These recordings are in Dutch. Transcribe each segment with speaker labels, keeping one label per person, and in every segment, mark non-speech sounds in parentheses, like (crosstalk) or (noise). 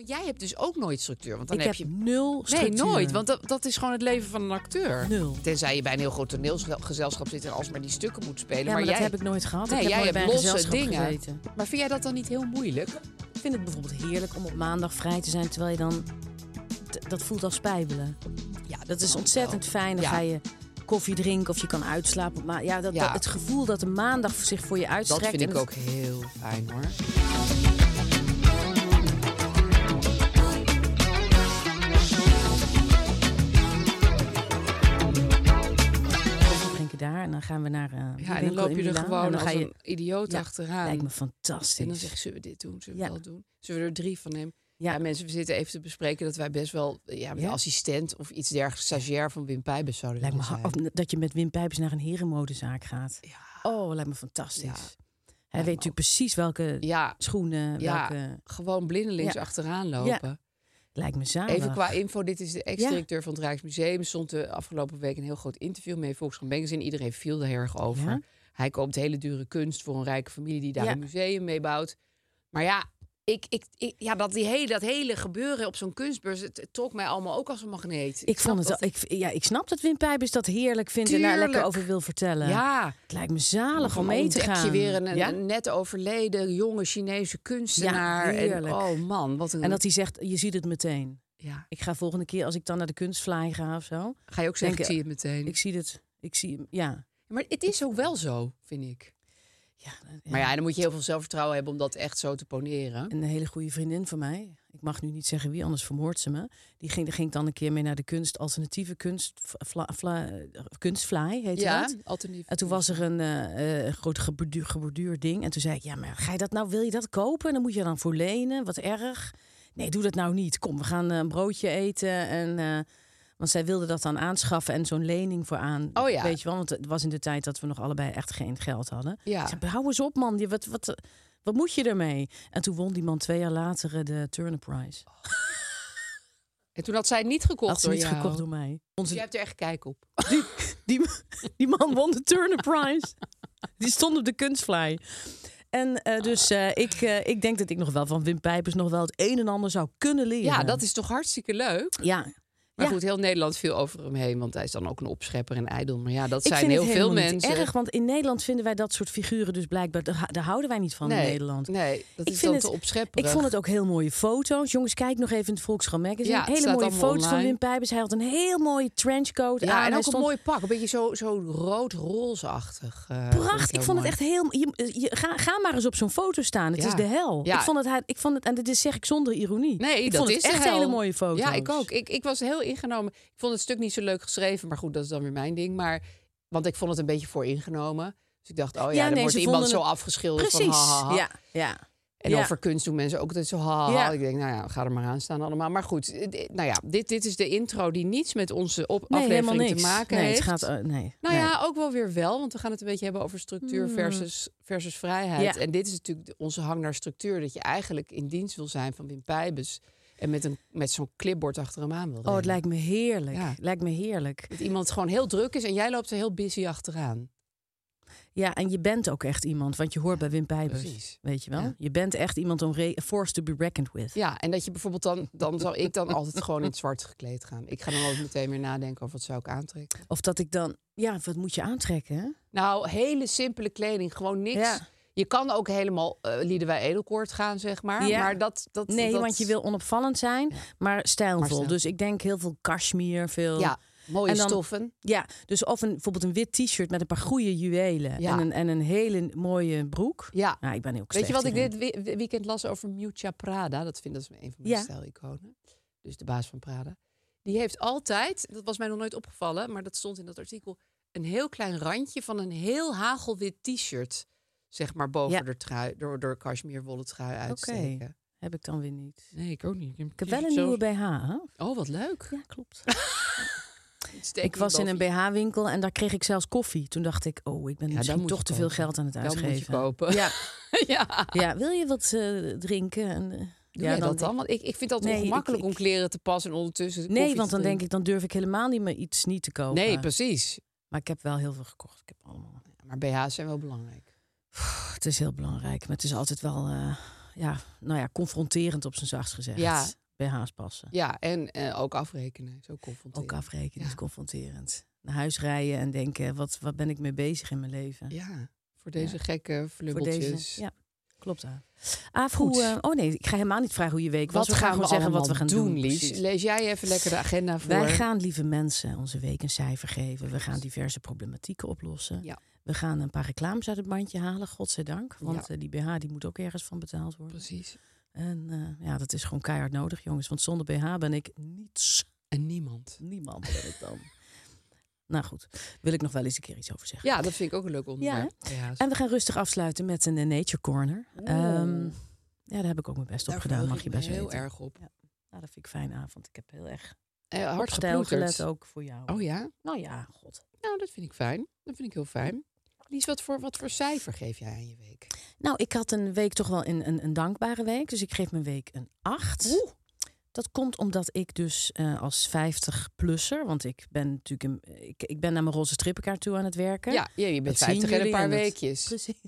Speaker 1: Maar jij hebt dus ook nooit structuur. Want dan
Speaker 2: ik
Speaker 1: heb
Speaker 2: heb,
Speaker 1: je.
Speaker 2: nul
Speaker 1: Nee,
Speaker 2: structuur.
Speaker 1: nooit. Want dat, dat is gewoon het leven van een acteur.
Speaker 2: Nul.
Speaker 1: Tenzij je bij een heel groot toneelgezelschap zit en alsmaar die stukken moet spelen.
Speaker 2: Ja, maar, dat
Speaker 1: jij,
Speaker 2: heb ik nooit gehad.
Speaker 1: Nee,
Speaker 2: ik heb
Speaker 1: jij
Speaker 2: nooit bij
Speaker 1: hebt
Speaker 2: een
Speaker 1: losse
Speaker 2: gezelschap
Speaker 1: dingen.
Speaker 2: gezeten.
Speaker 1: Maar vind jij dat dan niet heel moeilijk?
Speaker 2: Ik vind het bijvoorbeeld heerlijk om op maandag vrij te zijn, terwijl je dan... d- Dat voelt als spijbelen.
Speaker 1: Ja,
Speaker 2: Dat is ontzettend fijn. Dan
Speaker 1: Oh, Ja.
Speaker 2: ga je koffie drinken of je kan uitslapen. Maar ja, dat,
Speaker 1: Ja.
Speaker 2: dat- het gevoel dat de maandag zich voor je
Speaker 1: Dat
Speaker 2: uitstrekt...
Speaker 1: vind ik
Speaker 2: en het-
Speaker 1: ook heel fijn hoor.
Speaker 2: koffie drinken daar en dan gaan we naar... eh, die
Speaker 1: Ja, en dan
Speaker 2: winkel
Speaker 1: loop
Speaker 2: in
Speaker 1: je er
Speaker 2: Milaan
Speaker 1: gewoon
Speaker 2: en dan
Speaker 1: als
Speaker 2: ga je...
Speaker 1: een idioot achteraan.
Speaker 2: Lijkt me
Speaker 1: En dan
Speaker 2: fantastisch.
Speaker 1: zeggen zullen we dit doen, zullen we
Speaker 2: Ja.
Speaker 1: dat doen? Zullen we er drie van nemen? Ja.
Speaker 2: Ja.
Speaker 1: mensen, we zitten even te bespreken dat wij best wel eh, ja, met
Speaker 2: Ja.
Speaker 1: een assistent of iets dergelijks, stagiair van Wim Pijbus zouden
Speaker 2: Lijkt me
Speaker 1: willen
Speaker 2: ha- of
Speaker 1: zijn.
Speaker 2: dat je met Wim Pijpers naar een herenmodezaak gaat.
Speaker 1: Ja,
Speaker 2: Oh, lijkt me fantastisch.
Speaker 1: Ja.
Speaker 2: Hij weet natuurlijk precies welke
Speaker 1: ja,
Speaker 2: schoenen,
Speaker 1: ja,
Speaker 2: welke...
Speaker 1: gewoon blindelings
Speaker 2: Ja.
Speaker 1: achteraan lopen.
Speaker 2: Lijkt me zalig.
Speaker 1: Even qua info, dit is de ex-directeur van het Rijksmuseum. Stond de afgelopen week een heel groot interview mee Volkskrant Magazine. Iedereen viel daar heel erg over.
Speaker 2: Ja.
Speaker 1: Hij koopt hele dure kunst voor een rijke familie die daar
Speaker 2: Ja.
Speaker 1: een museum mee bouwt. Maar ja, ik, ik, ik- ja dat, die hele, dat hele gebeuren op zo'n kunstbeurs, het, het trok mij allemaal ook als een magneet.
Speaker 2: Ik,
Speaker 1: snap
Speaker 2: vond het,
Speaker 1: dat
Speaker 2: wel- ik, ja, ik snap dat Wim Pijbers dat heerlijk vindt en daar lekker
Speaker 1: Tuurlijk.
Speaker 2: over wil vertellen.
Speaker 1: Ja,
Speaker 2: Het lijkt me zalig om
Speaker 1: gewoon
Speaker 2: mee te
Speaker 1: ontdek
Speaker 2: gaan.
Speaker 1: je weer een,
Speaker 2: Ja?
Speaker 1: een net overleden jonge Chinese kunstenaar. en,
Speaker 2: heerlijk.
Speaker 1: oh man, wat een...
Speaker 2: En dat hij zegt, je ziet het meteen.
Speaker 1: ja.
Speaker 2: Ik ga volgende keer, als ik dan naar de kunstvlaai ga of zo...
Speaker 1: Ga je ook zeggen,
Speaker 2: Denk-
Speaker 1: ik zie het meteen.
Speaker 2: Ik zie het, ik zie hem, ja.
Speaker 1: Maar het is ook wel zo, vind ik.
Speaker 2: ja
Speaker 1: Maar ja, dan moet je heel veel zelfvertrouwen hebben om dat echt zo te poneren.
Speaker 2: een hele goede vriendin van mij. Ik mag nu niet zeggen wie, anders vermoordt ze me. Die ging, daar ging ik dan een keer mee naar de kunst, alternatieve kunst, vla, vla, kunstvlaai heette
Speaker 1: ja,
Speaker 2: dat.
Speaker 1: alternatief.
Speaker 2: En toen was er een eh, eh, groot geborduur, geborduurd ding. En toen zei ik, ja, maar ga je dat nou, wil je dat kopen? Dan moet je dan voor lenen, wat erg. Nee, doe dat nou niet. Kom, we gaan eh, een broodje eten. En, eh, want zij wilde dat dan aanschaffen en zo'n lening voor aan.
Speaker 1: Oh ja.
Speaker 2: Weet je wel, want het was in de tijd dat we nog allebei echt geen geld hadden.
Speaker 1: Ja.
Speaker 2: Ik zei, hou eens op man, Je- wat, wat, wat moet je ermee? En toen won die man twee jaar later eh, de Turner Prize.
Speaker 1: En toen had zij het niet gekocht
Speaker 2: Had ze
Speaker 1: door
Speaker 2: niet
Speaker 1: jou.
Speaker 2: gekocht door mij.
Speaker 1: Dus
Speaker 2: Onze,
Speaker 1: jij hebt er echt kijk
Speaker 2: (laughs)
Speaker 1: op.
Speaker 2: die, die, die man won de Turner Prize. Die stond op de kunstvlaai. En eh, dus eh, ik, eh, ik denk dat ik nog wel van Wim Pijpers nog wel het een en ander zou kunnen leren.
Speaker 1: Ja, dat is toch hartstikke leuk?
Speaker 2: Ja.
Speaker 1: Maar
Speaker 2: Ja.
Speaker 1: goed, heel Nederland viel over hem heen, want hij is dan ook een opschepper en ijdel. Maar ja, dat
Speaker 2: Ik
Speaker 1: zijn
Speaker 2: vind
Speaker 1: heel
Speaker 2: het
Speaker 1: veel
Speaker 2: helemaal
Speaker 1: mensen.
Speaker 2: Niet erg, want in Nederland vinden wij dat soort figuren dus blijkbaar... Daar, daar houden wij niet van in
Speaker 1: Nee,
Speaker 2: Nederland.
Speaker 1: nee, dat
Speaker 2: ik
Speaker 1: is dan
Speaker 2: vind het,
Speaker 1: te opschepperig.
Speaker 2: Ik vond het ook heel mooie foto's. Jongens, kijk nog even in het Volkskrant Magazine.
Speaker 1: Ja, het
Speaker 2: Hele
Speaker 1: staat
Speaker 2: mooie
Speaker 1: allemaal
Speaker 2: foto's van
Speaker 1: online.
Speaker 2: Wim Pijpers. Hij had een heel mooie trenchcoat aan.
Speaker 1: Ja, en
Speaker 2: Hij
Speaker 1: ook een
Speaker 2: stond
Speaker 1: mooi pak. Een beetje zo, zo rood-rozeachtig. eh,
Speaker 2: Prachtig. Ik vond het
Speaker 1: heel
Speaker 2: echt heel. Je, je- ga, ga maar eens op zo'n foto staan. Het
Speaker 1: Ja.
Speaker 2: is de hel.
Speaker 1: Ja.
Speaker 2: Ik vond het. hij- Ik vond het. En dit is, zeg ik zonder ironie.
Speaker 1: Nee,
Speaker 2: ik
Speaker 1: dat
Speaker 2: vond
Speaker 1: is
Speaker 2: het
Speaker 1: de
Speaker 2: echt
Speaker 1: hel.
Speaker 2: hele mooie foto's.
Speaker 1: Ja, ik ook. Ik, ik was heel ingenomen. Ik vond het stuk niet zo leuk geschreven, maar goed, dat is dan weer mijn ding. Maar, want ik vond het een beetje voor ingenomen. Dus ik dacht, oh ja,
Speaker 2: Ja,
Speaker 1: dan
Speaker 2: nee,
Speaker 1: wordt
Speaker 2: ze
Speaker 1: iemand
Speaker 2: vonden
Speaker 1: zo
Speaker 2: het-
Speaker 1: afgeschilderd van
Speaker 2: Precies.
Speaker 1: ha, ha, ha.
Speaker 2: Ja, ja.
Speaker 1: En
Speaker 2: Ja.
Speaker 1: over kunst doen mensen ook altijd zo ha, ha, ha.
Speaker 2: Ja.
Speaker 1: Ik denk, nou ja, ga er maar aan staan allemaal. Maar goed, eh, dit- nou ja, dit, dit is de intro die niets met onze op
Speaker 2: Nee, helemaal
Speaker 1: aflevering
Speaker 2: niks.
Speaker 1: te maken
Speaker 2: nee,
Speaker 1: heeft.
Speaker 2: het gaat. eh, nee.
Speaker 1: Nou
Speaker 2: nee.
Speaker 1: ja, ook wel weer wel, want we gaan het een beetje hebben over structuur versus, versus vrijheid.
Speaker 2: Hmm. Ja.
Speaker 1: En dit is natuurlijk de- onze hang naar structuur, dat je eigenlijk in dienst wil zijn van Wim Pijbus. En met, een, met zo'n clipboard achter hem aan wil
Speaker 2: Oh, het
Speaker 1: rennen.
Speaker 2: lijkt me heerlijk.
Speaker 1: Ja.
Speaker 2: Lijkt me heerlijk.
Speaker 1: Dat iemand gewoon heel druk is en jij loopt er heel busy achteraan.
Speaker 2: Ja, en je bent ook echt iemand, want je hoort bij Wim Pijbers.
Speaker 1: precies.
Speaker 2: Weet je wel?
Speaker 1: Ja.
Speaker 2: Je bent echt iemand om re- a force to be reckoned with.
Speaker 1: Ja, en dat je bijvoorbeeld dan, dan zou ik dan altijd gewoon in het zwart gekleed gaan. Ik ga dan ook meteen weer nadenken over wat zou ik aantrekken.
Speaker 2: Of dat ik dan, ja, wat moet je aantrekken? hè?
Speaker 1: Nou, hele simpele kleding, gewoon niks.
Speaker 2: Ja.
Speaker 1: Je kan ook helemaal eh Liedewij Edelkoort gaan, zeg maar.
Speaker 2: Ja.
Speaker 1: Maar dat, dat,
Speaker 2: Nee,
Speaker 1: dat-
Speaker 2: want je wil onopvallend zijn, maar stijlvol.
Speaker 1: Maar stijl.
Speaker 2: Dus ik denk heel veel cashmere, veel.
Speaker 1: Ja, mooie
Speaker 2: En dan-
Speaker 1: stoffen.
Speaker 2: Ja, dus of een, bijvoorbeeld een wit t-shirt met een paar goede juwelen
Speaker 1: Ja.
Speaker 2: en, een, en een hele mooie broek.
Speaker 1: Ja.
Speaker 2: Nou, ik ben heel
Speaker 1: Weet je wat ik
Speaker 2: dit?
Speaker 1: dit we- we- weekend las over Miuccia Prada? Dat vind dat is een van mijn
Speaker 2: Ja.
Speaker 1: stijliconen. Dus de baas van Prada. Die heeft altijd, dat was mij nog nooit opgevallen, maar dat stond in dat artikel, een heel klein randje van een heel hagelwit t-shirt, zeg maar boven
Speaker 2: Ja.
Speaker 1: de trui, door door cashmeerwollen trui uitsteken.
Speaker 2: Heb ik dan weer niet.
Speaker 1: Nee, ik ook niet.
Speaker 2: Ik heb wel een nieuwe BH. hè?
Speaker 1: Oh, wat leuk.
Speaker 2: Ja, klopt.
Speaker 1: Steek
Speaker 2: ik
Speaker 1: hem
Speaker 2: was in een
Speaker 1: boven-
Speaker 2: BH-winkel en daar kreeg ik zelfs koffie. Toen dacht ik, oh, ik ben
Speaker 1: Ja, dan
Speaker 2: misschien
Speaker 1: moet je
Speaker 2: toch te veel
Speaker 1: kopen.
Speaker 2: geld aan het
Speaker 1: Dan moet je
Speaker 2: uitgeven.
Speaker 1: kopen.
Speaker 2: Ja,
Speaker 1: (laughs) ja.
Speaker 2: ja wil je wat eh, drinken? En, eh,
Speaker 1: Doe jij dat dan? Want ik, ik vind dat
Speaker 2: Nee, ik-
Speaker 1: ongemakkelijk om
Speaker 2: ik-
Speaker 1: kleren te passen en ondertussen
Speaker 2: Nee, want dan denk ik, dan durf ik helemaal niet meer iets niet te kopen.
Speaker 1: Nee, precies.
Speaker 2: Maar ik heb wel heel veel gekocht. Ik heb allemaal.
Speaker 1: Maar BH's zijn wel belangrijk.
Speaker 2: Pff, het is heel belangrijk, maar het is altijd wel, eh, ja, nou ja, confronterend op zijn zachtst gezegd.
Speaker 1: Ja.
Speaker 2: BH's passen.
Speaker 1: Ja, en eh, ook afrekenen. Zo confronterend.
Speaker 2: Ook afrekenen is
Speaker 1: Ja.
Speaker 2: confronterend. Naar huis rijden en denken, wat, wat ben ik mee bezig in mijn leven?
Speaker 1: Ja, voor deze
Speaker 2: Ja.
Speaker 1: gekke
Speaker 2: Voor
Speaker 1: flubbeltjes.
Speaker 2: deze. Ja, klopt Aaf. Aaf,
Speaker 1: Goed.
Speaker 2: hoe... eh, oh nee, ik ga helemaal niet vragen hoe je week was.
Speaker 1: Wat
Speaker 2: We
Speaker 1: gaan we
Speaker 2: gewoon zeggen wat we gaan doen,
Speaker 1: Lies?
Speaker 2: precies.
Speaker 1: Lees jij even lekker de agenda voor.
Speaker 2: Wij gaan, lieve mensen, onze week een cijfer geven. We gaan diverse problematieken oplossen.
Speaker 1: Ja.
Speaker 2: We gaan een paar reclames uit het mandje halen, godzijdank. Want
Speaker 1: Ja.
Speaker 2: eh, die BH die moet ook ergens van betaald worden.
Speaker 1: Precies.
Speaker 2: En eh, ja, dat is gewoon keihard nodig, jongens. Want zonder BH ben ik niets.
Speaker 1: En niemand.
Speaker 2: Niemand ben ik
Speaker 1: (laughs)
Speaker 2: dan. nou goed, wil ik nog wel eens een keer iets over zeggen.
Speaker 1: Ja, dat vind ik ook een leuk onderwerp. BH's.
Speaker 2: En we gaan rustig afsluiten met een eh, Nature Corner. Ehm, ja, daar heb ik ook mijn best op
Speaker 1: Daar
Speaker 2: gedaan,
Speaker 1: verheug
Speaker 2: mag
Speaker 1: ik
Speaker 2: je
Speaker 1: me
Speaker 2: best
Speaker 1: heel
Speaker 2: weten.
Speaker 1: erg op.
Speaker 2: Nou, dat vind ik fijn avond. Ik heb heel erg
Speaker 1: Eh,
Speaker 2: op
Speaker 1: hard
Speaker 2: stijl gelet
Speaker 1: geploeterd.
Speaker 2: ook voor jou.
Speaker 1: Oh ja?
Speaker 2: Nou ja, god.
Speaker 1: Nou, dat vind ik fijn. Dat vind ik heel fijn. Lies, wat voor, wat voor cijfer geef jij aan je week?
Speaker 2: Nou, ik had een week toch wel een, een, een dankbare week. Dus ik geef mijn week een 8. Dat komt omdat ik dus eh, als 50-plusser, want ik ben natuurlijk een, ik, ik ben naar mijn roze strippenkaart toe aan het werken.
Speaker 1: Ja, ja, je bent
Speaker 2: Dat zien
Speaker 1: 50 en een
Speaker 2: jullie
Speaker 1: paar
Speaker 2: en dat-
Speaker 1: weekjes.
Speaker 2: Precies.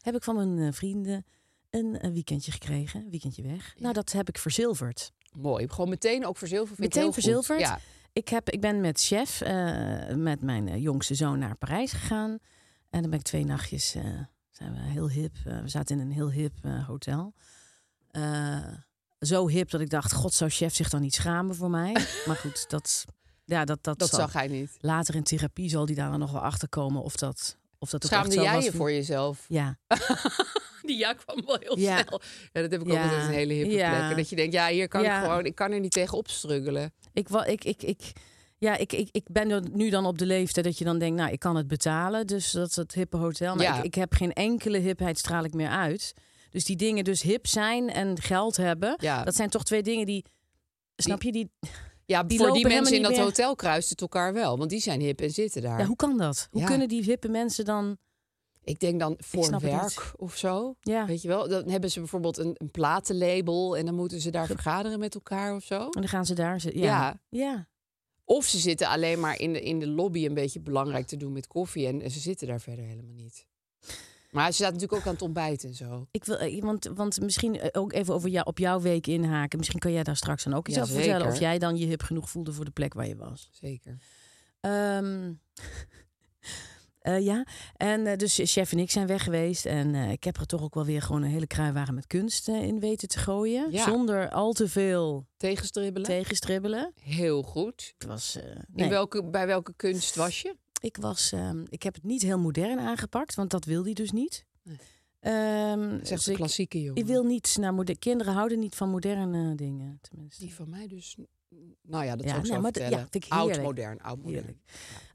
Speaker 2: Heb ik van mijn eh, vrienden een, eh, weekendje gekregen, een weekendje weg. Nou, dat heb ik verzilverd.
Speaker 1: Mooi. Gewoon meteen ook verzilverd. vind ik
Speaker 2: Meteen
Speaker 1: heel goed.
Speaker 2: verzilverd.
Speaker 1: Ja.
Speaker 2: Ik, heb, ik ben met chef, eh, met mijn eh, jongste zoon, naar Parijs gegaan. En dan ben ik twee nachtjes, eh, zijn we heel hip. eh, we zaten in een heel hip eh, hotel. Eh, zo hip dat ik dacht, god, zou chef zich dan niet schamen voor
Speaker 1: (laughs)
Speaker 2: mij? maar goed, dat, ja, dat, dat,
Speaker 1: Dat
Speaker 2: zal-
Speaker 1: zag hij niet.
Speaker 2: Later in therapie zal die daar dan nog wel achter komen of dat, of dat ook echt
Speaker 1: Schaamde
Speaker 2: zo
Speaker 1: jij
Speaker 2: was.
Speaker 1: je voor jezelf?
Speaker 2: Ja,
Speaker 1: (laughs) Die ja kwam wel heel
Speaker 2: Ja.
Speaker 1: snel. Ja, dat heb ik ook
Speaker 2: Ja.
Speaker 1: altijd een hele hippe
Speaker 2: Ja.
Speaker 1: plek. En dat je denkt, ja, hier kan
Speaker 2: Ja.
Speaker 1: ik gewoon, ik kan er niet tegen opstruggelen.
Speaker 2: Ik, wa- ik, ik, ik, ja, ik, ik, ik ben er nu dan op de leeftijd dat je dan denkt, nou, ik kan het betalen. Dus dat is het hippe hotel. Maar
Speaker 1: Ja.
Speaker 2: ik, ik heb geen enkele hipheid straal ik meer uit. Dus die dingen, dus hip zijn en geld hebben,
Speaker 1: Ja.
Speaker 2: dat zijn toch twee dingen die, snap je, die,
Speaker 1: Ja,
Speaker 2: Die
Speaker 1: voor
Speaker 2: lopen
Speaker 1: die mensen in
Speaker 2: helemaal
Speaker 1: dat
Speaker 2: niet meer-
Speaker 1: hotel kruist het elkaar wel. Want die zijn hip en zitten daar.
Speaker 2: ja, hoe kan dat? Hoe
Speaker 1: Ja.
Speaker 2: kunnen die hippe mensen dan,
Speaker 1: Ik denk dan voor
Speaker 2: snap het
Speaker 1: werk of zo.
Speaker 2: ja, en
Speaker 1: Weet je wel, dan hebben ze bijvoorbeeld een, een platenlabel en dan moeten ze daar vergaderen met elkaar of zo.
Speaker 2: dan gaan ze daar zitten.
Speaker 1: Ja.
Speaker 2: Ja. ja,
Speaker 1: Of ze zitten alleen maar in de, in de lobby een beetje belangrijk te doen met koffie en, en ze zitten daar verder helemaal niet. Maar ze zaten natuurlijk ook aan het ontbijten en zo.
Speaker 2: ik wil, eh, want, want misschien eh, ook even over jou, op jouw week inhaken. Misschien kan jij daar straks dan ook iets
Speaker 1: Ja,
Speaker 2: over vertellen.
Speaker 1: zeker.
Speaker 2: Of jij dan je hip genoeg voelde voor de plek waar je was.
Speaker 1: Zeker.
Speaker 2: Ehm, (laughs) eh, ja, en eh, dus chef en ik zijn weg geweest. En eh, ik heb er toch ook wel weer gewoon een hele kruiwagen met kunst eh, in weten te gooien.
Speaker 1: Ja.
Speaker 2: Zonder al te veel
Speaker 1: Tegenstribbelen.
Speaker 2: tegenstribbelen.
Speaker 1: Heel goed.
Speaker 2: Het was, eh,
Speaker 1: In
Speaker 2: nee.
Speaker 1: welke, bij welke kunst was je?
Speaker 2: ik, was ehm, ik heb het niet heel modern aangepakt, want dat wil hij dus niet.
Speaker 1: Nee.
Speaker 2: Ehm,
Speaker 1: Dat is
Speaker 2: dus
Speaker 1: echt een
Speaker 2: ik,
Speaker 1: klassieke jongen.
Speaker 2: ik wil niet naar moderne... Kinderen houden niet van moderne eh, dingen, tenminste.
Speaker 1: Die van mij dus... Nou ja, dat
Speaker 2: Ja,
Speaker 1: zou ik
Speaker 2: nou,
Speaker 1: zo
Speaker 2: maar d-
Speaker 1: vertellen.
Speaker 2: ja, vind ik heerlijk.
Speaker 1: oud-modern, oud-modern.
Speaker 2: Heerlijk.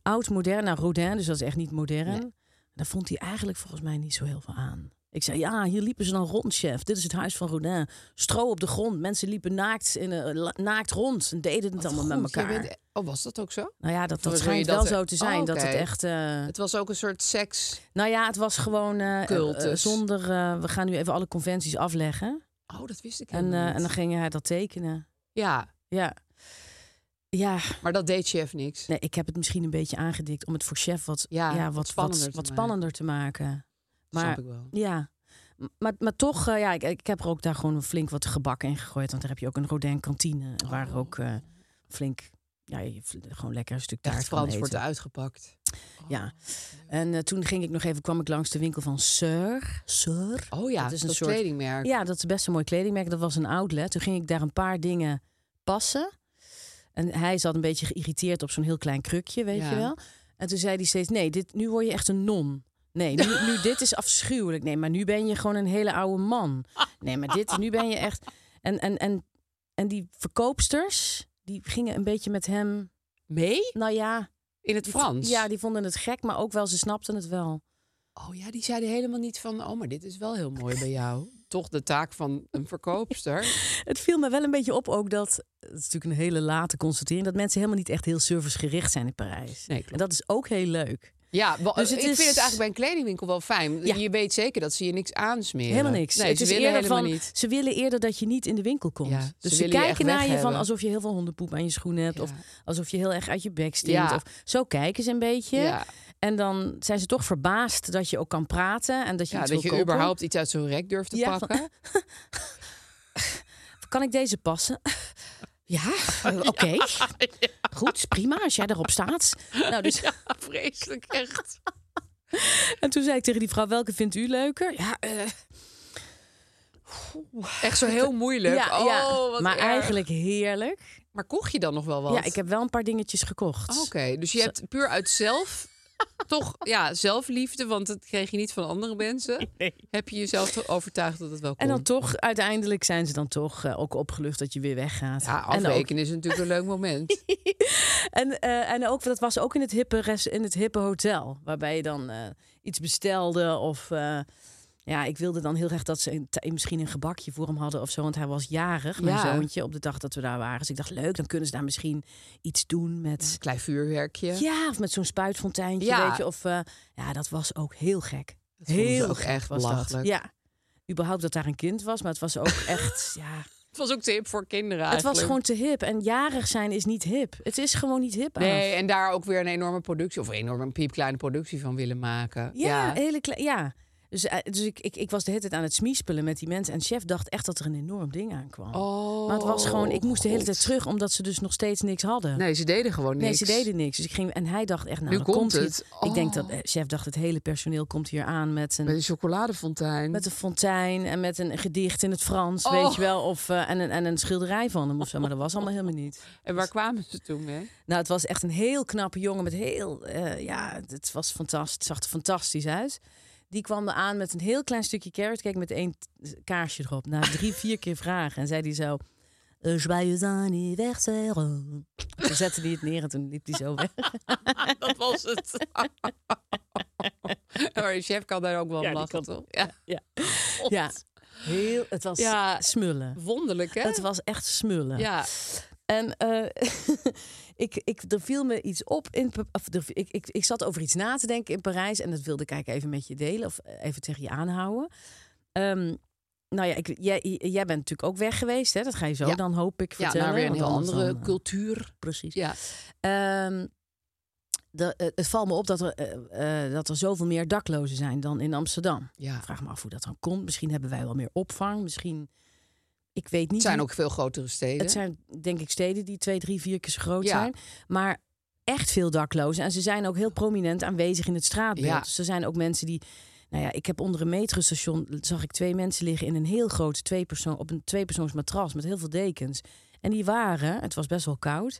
Speaker 2: oud modern naar Rodin, dus dat is echt niet modern.
Speaker 1: Nee.
Speaker 2: Daar vond hij eigenlijk volgens mij niet zo heel veel aan. Ik zei, ja, hier liepen ze dan rond, chef. Dit is het huis van Rodin. Stro op de grond. Mensen liepen naakt, in, eh, la- naakt rond en deden het
Speaker 1: Wat
Speaker 2: allemaal
Speaker 1: goed,
Speaker 2: met
Speaker 1: jij
Speaker 2: elkaar.
Speaker 1: bent- oh, was dat ook zo?
Speaker 2: Nou ja, dat, dat
Speaker 1: Volgens mij
Speaker 2: schijnt
Speaker 1: dat
Speaker 2: wel
Speaker 1: er-
Speaker 2: zo te zijn.
Speaker 1: Oh,
Speaker 2: Dat het
Speaker 1: oké.
Speaker 2: echt... eh,
Speaker 1: Het was ook een soort seks...
Speaker 2: nou ja, het was gewoon eh,
Speaker 1: Cultus.
Speaker 2: eh, zonder... eh, we gaan nu even alle conventies afleggen.
Speaker 1: Oh, dat wist ik
Speaker 2: En,
Speaker 1: helemaal
Speaker 2: eh,
Speaker 1: niet.
Speaker 2: en dan ging hij dat tekenen.
Speaker 1: Ja,
Speaker 2: Ja. Ja,
Speaker 1: Maar dat deed chef niks.
Speaker 2: nee, ik heb het misschien een beetje aangedikt om het voor chef wat,
Speaker 1: Ja,
Speaker 2: ja,
Speaker 1: wat
Speaker 2: wat,
Speaker 1: spannender
Speaker 2: wat,
Speaker 1: te
Speaker 2: wat
Speaker 1: maken.
Speaker 2: spannender te maken.
Speaker 1: Dat
Speaker 2: Maar
Speaker 1: snap ik wel.
Speaker 2: Ja, M- maar, maar toch, eh, ja, ik, ik heb er ook daar gewoon flink wat gebak in gegooid. Want daar heb je ook een Rodin kantine,
Speaker 1: Oh.
Speaker 2: waar ook eh, flink, ja, je v- gewoon lekker een stuk taart
Speaker 1: Echt
Speaker 2: van
Speaker 1: Frans wordt
Speaker 2: eten.
Speaker 1: uitgepakt.
Speaker 2: Ja. En eh, toen ging ik nog even, kwam ik langs de winkel van Sir. Sir?
Speaker 1: Oh ja, dat is een soort... kledingmerk.
Speaker 2: Ja, dat is best een mooi kledingmerk. Dat was een outlet. Toen ging ik daar een paar dingen passen. En hij zat een beetje geïrriteerd op zo'n heel klein krukje, weet
Speaker 1: Ja.
Speaker 2: je wel. En toen zei hij steeds, nee, dit, nu word je echt een non. Nee, nu,
Speaker 1: (laughs)
Speaker 2: nu dit is afschuwelijk. Nee, maar nu ben je gewoon een hele oude man. Nee, maar dit, nu ben je echt... En, en, en, en die verkoopsters, die gingen een beetje met hem...
Speaker 1: Mee?
Speaker 2: Nou ja...
Speaker 1: In het
Speaker 2: die-
Speaker 1: Frans?
Speaker 2: Ja, die vonden het gek, maar ook wel, ze snapten het wel.
Speaker 1: Oh ja, die zeiden helemaal niet van... Oh, maar dit is wel heel mooi bij jou. Toch de taak van een verkoopster.
Speaker 2: Het viel me wel een beetje op ook dat, het is natuurlijk een hele late constatering, dat mensen helemaal niet echt heel servicegericht zijn in Parijs.
Speaker 1: Nee, klopt.
Speaker 2: En dat is ook heel leuk.
Speaker 1: Ja, wel-
Speaker 2: Dus het
Speaker 1: ik vind
Speaker 2: is-
Speaker 1: het eigenlijk bij een kledingwinkel wel fijn.
Speaker 2: Ja.
Speaker 1: Je weet zeker dat ze je niks aansmeren.
Speaker 2: Helemaal niks.
Speaker 1: Nee,
Speaker 2: het
Speaker 1: ze
Speaker 2: is
Speaker 1: willen
Speaker 2: eerder
Speaker 1: helemaal
Speaker 2: van,
Speaker 1: niet.
Speaker 2: ze willen eerder dat je niet in de winkel komt.
Speaker 1: Ja, ze
Speaker 2: dus ze
Speaker 1: willen je echt
Speaker 2: kijken naar je van
Speaker 1: weghebben.
Speaker 2: alsof je heel veel hondenpoep aan je schoenen hebt.
Speaker 1: Ja.
Speaker 2: Of alsof je heel erg uit je bek stinkt.
Speaker 1: Ja.
Speaker 2: Of, zo kijken ze een beetje.
Speaker 1: Ja.
Speaker 2: En dan zijn ze toch verbaasd dat je ook kan praten. En dat je
Speaker 1: Ja,
Speaker 2: iets
Speaker 1: dat
Speaker 2: wil
Speaker 1: je
Speaker 2: kopen.
Speaker 1: überhaupt iets uit zo'n rek durft te
Speaker 2: Ja, van- (laughs)
Speaker 1: pakken.
Speaker 2: Kan ik deze passen? (laughs)
Speaker 1: (laughs)
Speaker 2: ja, eh, oké. Goed, prima als jij daarop staat. Nou, dus...
Speaker 1: Ja, vreselijk echt.
Speaker 2: En toen zei ik tegen die vrouw, welke vindt u leuker? Ja, eh,
Speaker 1: Echt zo heel moeilijk.
Speaker 2: ja,
Speaker 1: oh,
Speaker 2: ja.
Speaker 1: wat
Speaker 2: maar
Speaker 1: erg.
Speaker 2: eigenlijk heerlijk.
Speaker 1: Maar kocht je dan nog wel wat?
Speaker 2: Ja, ik heb wel een paar dingetjes gekocht.
Speaker 1: Oké, dus je hebt puur uit zelf... (laughs) toch, ja, zelfliefde, want dat kreeg je niet van andere mensen.
Speaker 2: (laughs)
Speaker 1: Heb je jezelf toch overtuigd dat het wel kon?
Speaker 2: En dan toch, uiteindelijk zijn ze dan toch eh, ook opgelucht dat je weer weggaat.
Speaker 1: ja,
Speaker 2: en, ook,
Speaker 1: afrekenen is natuurlijk een leuk
Speaker 2: (laughs)
Speaker 1: moment.
Speaker 2: en, eh, en ook, dat was ook in het hippe, res- in het hippe hotel, waarbij je dan eh, iets bestelde of... eh, ja, ik wilde dan heel graag dat ze een, t- misschien een gebakje voor hem hadden of zo. Want hij was jarig, mijn
Speaker 1: Ja.
Speaker 2: zoontje, op de dag dat we daar waren. Dus ik dacht, leuk, dan kunnen ze daar misschien iets doen met...
Speaker 1: Klein vuurwerkje.
Speaker 2: Ja, of met zo'n spuitfonteintje,
Speaker 1: Ja.
Speaker 2: weet je. Of, eh, ja, dat was ook heel gek.
Speaker 1: vonden ze
Speaker 2: heel
Speaker 1: ook
Speaker 2: gek
Speaker 1: echt
Speaker 2: was
Speaker 1: belachelijk.
Speaker 2: Dat. Ja, überhaupt dat daar een kind was, maar het
Speaker 1: (laughs)
Speaker 2: was ook echt, ja...
Speaker 1: Het was ook te hip voor kinderen
Speaker 2: Het was
Speaker 1: eigenlijk.
Speaker 2: gewoon te hip. En jarig zijn is niet hip. Het is gewoon niet hip aan.
Speaker 1: Nee, en daar ook weer een enorme productie... of een enorme piepkleine productie van willen maken.
Speaker 2: Ja, eh, een hele klein... Ja. Dus, eh, dus ik, ik, ik was de hele tijd aan het smiespelen met die mensen. En chef dacht echt dat er een enorm ding aankwam.
Speaker 1: Oh,
Speaker 2: maar het was gewoon... Ik moest de hele
Speaker 1: God.
Speaker 2: tijd terug, omdat ze dus nog steeds niks hadden.
Speaker 1: Nee, ze deden gewoon niks.
Speaker 2: Nee, ze deden niks. Dus ik ging, en hij dacht echt, nou,
Speaker 1: Nu
Speaker 2: dan
Speaker 1: komt
Speaker 2: hier-
Speaker 1: het.
Speaker 2: Ik denk
Speaker 1: Oh.
Speaker 2: dat eh, chef dacht, het hele personeel komt hier aan met een...
Speaker 1: Met een chocoladefontein.
Speaker 2: Met een fontein en met een gedicht in het Frans,
Speaker 1: Hm. Oh.
Speaker 2: weet je wel. Of, eh, en, een, en een schilderij van hem of zo. Maar dat was allemaal helemaal niet.
Speaker 1: En waar kwamen ze toen
Speaker 2: (laughs)
Speaker 1: mee?
Speaker 2: Nou, het was echt een heel knappe jongen met heel... eh, ja, het was fantastisch. zag er fantastisch uit. Die kwam er aan met een heel klein stukje carrot cake met één t- kaarsje erop. Na drie, vier keer vragen. En zei hij zo... "Eh, Joyeux anniversaire. Toen zette hij het neer en toen liep hij zo weg. (laughs)
Speaker 1: Dat was (laughs) het. maar de Oh, chef kan daar ook wel om lachen, toch? Ja.
Speaker 2: Ja, heel, het was
Speaker 1: Oh, Ja.
Speaker 2: smullen.
Speaker 1: Wonderlijk, hè?
Speaker 2: Het was echt smullen.
Speaker 1: Ja.
Speaker 2: En eh, (laughs) ik, ik, er viel me iets op. In, Pa- of er- ik, ik, ik zat over iets na te denken in Parijs. En dat wilde ik eigenlijk even met je delen. Of eh, even tegen je aanhouden. Ehm, nou ja, ik, jij, jij bent natuurlijk ook weg geweest. Hè? Dat ga je zo
Speaker 1: Ja.
Speaker 2: dan hoop ik
Speaker 1: ja,
Speaker 2: vertellen.
Speaker 1: nou weer een
Speaker 2: want
Speaker 1: heel
Speaker 2: anders
Speaker 1: andere
Speaker 2: dan, eh,
Speaker 1: cultuur.
Speaker 2: Precies.
Speaker 1: Ja.
Speaker 2: Ehm, de, eh, het valt me op dat er, eh, eh, dat er zoveel meer daklozen zijn dan in Amsterdam.
Speaker 1: ja.
Speaker 2: Ik vraag me af hoe dat dan komt. Misschien hebben wij wel meer opvang. Misschien, ik weet niet.
Speaker 1: Het zijn
Speaker 2: hoe-
Speaker 1: ook veel grotere steden.
Speaker 2: het zijn denk ik steden die twee, drie, vier keer zo groot
Speaker 1: Ja.
Speaker 2: zijn. Maar echt veel daklozen. En ze zijn ook heel prominent aanwezig in het straatbeeld.
Speaker 1: Ja.
Speaker 2: Dus er zijn ook mensen die... Nou ja, ik heb onder een metrostation... zag ik twee mensen liggen in een heel groot tweepersoon... op een tweepersoons matras met heel veel dekens. En die waren, het was best wel koud...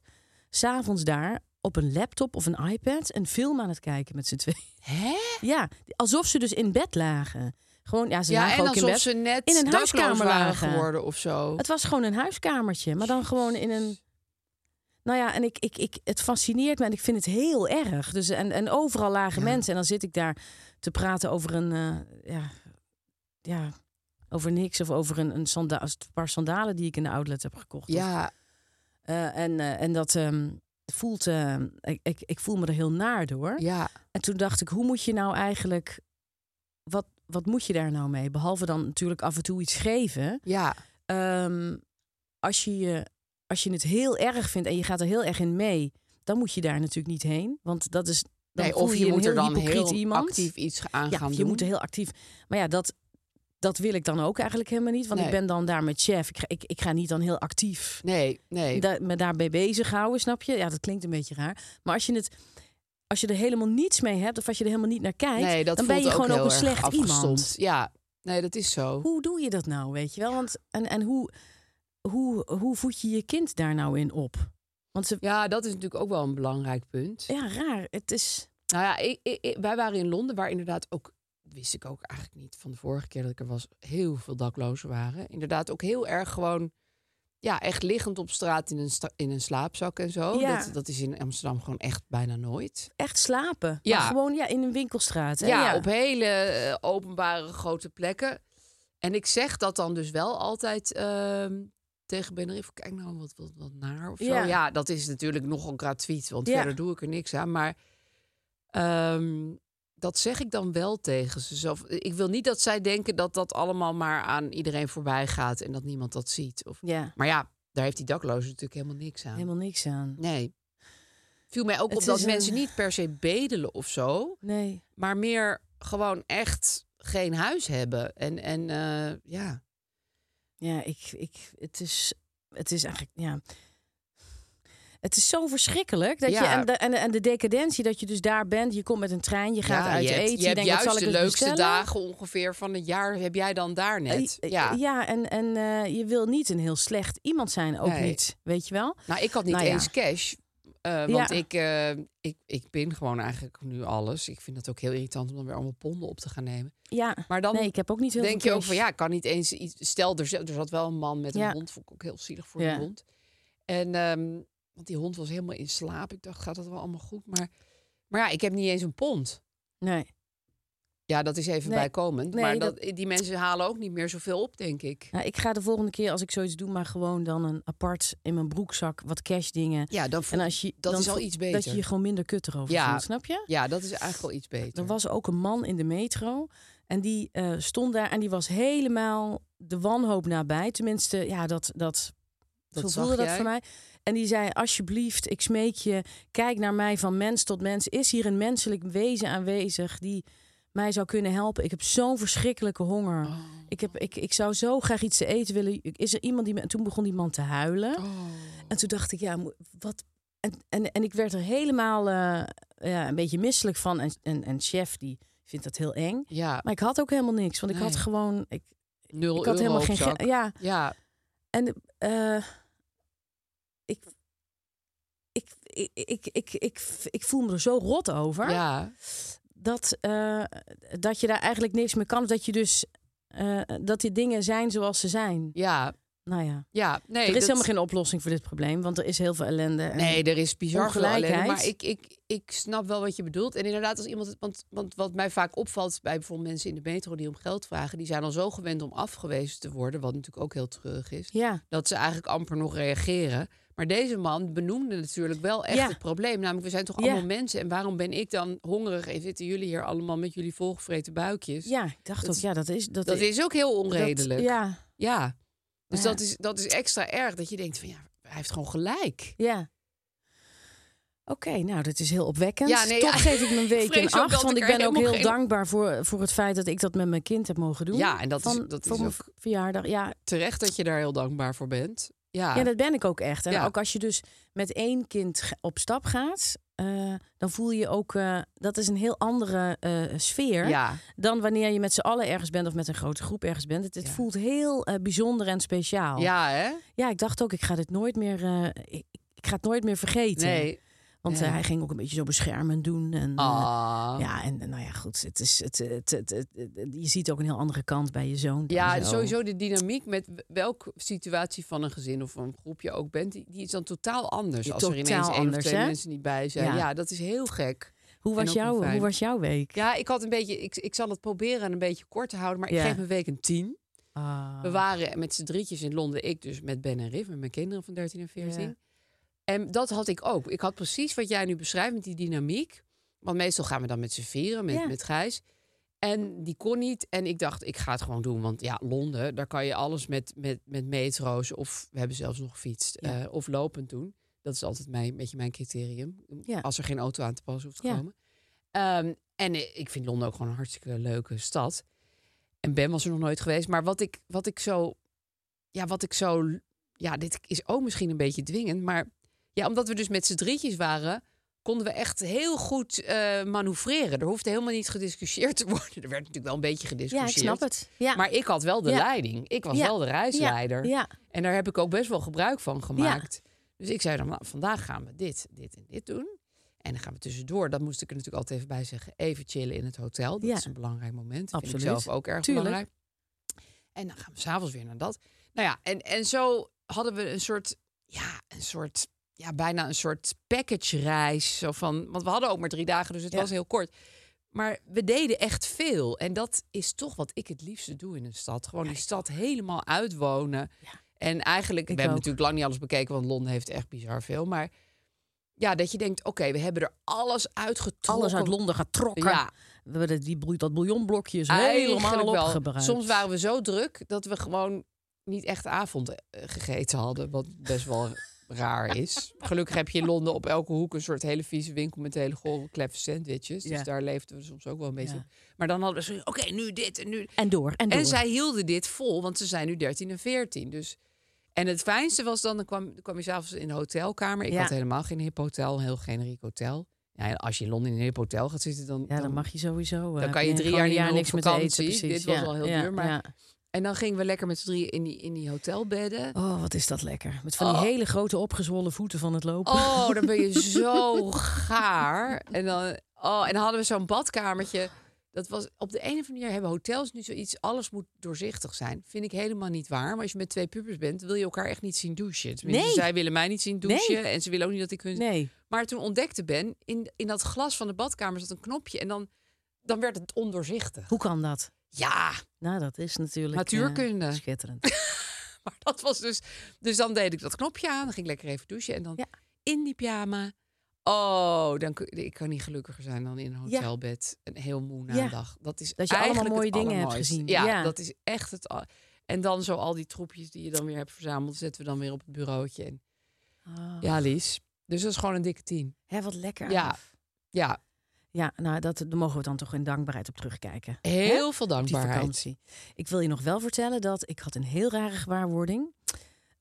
Speaker 2: s'avonds daar op een laptop of een iPad... een film aan het kijken met z'n tweeën.
Speaker 1: Hè?
Speaker 2: Ja, alsof ze dus in bed lagen. Gewoon, ja, ze
Speaker 1: Ja,
Speaker 2: lagen
Speaker 1: en
Speaker 2: ook in
Speaker 1: alsof
Speaker 2: bed.
Speaker 1: ze net
Speaker 2: in een
Speaker 1: dakloos
Speaker 2: huiskamer
Speaker 1: waren
Speaker 2: lagen.
Speaker 1: geworden of zo.
Speaker 2: Het was gewoon een huiskamertje, maar dan gewoon in een. Nou ja, en ik, ik, ik, het fascineert me en ik vind het heel erg. Dus, en, en overal lagen
Speaker 1: Ja.
Speaker 2: mensen. En dan zit ik daar te praten over een. eh, ja, ja, over niks. Of over een, een, sanda- een paar sandalen die ik in de outlet heb gekocht. Of,
Speaker 1: Ja,
Speaker 2: eh, en, eh, en dat ehm, voelt. eh, ik, ik, ik voel me er heel naar door.
Speaker 1: ja.
Speaker 2: En toen dacht ik, hoe moet je nou eigenlijk. Wat, wat moet je daar nou mee? Behalve dan natuurlijk af en toe iets geven.
Speaker 1: Ja.
Speaker 2: Ehm, als je je als je het heel erg vindt en je gaat er heel erg in mee, dan moet je daar natuurlijk niet heen. Want dat is. Dan
Speaker 1: Nee,
Speaker 2: voel
Speaker 1: of
Speaker 2: je
Speaker 1: je
Speaker 2: een
Speaker 1: moet er
Speaker 2: heel
Speaker 1: dan
Speaker 2: hypocriet
Speaker 1: heel
Speaker 2: iemand.
Speaker 1: actief iets aan
Speaker 2: ja,
Speaker 1: gaan
Speaker 2: of je
Speaker 1: doen.
Speaker 2: moet er heel actief. Maar ja, dat, dat wil ik dan ook eigenlijk helemaal niet. Want ik
Speaker 1: Nee.
Speaker 2: ben dan daar met chef. Ik ga, ik, ik ga niet dan heel actief
Speaker 1: Nee, nee.
Speaker 2: da- me daarbij bezighouden, snap je? Ja, dat klinkt een beetje raar. Maar als je het. Als je er helemaal niets mee hebt of als je er helemaal niet naar kijkt,
Speaker 1: nee, dat
Speaker 2: dan ben je
Speaker 1: voelt ook
Speaker 2: gewoon ook
Speaker 1: heel
Speaker 2: een
Speaker 1: erg
Speaker 2: slecht iemand.
Speaker 1: afgestompt. Ja, nee, dat is zo.
Speaker 2: Hoe doe je dat nou, weet je wel? Want, en en hoe, hoe, hoe voed je je kind daar nou in op? Want ze,
Speaker 1: Ja, dat is natuurlijk ook wel een belangrijk punt.
Speaker 2: ja, raar. Het is.
Speaker 1: Nou ja, ik, ik- ik- wij waren in Londen, waar inderdaad ook, wist ik ook eigenlijk niet van de vorige keer dat ik er was, heel veel daklozen waren. Inderdaad ook heel erg gewoon, ja, echt liggend op straat in een, sta- in een slaapzak en zo.
Speaker 2: Ja.
Speaker 1: Dat, dat is in Amsterdam gewoon echt bijna nooit.
Speaker 2: Echt slapen.
Speaker 1: Ja.
Speaker 2: Maar gewoon ja, in een winkelstraat. hè?
Speaker 1: Ja, op hele eh, openbare grote plekken. En ik zeg dat dan dus wel altijd ehm, tegen Benerief. Kijk nou, wat, wat, wat naar of zo.
Speaker 2: Ja.
Speaker 1: Ja. dat is natuurlijk nogal gratuit, want
Speaker 2: Ja.
Speaker 1: verder doe ik er niks aan. Maar ehm, dat zeg ik dan wel tegen ze. Zelf. Ik wil niet dat zij denken dat dat allemaal maar aan iedereen voorbij gaat... en dat niemand dat ziet. Of...
Speaker 2: Ja,
Speaker 1: Maar ja, daar heeft die dakloze natuurlijk helemaal niks aan.
Speaker 2: helemaal niks aan.
Speaker 1: Nee. Viel mij ook
Speaker 2: Het
Speaker 1: op dat
Speaker 2: is een-
Speaker 1: mensen niet per se bedelen of zo
Speaker 2: Nee.
Speaker 1: maar meer gewoon echt geen huis hebben. En, en eh, ja.
Speaker 2: Ja, ik, ik, het, is, het is eigenlijk. Ja. Het is zo verschrikkelijk. Dat je,
Speaker 1: Ja.
Speaker 2: en, de, en, de- en de decadentie dat je dus daar bent. Je komt met een trein, je gaat
Speaker 1: ja,
Speaker 2: uit
Speaker 1: je hebt,
Speaker 2: eten.
Speaker 1: Je hebt
Speaker 2: denkt,
Speaker 1: juist
Speaker 2: wat zal ik
Speaker 1: de
Speaker 2: eens
Speaker 1: leukste
Speaker 2: bestellen?
Speaker 1: dagen ongeveer van het jaar heb jij dan daar net.
Speaker 2: Eh,
Speaker 1: Ja.
Speaker 2: ja, en, en eh, je wil niet een heel slecht iemand zijn. Ook
Speaker 1: Nee.
Speaker 2: niet, weet je wel?
Speaker 1: Nou, ik had niet
Speaker 2: Nou ja.
Speaker 1: eens cash. eh, want
Speaker 2: Ja.
Speaker 1: ik, eh, ik, ik pin gewoon eigenlijk nu alles. Ik vind dat ook heel irritant om dan weer allemaal ponden op te gaan nemen.
Speaker 2: Ja,
Speaker 1: Maar dan
Speaker 2: nee, ik heb ook niet heel
Speaker 1: denk
Speaker 2: veel
Speaker 1: je ook
Speaker 2: cash.
Speaker 1: van ja, ik kan niet eens iets. Stel, er, zat- er zat wel een man met
Speaker 2: Ja.
Speaker 1: een hond. Vond ik ook heel zielig voor
Speaker 2: Ja.
Speaker 1: die hond. En ehm, want die hond was helemaal in slaap. Ik dacht, gaat dat wel allemaal goed? Maar, maar ja, ik heb niet eens een pond.
Speaker 2: Nee.
Speaker 1: Ja, dat is even
Speaker 2: Nee,
Speaker 1: bijkomend.
Speaker 2: nee,
Speaker 1: maar dat, die mensen halen ook niet meer zoveel op, denk ik.
Speaker 2: Nou, ik ga de volgende keer als ik zoiets doe, maar gewoon dan een apart in mijn broekzak wat cash dingen.
Speaker 1: Ja, dan
Speaker 2: En als je,
Speaker 1: dat
Speaker 2: dan
Speaker 1: is al
Speaker 2: voel-
Speaker 1: iets beter.
Speaker 2: Dat je je gewoon minder kut erover
Speaker 1: Ja.
Speaker 2: voelt, snap je?
Speaker 1: Ja, dat is eigenlijk wel iets beter.
Speaker 2: Er was ook een man in de metro. En die eh, stond daar en die was helemaal de wanhoop nabij. Tenminste, ja, dat, dat,
Speaker 1: Dat
Speaker 2: zo
Speaker 1: zag
Speaker 2: voelde dat
Speaker 1: jij?
Speaker 2: voor mij. En die zei, alsjeblieft, ik smeek je, kijk naar mij van mens tot mens. Is hier een menselijk wezen aanwezig die mij zou kunnen helpen? Ik heb zo'n verschrikkelijke honger.
Speaker 1: Oh.
Speaker 2: Ik, heb, ik, ik zou zo graag iets te eten willen. Is er iemand die me... En toen begon die man te huilen.
Speaker 1: Oh.
Speaker 2: En toen dacht ik, ja, mo- wat... En, en, en ik werd er helemaal eh, ja, een beetje misselijk van. En, en, en chef, die vindt dat heel eng.
Speaker 1: ja,
Speaker 2: Maar ik had ook helemaal niks. Want ik
Speaker 1: Nee.
Speaker 2: had gewoon... Ik,
Speaker 1: nul
Speaker 2: ik had helemaal geen... ge-
Speaker 1: geld.
Speaker 2: Ja,
Speaker 1: Ja,
Speaker 2: en eh, ik, ik, ik, ik, ik, ik, ik voel me er zo rot over
Speaker 1: ja,
Speaker 2: dat, eh, dat je daar eigenlijk niks mee kan. Of dat je dus eh, dat die dingen zijn zoals ze zijn.
Speaker 1: ja,
Speaker 2: Nou ja,
Speaker 1: ja. Nee,
Speaker 2: er is
Speaker 1: dat-
Speaker 2: helemaal geen oplossing voor dit probleem, want er is heel veel ellende. en-
Speaker 1: Nee, er is bizar veel
Speaker 2: ongelijkheid.
Speaker 1: ellende, Maar ik, ik, ik snap wel wat je bedoelt. En inderdaad, als iemand... het- Want, want wat mij vaak opvalt bij bijvoorbeeld mensen in de metro die om geld vragen... die zijn al zo gewend om afgewezen te worden, wat natuurlijk ook heel treurig is...
Speaker 2: Ja,
Speaker 1: dat ze eigenlijk amper nog reageren. Maar deze man benoemde natuurlijk wel echt
Speaker 2: Ja.
Speaker 1: het probleem. Namelijk, we zijn toch
Speaker 2: Ja.
Speaker 1: allemaal mensen. En waarom ben ik dan hongerig en zitten jullie hier allemaal met jullie volgevreten buikjes?
Speaker 2: ja, ik dacht
Speaker 1: Dat-
Speaker 2: ook, ja, dat is... Dat,
Speaker 1: Dat is ook heel
Speaker 2: dat-
Speaker 1: onredelijk. ja.
Speaker 2: ja,
Speaker 1: Dus
Speaker 2: Ja.
Speaker 1: Dat, is, dat is extra erg. Dat je denkt van ja, hij heeft gewoon gelijk.
Speaker 2: ja. Oké, nou, dat is heel opwekkend.
Speaker 1: Ja, nee,
Speaker 2: Toch
Speaker 1: ja.
Speaker 2: geef ik me
Speaker 1: (laughs)
Speaker 2: een
Speaker 1: Ik
Speaker 2: week
Speaker 1: vrees
Speaker 2: een
Speaker 1: ook
Speaker 2: acht,
Speaker 1: dat
Speaker 2: want
Speaker 1: ik
Speaker 2: ik
Speaker 1: er
Speaker 2: ben ook
Speaker 1: helemaal
Speaker 2: heel
Speaker 1: geen-
Speaker 2: dankbaar voor, voor het feit dat ik dat met mijn kind heb mogen doen.
Speaker 1: Ja, en dat is-
Speaker 2: Van-
Speaker 1: dat
Speaker 2: voor
Speaker 1: is
Speaker 2: mijn
Speaker 1: ook-
Speaker 2: v- verjaardag, ja.
Speaker 1: Terecht dat je daar heel dankbaar voor bent. Ja,
Speaker 2: Ja, dat ben ik ook echt. En
Speaker 1: Ah. Ja.
Speaker 2: ook als je dus met één kind ge- op stap gaat, eh, dan voel je ook... eh, dat is een heel andere eh, sfeer
Speaker 1: ja.
Speaker 2: dan wanneer je met z'n allen ergens bent... of met een grote groep ergens bent. Het, het
Speaker 1: Ja.
Speaker 2: voelt heel eh, bijzonder en speciaal.
Speaker 1: ja hè?
Speaker 2: Ja, ik dacht ook, ik ga dit nooit meer... eh, ik, ik ga het nooit meer vergeten.
Speaker 1: Nee.
Speaker 2: Want eh,
Speaker 1: nee.
Speaker 2: hij ging ook een beetje zo beschermend doen. En, eh,
Speaker 1: Ah.
Speaker 2: ja, en eh, nou ja, goed. Het is, het, het, het- het- het- je ziet ook een heel andere kant bij je zoon. dan
Speaker 1: Ja,
Speaker 2: zo.
Speaker 1: sowieso de dynamiek met welke situatie van een gezin of een groep je ook bent, die, die is dan totaal anders.
Speaker 2: Ja,
Speaker 1: als er ineens
Speaker 2: totaal
Speaker 1: één of
Speaker 2: anders,
Speaker 1: twee
Speaker 2: hè?
Speaker 1: mensen niet bij zijn.
Speaker 2: Ja.
Speaker 1: Ja. dat is heel gek.
Speaker 2: Hoe
Speaker 1: en
Speaker 2: was,
Speaker 1: ook een
Speaker 2: jouw, hoe
Speaker 1: fijn-
Speaker 2: was jouw week?
Speaker 1: Ja, ik had een beetje, ik, ik zal het proberen en een beetje kort te houden, maar
Speaker 2: Ja.
Speaker 1: ik geef mijn week een tien.
Speaker 2: Ah.
Speaker 1: We waren met z'n drietjes in Londen, ik dus met Ben en Riff, met mijn kinderen van 13 en 14.
Speaker 2: Ja.
Speaker 1: En dat had ik ook. Ik had precies wat jij nu beschrijft met die dynamiek. Want meestal gaan we dan met z'n vieren, met,
Speaker 2: Ja.
Speaker 1: met Gijs. En die kon niet. En ik dacht, ik ga het gewoon doen. Want ja, Londen, daar kan je alles met, met, met metro's. Of we hebben zelfs nog gefietst.
Speaker 2: Ja.
Speaker 1: eh, of lopend doen. Dat is altijd mijn, een beetje mijn criterium.
Speaker 2: Ja.
Speaker 1: Als er geen auto aan te passen hoeft te
Speaker 2: Ja.
Speaker 1: komen. Ehm, en eh, ik vind Londen ook gewoon een hartstikke leuke stad. En Ben was er nog nooit geweest. Maar wat ik, wat ik zo... Ja, wat ik zo... Ja, dit is ook misschien een beetje dwingend. Maar ja, omdat we dus met z'n drietjes waren... konden we echt heel goed eh manoeuvreren. Er hoefde helemaal niet gediscussieerd te worden. Er werd natuurlijk wel een beetje
Speaker 2: Ja,
Speaker 1: gediscussieerd.
Speaker 2: ik snap het. Ja.
Speaker 1: Maar ik had wel de
Speaker 2: Ja.
Speaker 1: leiding. Ik was
Speaker 2: Ja.
Speaker 1: wel de reisleider.
Speaker 2: Ja.
Speaker 1: En daar heb ik ook best wel gebruik van gemaakt. Dus ik zei dan, nou, vandaag gaan we dit, dit en dit doen. En dan gaan we tussendoor, dat moest ik er natuurlijk altijd even bij zeggen, even chillen in het hotel. Dat
Speaker 2: Ja.
Speaker 1: is een belangrijk moment. Dat Vind ik
Speaker 2: Absoluut.
Speaker 1: zelf ook erg
Speaker 2: Tuurlijk.
Speaker 1: belangrijk. En dan gaan we s'avonds weer naar dat. Nou ja, en, en zo hadden we een soort, ja, een soort, ja, bijna een soort package reis. Zo van, want we hadden ook maar drie dagen, dus het
Speaker 2: Ja.
Speaker 1: was heel kort. Maar we deden echt veel. En dat is toch wat ik het liefste doe in een stad. Gewoon die stad helemaal uitwonen. En eigenlijk, we
Speaker 2: Ik
Speaker 1: hebben
Speaker 2: ook.
Speaker 1: natuurlijk lang niet alles bekeken, want Londen heeft echt bizar veel. Maar ja, dat je denkt, oké, we hebben er alles uitgetrokken.
Speaker 2: Alles uit Londen getrokken.
Speaker 1: Ja.
Speaker 2: We hebben dat- die broeit dat bouillonblokjes
Speaker 1: Eigenlijk
Speaker 2: helemaal
Speaker 1: wel.
Speaker 2: opgebruikt.
Speaker 1: Soms waren we zo druk dat we gewoon niet echt avond eh, gegeten hadden. Wat best wel (laughs) raar is. Gelukkig heb je in Londen op elke hoek een soort hele vieze winkel met hele gore kleffe sandwiches. Dus
Speaker 2: Ja.
Speaker 1: daar leefden we soms ook wel een beetje
Speaker 2: Ja.
Speaker 1: op. Maar dan hadden we zoiets, oké, nu dit en nu.
Speaker 2: En door, en door.
Speaker 1: En zij hielden dit vol, want ze zijn nu 13 en 14. Dus... En het fijnste was dan, dan kwam, dan kwam je s'avonds in de hotelkamer. Ik
Speaker 2: Ja.
Speaker 1: had helemaal geen hip hotel, een heel generiek hotel. Ja, en als je in Londen in een hip hotel gaat zitten, dan,
Speaker 2: ja, dan mag je sowieso. eh,
Speaker 1: dan kan je
Speaker 2: heb
Speaker 1: drie
Speaker 2: gewoon
Speaker 1: jaar niet
Speaker 2: een
Speaker 1: meer op
Speaker 2: niks met
Speaker 1: vakantie.
Speaker 2: eten. Precies.
Speaker 1: Dit was
Speaker 2: ja,
Speaker 1: al heel
Speaker 2: ja,
Speaker 1: duur, maar-
Speaker 2: ja.
Speaker 1: En dan gingen we lekker met z'n drieën in die, in die hotelbedden.
Speaker 2: Oh, wat is dat lekker. Met van die
Speaker 1: Oh.
Speaker 2: hele grote opgezwollen voeten van het lopen.
Speaker 1: Oh, dan ben
Speaker 2: (laughs)
Speaker 1: je zo gaar. En dan, oh, en dan hadden we zo'n badkamertje. Dat was op de een of andere manier hebben hotels nu zoiets. Alles moet doorzichtig zijn. Vind ik helemaal niet waar. Maar als je met twee pubers bent, wil je elkaar echt niet zien douchen. Tenminste,
Speaker 2: Nee.
Speaker 1: zij willen mij niet zien douchen.
Speaker 2: Nee.
Speaker 1: En ze willen ook niet dat ik hun.
Speaker 2: Nee.
Speaker 1: Maar toen ontdekte Ben, in, in dat glas van de badkamer zat een knopje. En dan, dan werd het ondoorzichtig.
Speaker 2: Hoe kan dat?
Speaker 1: Ja,
Speaker 2: Nou, dat is natuurlijk...
Speaker 1: Natuurkunde.
Speaker 2: eh, schitterend.
Speaker 1: Maar (laughs) dat was dus. Dus dan deed ik dat knopje aan. Dan ging ik lekker even douchen. En dan
Speaker 2: Ja.
Speaker 1: in die pyjama. Oh, dan, kun- ik kan niet gelukkiger zijn dan in een
Speaker 2: Ja.
Speaker 1: hotelbed. Een heel moe
Speaker 2: Ja.
Speaker 1: nadag. Dat is
Speaker 2: Dat je allemaal
Speaker 1: eigenlijk
Speaker 2: mooie
Speaker 1: het
Speaker 2: dingen hebt
Speaker 1: allermooiste.
Speaker 2: gezien.
Speaker 1: Ja,
Speaker 2: Ja.
Speaker 1: dat is echt het. al- En dan zo al die troepjes die je dan weer hebt verzameld, zetten we dan weer op het bureautje. En,
Speaker 2: Ah.
Speaker 1: Ja, Lies. Dus dat is gewoon een dikke tien.
Speaker 2: Hè, wat lekker.
Speaker 1: Ja.
Speaker 2: af.
Speaker 1: Ja,
Speaker 2: Ja, nou, dat, daar mogen we dan toch in dankbaarheid op terugkijken.
Speaker 1: heel veel
Speaker 2: Op die
Speaker 1: dankbaarheid.
Speaker 2: vakantie. Ik wil je nog wel vertellen dat ik had een heel rare gewaarwording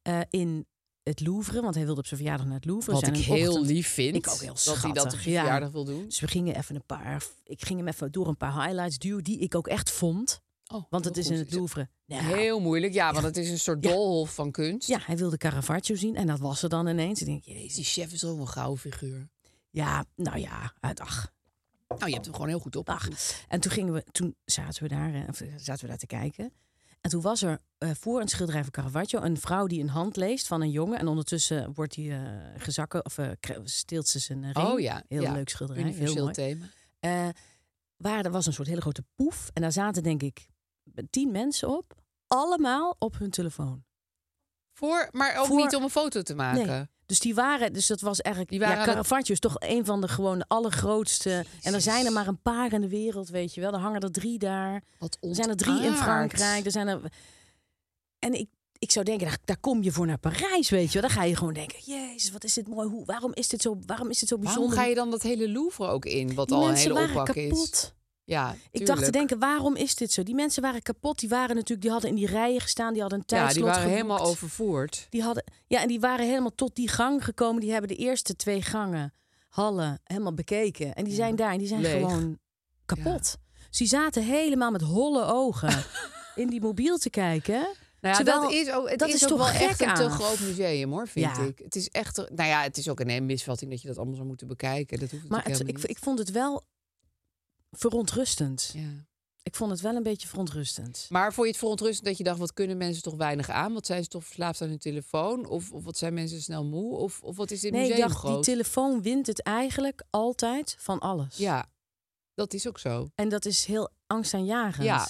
Speaker 2: eh, in het Louvre. Want hij wilde op zijn verjaardag naar het Louvre.
Speaker 1: Wat
Speaker 2: Zijn
Speaker 1: ik
Speaker 2: een
Speaker 1: heel
Speaker 2: ochtend-
Speaker 1: lief vind.
Speaker 2: Ik ook heel
Speaker 1: Dat hij dat op
Speaker 2: schattig,
Speaker 1: je
Speaker 2: ja.
Speaker 1: verjaardag wil doen.
Speaker 2: Dus we gingen even een paar. Ik ging hem even door een paar highlights duwen die ik ook echt vond.
Speaker 1: Oh,
Speaker 2: Want
Speaker 1: heel
Speaker 2: het is
Speaker 1: goed.
Speaker 2: in het Louvre. Nou,
Speaker 1: Heel moeilijk. Ja, want het is een soort
Speaker 2: Ja.
Speaker 1: doolhof van kunst.
Speaker 2: Ja, hij wilde Caravaggio zien en dat was er dan ineens. Ik denk,
Speaker 1: Is
Speaker 2: jezus.
Speaker 1: Die chef is ook een gouden figuur.
Speaker 2: Ja, nou ja, eh, dag.
Speaker 1: Nou, je hebt hem gewoon heel goed op.
Speaker 2: Dag. En toen, gingen we, toen zaten, we daar, eh, of, eh, zaten we daar te kijken. En toen was er eh, voor een schilderij van Caravaggio een vrouw die een hand leest van een jongen. En ondertussen wordt hij eh, gezakken of eh, kre- steelt ze zijn eh, ring.
Speaker 1: Oh ja,
Speaker 2: Heel
Speaker 1: ja.
Speaker 2: leuk schilderij.
Speaker 1: Universeel
Speaker 2: heel mooi.
Speaker 1: thema.
Speaker 2: Eh, waar er was een soort hele grote poef. En daar zaten denk ik tien mensen op. Allemaal op hun telefoon.
Speaker 1: Voor, maar ook
Speaker 2: Voor-
Speaker 1: niet om een foto te maken.
Speaker 2: Nee. Dus die waren, dus dat was eigenlijk.
Speaker 1: Die waren
Speaker 2: ja,
Speaker 1: aan het-
Speaker 2: Caravaggio is toch een van de gewoon allergrootste. En er zijn er maar een paar in de wereld, weet je wel. Er hangen er drie daar.
Speaker 1: Wat
Speaker 2: Er zijn er drie in
Speaker 1: ontaard.
Speaker 2: Frankrijk. dus Er zijn er... En ik, ik zou denken, daar, daar kom je voor naar Parijs, weet je wel. Dan ga je gewoon denken, jezus, wat is dit mooi. Hoe, waarom, is dit zo, waarom is dit zo bijzonder?
Speaker 1: Waarom ga je dan dat hele Louvre ook in? Wat
Speaker 2: Die
Speaker 1: al een
Speaker 2: mensen
Speaker 1: hele
Speaker 2: waren
Speaker 1: oppak
Speaker 2: kapot.
Speaker 1: is. Ja,
Speaker 2: Ik dacht
Speaker 1: tuurlijk.
Speaker 2: te denken, waarom is dit zo? Die mensen waren kapot. Die waren natuurlijk, die hadden in die rijen gestaan. Die hadden een
Speaker 1: Ja,
Speaker 2: tijdslot
Speaker 1: die waren
Speaker 2: geboekt.
Speaker 1: helemaal overvoerd.
Speaker 2: Die hadden, ja, en die waren helemaal tot die gang gekomen. Die hebben de eerste twee gangen, hallen, helemaal bekeken. En die zijn daar en die zijn
Speaker 1: Leeg.
Speaker 2: gewoon kapot. Dus die zaten helemaal met holle
Speaker 1: (laughs)
Speaker 2: ogen in die mobiel te kijken.
Speaker 1: Nou ja,
Speaker 2: Terwijl-
Speaker 1: dat is ook, het
Speaker 2: dat
Speaker 1: is
Speaker 2: is
Speaker 1: ook
Speaker 2: toch
Speaker 1: wel
Speaker 2: gek
Speaker 1: echt een te
Speaker 2: aan.
Speaker 1: groot museum, hoor, vind
Speaker 2: Ja.
Speaker 1: ik. Het is echt, een- nou ja, het is ook een misvatting dat je dat allemaal zou moeten bekijken. Dat hoeft
Speaker 2: Maar het,
Speaker 1: natuurlijk
Speaker 2: ik,
Speaker 1: helemaal
Speaker 2: ik vond het wel verontrustend.
Speaker 1: niet. Ja.
Speaker 2: Ik vond het wel een beetje verontrustend.
Speaker 1: Maar vond je het verontrustend dat je dacht, wat kunnen mensen toch weinig aan? Wat zijn ze toch verslaafd aan hun telefoon? Of, of wat zijn mensen snel moe? Of, of wat is dit
Speaker 2: nee, ik
Speaker 1: museum
Speaker 2: dacht,
Speaker 1: groot?
Speaker 2: die telefoon wint het eigenlijk altijd van alles.
Speaker 1: Ja, dat is ook zo.
Speaker 2: En dat is heel angstaanjagend.
Speaker 1: Ja.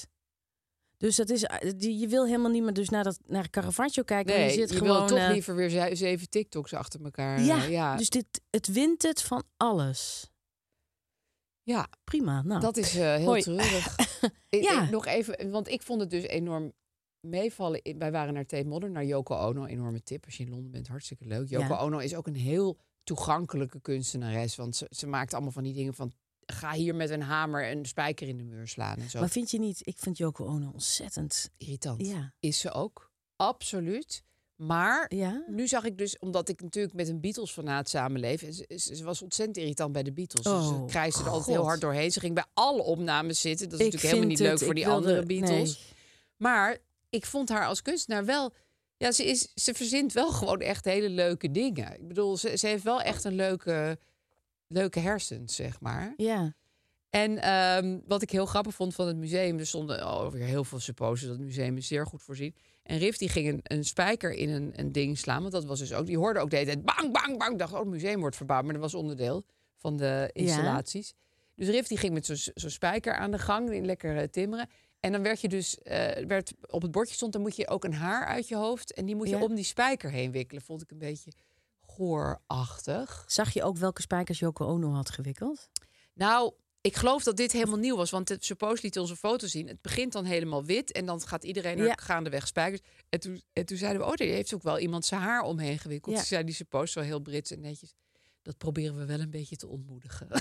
Speaker 2: Dus dat is, die- je wil helemaal niet meer dus naar, dat, naar Caravaggio kijken. maar
Speaker 1: Nee,
Speaker 2: je
Speaker 1: je,
Speaker 2: zit gewoon,
Speaker 1: wil toch
Speaker 2: eh, dus-
Speaker 1: liever weer ze- zeven TikToks achter elkaar. eh,
Speaker 2: Ja,
Speaker 1: ja.
Speaker 2: dus dit, het wint het van alles.
Speaker 1: Ja,
Speaker 2: Prima. Nou,
Speaker 1: dat is eh, heel
Speaker 2: Hoi.
Speaker 1: treurig. Ik-
Speaker 2: Ja.
Speaker 1: ik nog even, want ik vond het dus enorm meevallen. Ik- Wij waren naar Tate Modern, naar Yoko Ono. Enorme tip als je in Londen bent. Hartstikke leuk. Yoko
Speaker 2: Ja.
Speaker 1: Ono is ook een heel toegankelijke kunstenares. Want ze, ze maakt allemaal van die dingen van... ga hier met een hamer een spijker in de muur slaan en zo.
Speaker 2: (laughs) Maar vind je niet? Ik vind Joko Ono ontzettend.
Speaker 1: Irritant.
Speaker 2: Ja.
Speaker 1: Is ze ook. Absoluut. Maar
Speaker 2: Ja.
Speaker 1: nu zag ik dus, omdat ik natuurlijk met een Beatles-fanaat samenleef... en ze, ze- ze was ontzettend irritant bij de Beatles. Dus ze
Speaker 2: Oh,
Speaker 1: krijste er altijd
Speaker 2: God.
Speaker 1: heel hard doorheen. Ze ging bij alle opnames zitten. Dat is
Speaker 2: Ik
Speaker 1: natuurlijk helemaal
Speaker 2: vind
Speaker 1: niet leuk
Speaker 2: het-
Speaker 1: voor
Speaker 2: ik
Speaker 1: die
Speaker 2: wilde-
Speaker 1: andere Beatles.
Speaker 2: nee.
Speaker 1: Maar ik vond haar als kunstenaar wel... Ja, ze, is, ze verzint wel gewoon echt hele leuke dingen. Ik bedoel, ze, ze heeft wel echt een leuke, leuke hersens, zeg maar.
Speaker 2: Ja.
Speaker 1: En ehm, wat ik heel grappig vond van het museum, er stonden alweer heel veel supposen dat het museum is zeer goed voorzien. En Riff die ging een, een spijker in een, een ding slaan, want dat was dus ook, die hoorde ook de hele tijd bang, bang, bang. Ik dacht, oh, het museum wordt verbouwd, maar dat was onderdeel van de installaties. Dus Riff die ging met zo'n zo'n spijker aan de gang, in lekker eh, timmeren. En dan werd je dus, eh, werd, op het bordje stond, dan moet je ook een haar uit je hoofd en die moet je
Speaker 2: Ja.
Speaker 1: om die spijker heen wikkelen. Vond ik een beetje goorachtig.
Speaker 2: Zag je ook welke spijkers Joko Ono had gewikkeld?
Speaker 1: Nou, ik geloof dat dit helemaal nieuw was. Want het suppose liet ons een foto zien. Het begint dan helemaal wit. En dan gaat iedereen er
Speaker 2: Ja.
Speaker 1: gaandeweg spijkers. En toen, en toen zeiden we, oh, daar heeft ook wel iemand zijn haar omheen gewikkeld.
Speaker 2: Ja.
Speaker 1: Toen zei die suppose wel heel Brits en netjes. Dat proberen we wel een beetje te ontmoedigen. (laughs)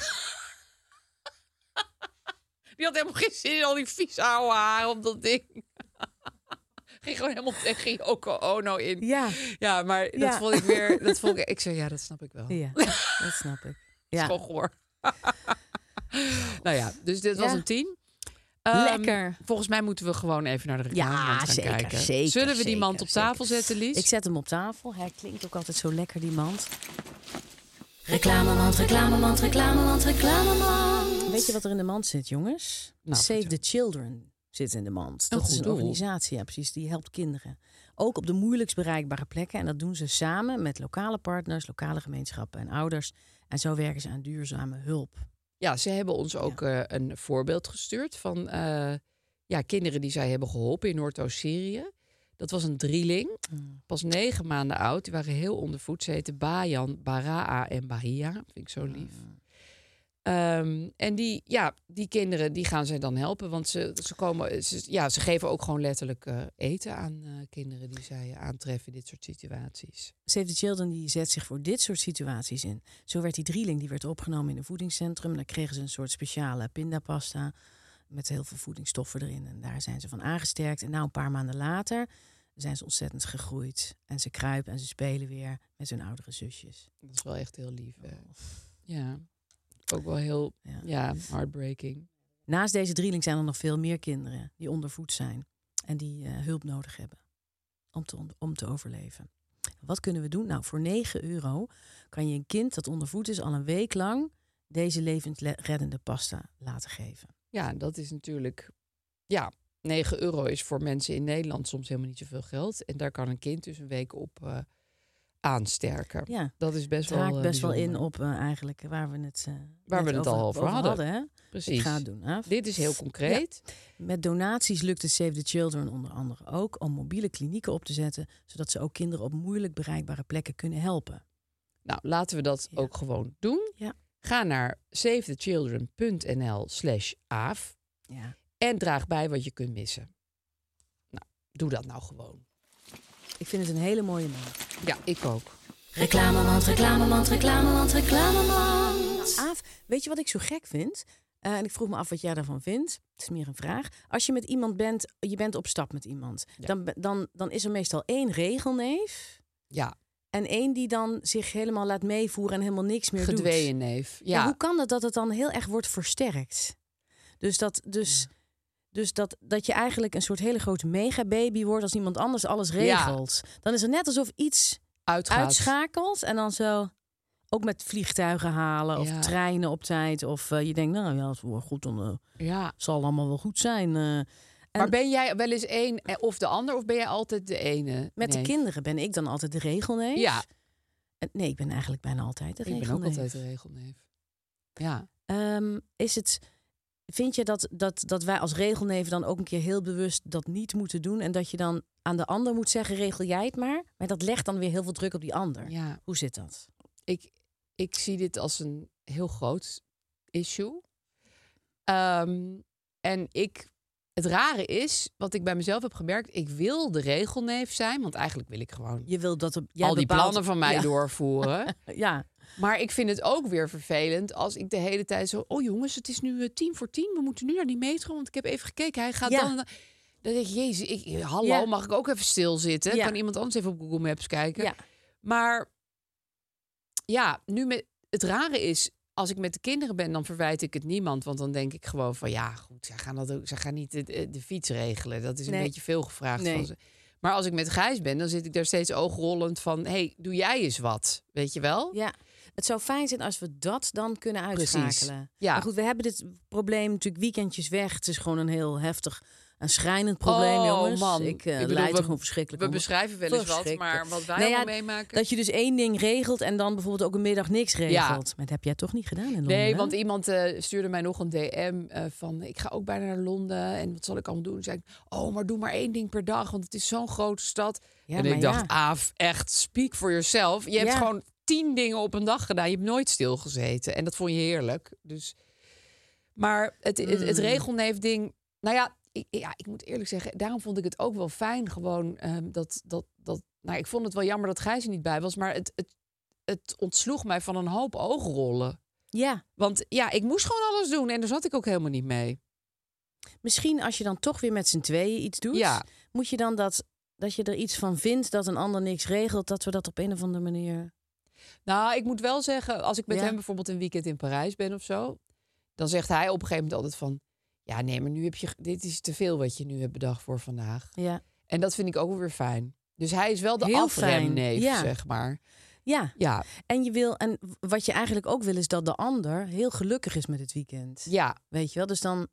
Speaker 1: die had helemaal geen zin in al die vies oude haar op dat ding. (laughs) Ging gewoon helemaal tegen Yoko Ono in.
Speaker 2: Ja.
Speaker 1: Ja, maar dat
Speaker 2: Ja.
Speaker 1: vond ik weer... Dat vond ik, ik zei, ja, dat snap ik wel.
Speaker 2: Ja. dat snap ik. Ja.
Speaker 1: Schoon goor. (laughs) nou ja, dus dit was
Speaker 2: Ja.
Speaker 1: een tien. Ehm,
Speaker 2: Lekker.
Speaker 1: Volgens mij moeten we gewoon even naar de reclame
Speaker 2: Ja,
Speaker 1: gaan
Speaker 2: zeker,
Speaker 1: kijken.
Speaker 2: zeker,
Speaker 1: Zullen we die
Speaker 2: zeker,
Speaker 1: mand op
Speaker 2: zeker.
Speaker 1: tafel zetten, Lies?
Speaker 2: Ik zet hem op tafel. Hij klinkt ook altijd zo lekker, die mand. Reclamemand, reclamemand, reclamemand, reclamemand. Weet je wat er in de mand zit, jongens?
Speaker 1: Nou,
Speaker 2: Save
Speaker 1: vertel.
Speaker 2: the Children zit in de mand.
Speaker 1: Een
Speaker 2: dat is
Speaker 1: goed
Speaker 2: een
Speaker 1: doel.
Speaker 2: organisatie, ja, precies. Die helpt kinderen. Ook op de moeilijkst bereikbare plekken. En dat doen ze samen met lokale partners, lokale gemeenschappen en ouders. En zo werken ze aan duurzame hulp.
Speaker 1: Ja, ze hebben ons ook eh, een voorbeeld gestuurd van eh, ja, kinderen die zij hebben geholpen in Noordoost-Syrië. Dat was een drieling, pas negen maanden oud. Die waren heel onder voet. Ze heten Bayan, Baraa en Bahia. Vind ik zo lief. Ehm, en die, ja, die kinderen die gaan zij dan helpen. Want ze, ze, komen, ze, ja, ze geven ook gewoon letterlijk eh, eten aan eh, kinderen die zij eh, aantreffen in dit soort situaties.
Speaker 2: Save the Children die zet zich voor dit soort situaties in. Zo werd die drieling die werd opgenomen in een voedingscentrum. Daar kregen ze een soort speciale pindapasta met heel veel voedingsstoffen erin. En daar zijn ze van aangesterkt. En nou een paar maanden later zijn ze ontzettend gegroeid. En ze kruipen en ze spelen weer met hun oudere zusjes.
Speaker 1: Dat is wel echt heel lief. hè. Ja, ook wel heel
Speaker 2: Ja.
Speaker 1: ja, heartbreaking.
Speaker 2: Naast deze drieling zijn er nog veel meer kinderen die ondervoed zijn. En die eh, hulp nodig hebben om te, on- om te overleven. Wat kunnen we doen? Nou, voor 9 euro kan je een kind dat ondervoed is al een week lang deze levensreddende pasta laten geven.
Speaker 1: Ja, dat is natuurlijk. Ja, 9 euro is voor mensen in Nederland soms helemaal niet zoveel geld. En daar kan een kind dus een week op eh, aansterken.
Speaker 2: Ja,
Speaker 1: Dat is best
Speaker 2: het haakt
Speaker 1: wel. eh,
Speaker 2: best wel in
Speaker 1: bijzonder.
Speaker 2: op eh, eigenlijk waar we het, eh,
Speaker 1: Waar
Speaker 2: net
Speaker 1: we het al over hadden.
Speaker 2: hè? Dus
Speaker 1: Precies.
Speaker 2: Ik ga het doen. Af.
Speaker 1: Dit is heel concreet.
Speaker 2: Met donaties lukt het Save the Children onder andere ook om mobiele klinieken op te zetten, zodat ze ook kinderen op moeilijk bereikbare plekken kunnen helpen.
Speaker 1: Nou, laten we dat
Speaker 2: Ja.
Speaker 1: ook gewoon doen.
Speaker 2: Ja.
Speaker 1: Ga naar savethechildren.nl/slash aaf
Speaker 2: Ja.
Speaker 1: en draag bij wat je kunt missen. Nou, doe dat nou gewoon.
Speaker 2: Ik vind het een hele mooie man.
Speaker 1: Ja, ik ook.
Speaker 2: Reclamemand, reclamemand, reclamemand, reclamemand. Aaf, weet je wat ik zo gek vind? Eh, en ik vroeg me af wat jij daarvan vindt. Het is meer een vraag. Als je met iemand bent, je bent op stap met iemand, dan, be- dan, dan is er meestal één regelneef.
Speaker 1: Ja,
Speaker 2: En één die dan zich helemaal laat meevoeren en helemaal niks meer doet.
Speaker 1: gedwee neef.
Speaker 2: Ja.
Speaker 1: Ja,
Speaker 2: hoe kan het dat het dan heel erg wordt versterkt? Dus dat, dus, dus dat, dat je eigenlijk een soort hele grote megababy wordt als iemand anders alles regelt. Dan is het net alsof iets
Speaker 1: uitgaat.
Speaker 2: uitschakelt en dan zo ook met vliegtuigen halen of
Speaker 1: Ja.
Speaker 2: treinen op tijd. Of eh, je denkt, nou ja, het wordt goed, dan eh,
Speaker 1: Ja.
Speaker 2: zal allemaal wel goed zijn. eh. En
Speaker 1: Maar ben jij wel eens één eh, of de ander, of ben jij altijd de ene?
Speaker 2: met
Speaker 1: Nee.
Speaker 2: de kinderen ben ik dan altijd de regelneef.
Speaker 1: Ja,
Speaker 2: En- Nee, ik ben eigenlijk bijna altijd de
Speaker 1: ik
Speaker 2: regelneef.
Speaker 1: ben ook altijd de regelneef. Ja.
Speaker 2: Ehm, is het, vind je dat, dat, dat wij als regelneven dan ook een keer heel bewust dat niet moeten doen en dat je dan aan de ander moet zeggen, regel jij het maar? Maar dat legt dan weer heel veel druk op die ander.
Speaker 1: ja.
Speaker 2: Hoe zit dat?
Speaker 1: Ik, ik zie dit als een heel groot issue. Ehm, en ik, het rare is, wat ik bij mezelf heb gemerkt, ik wil de regelneef zijn, want eigenlijk wil ik gewoon
Speaker 2: Je wil dat... Jij
Speaker 1: al die
Speaker 2: bepaalt-
Speaker 1: plannen van mij
Speaker 2: Ja. (laughs)
Speaker 1: doorvoeren.
Speaker 2: Ja.
Speaker 1: Maar ik vind het ook weer vervelend als ik de hele tijd zo... Oh jongens, het is nu eh, tien voor tien. We moeten nu naar die metro, want ik heb even gekeken. Hij gaat
Speaker 2: Ja.
Speaker 1: dan... en dan. Dan denk je, jezus, ik, eh, hallo,
Speaker 2: Ja.
Speaker 1: mag ik ook even stilzitten?
Speaker 2: Ja.
Speaker 1: Kan iemand anders even op Google Maps kijken?
Speaker 2: ja.
Speaker 1: Maar ja, nu met, het rare is, als ik met de kinderen ben, dan verwijt ik het niemand. Want dan denk ik gewoon van ja, goed, zij gaan, dat ook, zij gaan niet de, de- de fiets regelen. Dat is een
Speaker 2: Nee.
Speaker 1: beetje veel gevraagd
Speaker 2: Nee.
Speaker 1: van ze. Maar als ik met Gijs ben, dan zit ik daar steeds oogrollend van... hey, doe jij eens wat, weet je wel?
Speaker 2: Ja, het zou fijn zijn als we dat dan kunnen
Speaker 1: Precies.
Speaker 2: uitschakelen.
Speaker 1: Ja.
Speaker 2: Maar goed, we hebben dit probleem natuurlijk weekendjes weg. Het is gewoon een heel heftig en schrijnend probleem,
Speaker 1: Oh,
Speaker 2: jongens.
Speaker 1: man.
Speaker 2: Ik, eh
Speaker 1: Ik bedoel,
Speaker 2: leid
Speaker 1: we-
Speaker 2: er gewoon verschrikkelijk
Speaker 1: we
Speaker 2: onder.
Speaker 1: beschrijven wel eens wat,
Speaker 2: Verschrikkelijk.
Speaker 1: maar wat wij
Speaker 2: Nou ja,
Speaker 1: allemaal meemaken-
Speaker 2: Dat je dus één ding regelt en dan bijvoorbeeld ook een middag niks regelt. Maar dat heb jij toch niet gedaan in Londen?
Speaker 1: Nee,
Speaker 2: hè?
Speaker 1: want iemand eh, stuurde mij nog een DM eh, van... ik ga ook bijna naar Londen en wat zal ik allemaal doen? Toen Zei ik, oh, maar doe maar één ding per dag, want het is zo'n grote stad.
Speaker 2: Ja,
Speaker 1: en ik
Speaker 2: maar
Speaker 1: dacht,
Speaker 2: ja.
Speaker 1: Aaf, echt, speak for yourself. Je hebt
Speaker 2: Ja.
Speaker 1: gewoon tien dingen op een dag gedaan. Je hebt nooit stilgezeten. En dat vond je heerlijk. Dus... Maar het, het,
Speaker 2: Hmm.
Speaker 1: het regelneefding... Nou ja ik, ja, ik moet eerlijk zeggen, daarom vond ik het ook wel fijn gewoon ehm, dat... dat, dat nou, ik vond het wel jammer dat Gijs er niet bij was, maar het, het, het ontsloeg mij van een hoop oogrollen.
Speaker 2: Ja,
Speaker 1: Want ja, ik moest gewoon alles doen en daar zat ik ook helemaal niet mee.
Speaker 2: misschien als je dan toch weer met z'n tweeën iets doet...
Speaker 1: Ja.
Speaker 2: moet je dan dat, dat je er iets van vindt dat een ander niks regelt... dat we dat op een of andere manier...
Speaker 1: Nou, ik moet wel zeggen, als ik met
Speaker 2: Ja.
Speaker 1: hem bijvoorbeeld een weekend in Parijs ben of zo, dan zegt hij op een gegeven moment altijd van, ja, nee, maar nu heb je, ge- dit is te veel wat je nu hebt bedacht voor vandaag.
Speaker 2: Ja,
Speaker 1: En dat vind ik ook wel weer fijn. Dus hij is wel de
Speaker 2: Heel
Speaker 1: afremneef,
Speaker 2: fijn, ja.
Speaker 1: zeg maar.
Speaker 2: ja.
Speaker 1: Ja,
Speaker 2: En je wil, en wat je eigenlijk ook wil, is dat de ander heel gelukkig is met het weekend.
Speaker 1: ja.
Speaker 2: Weet je wel? Dus dan,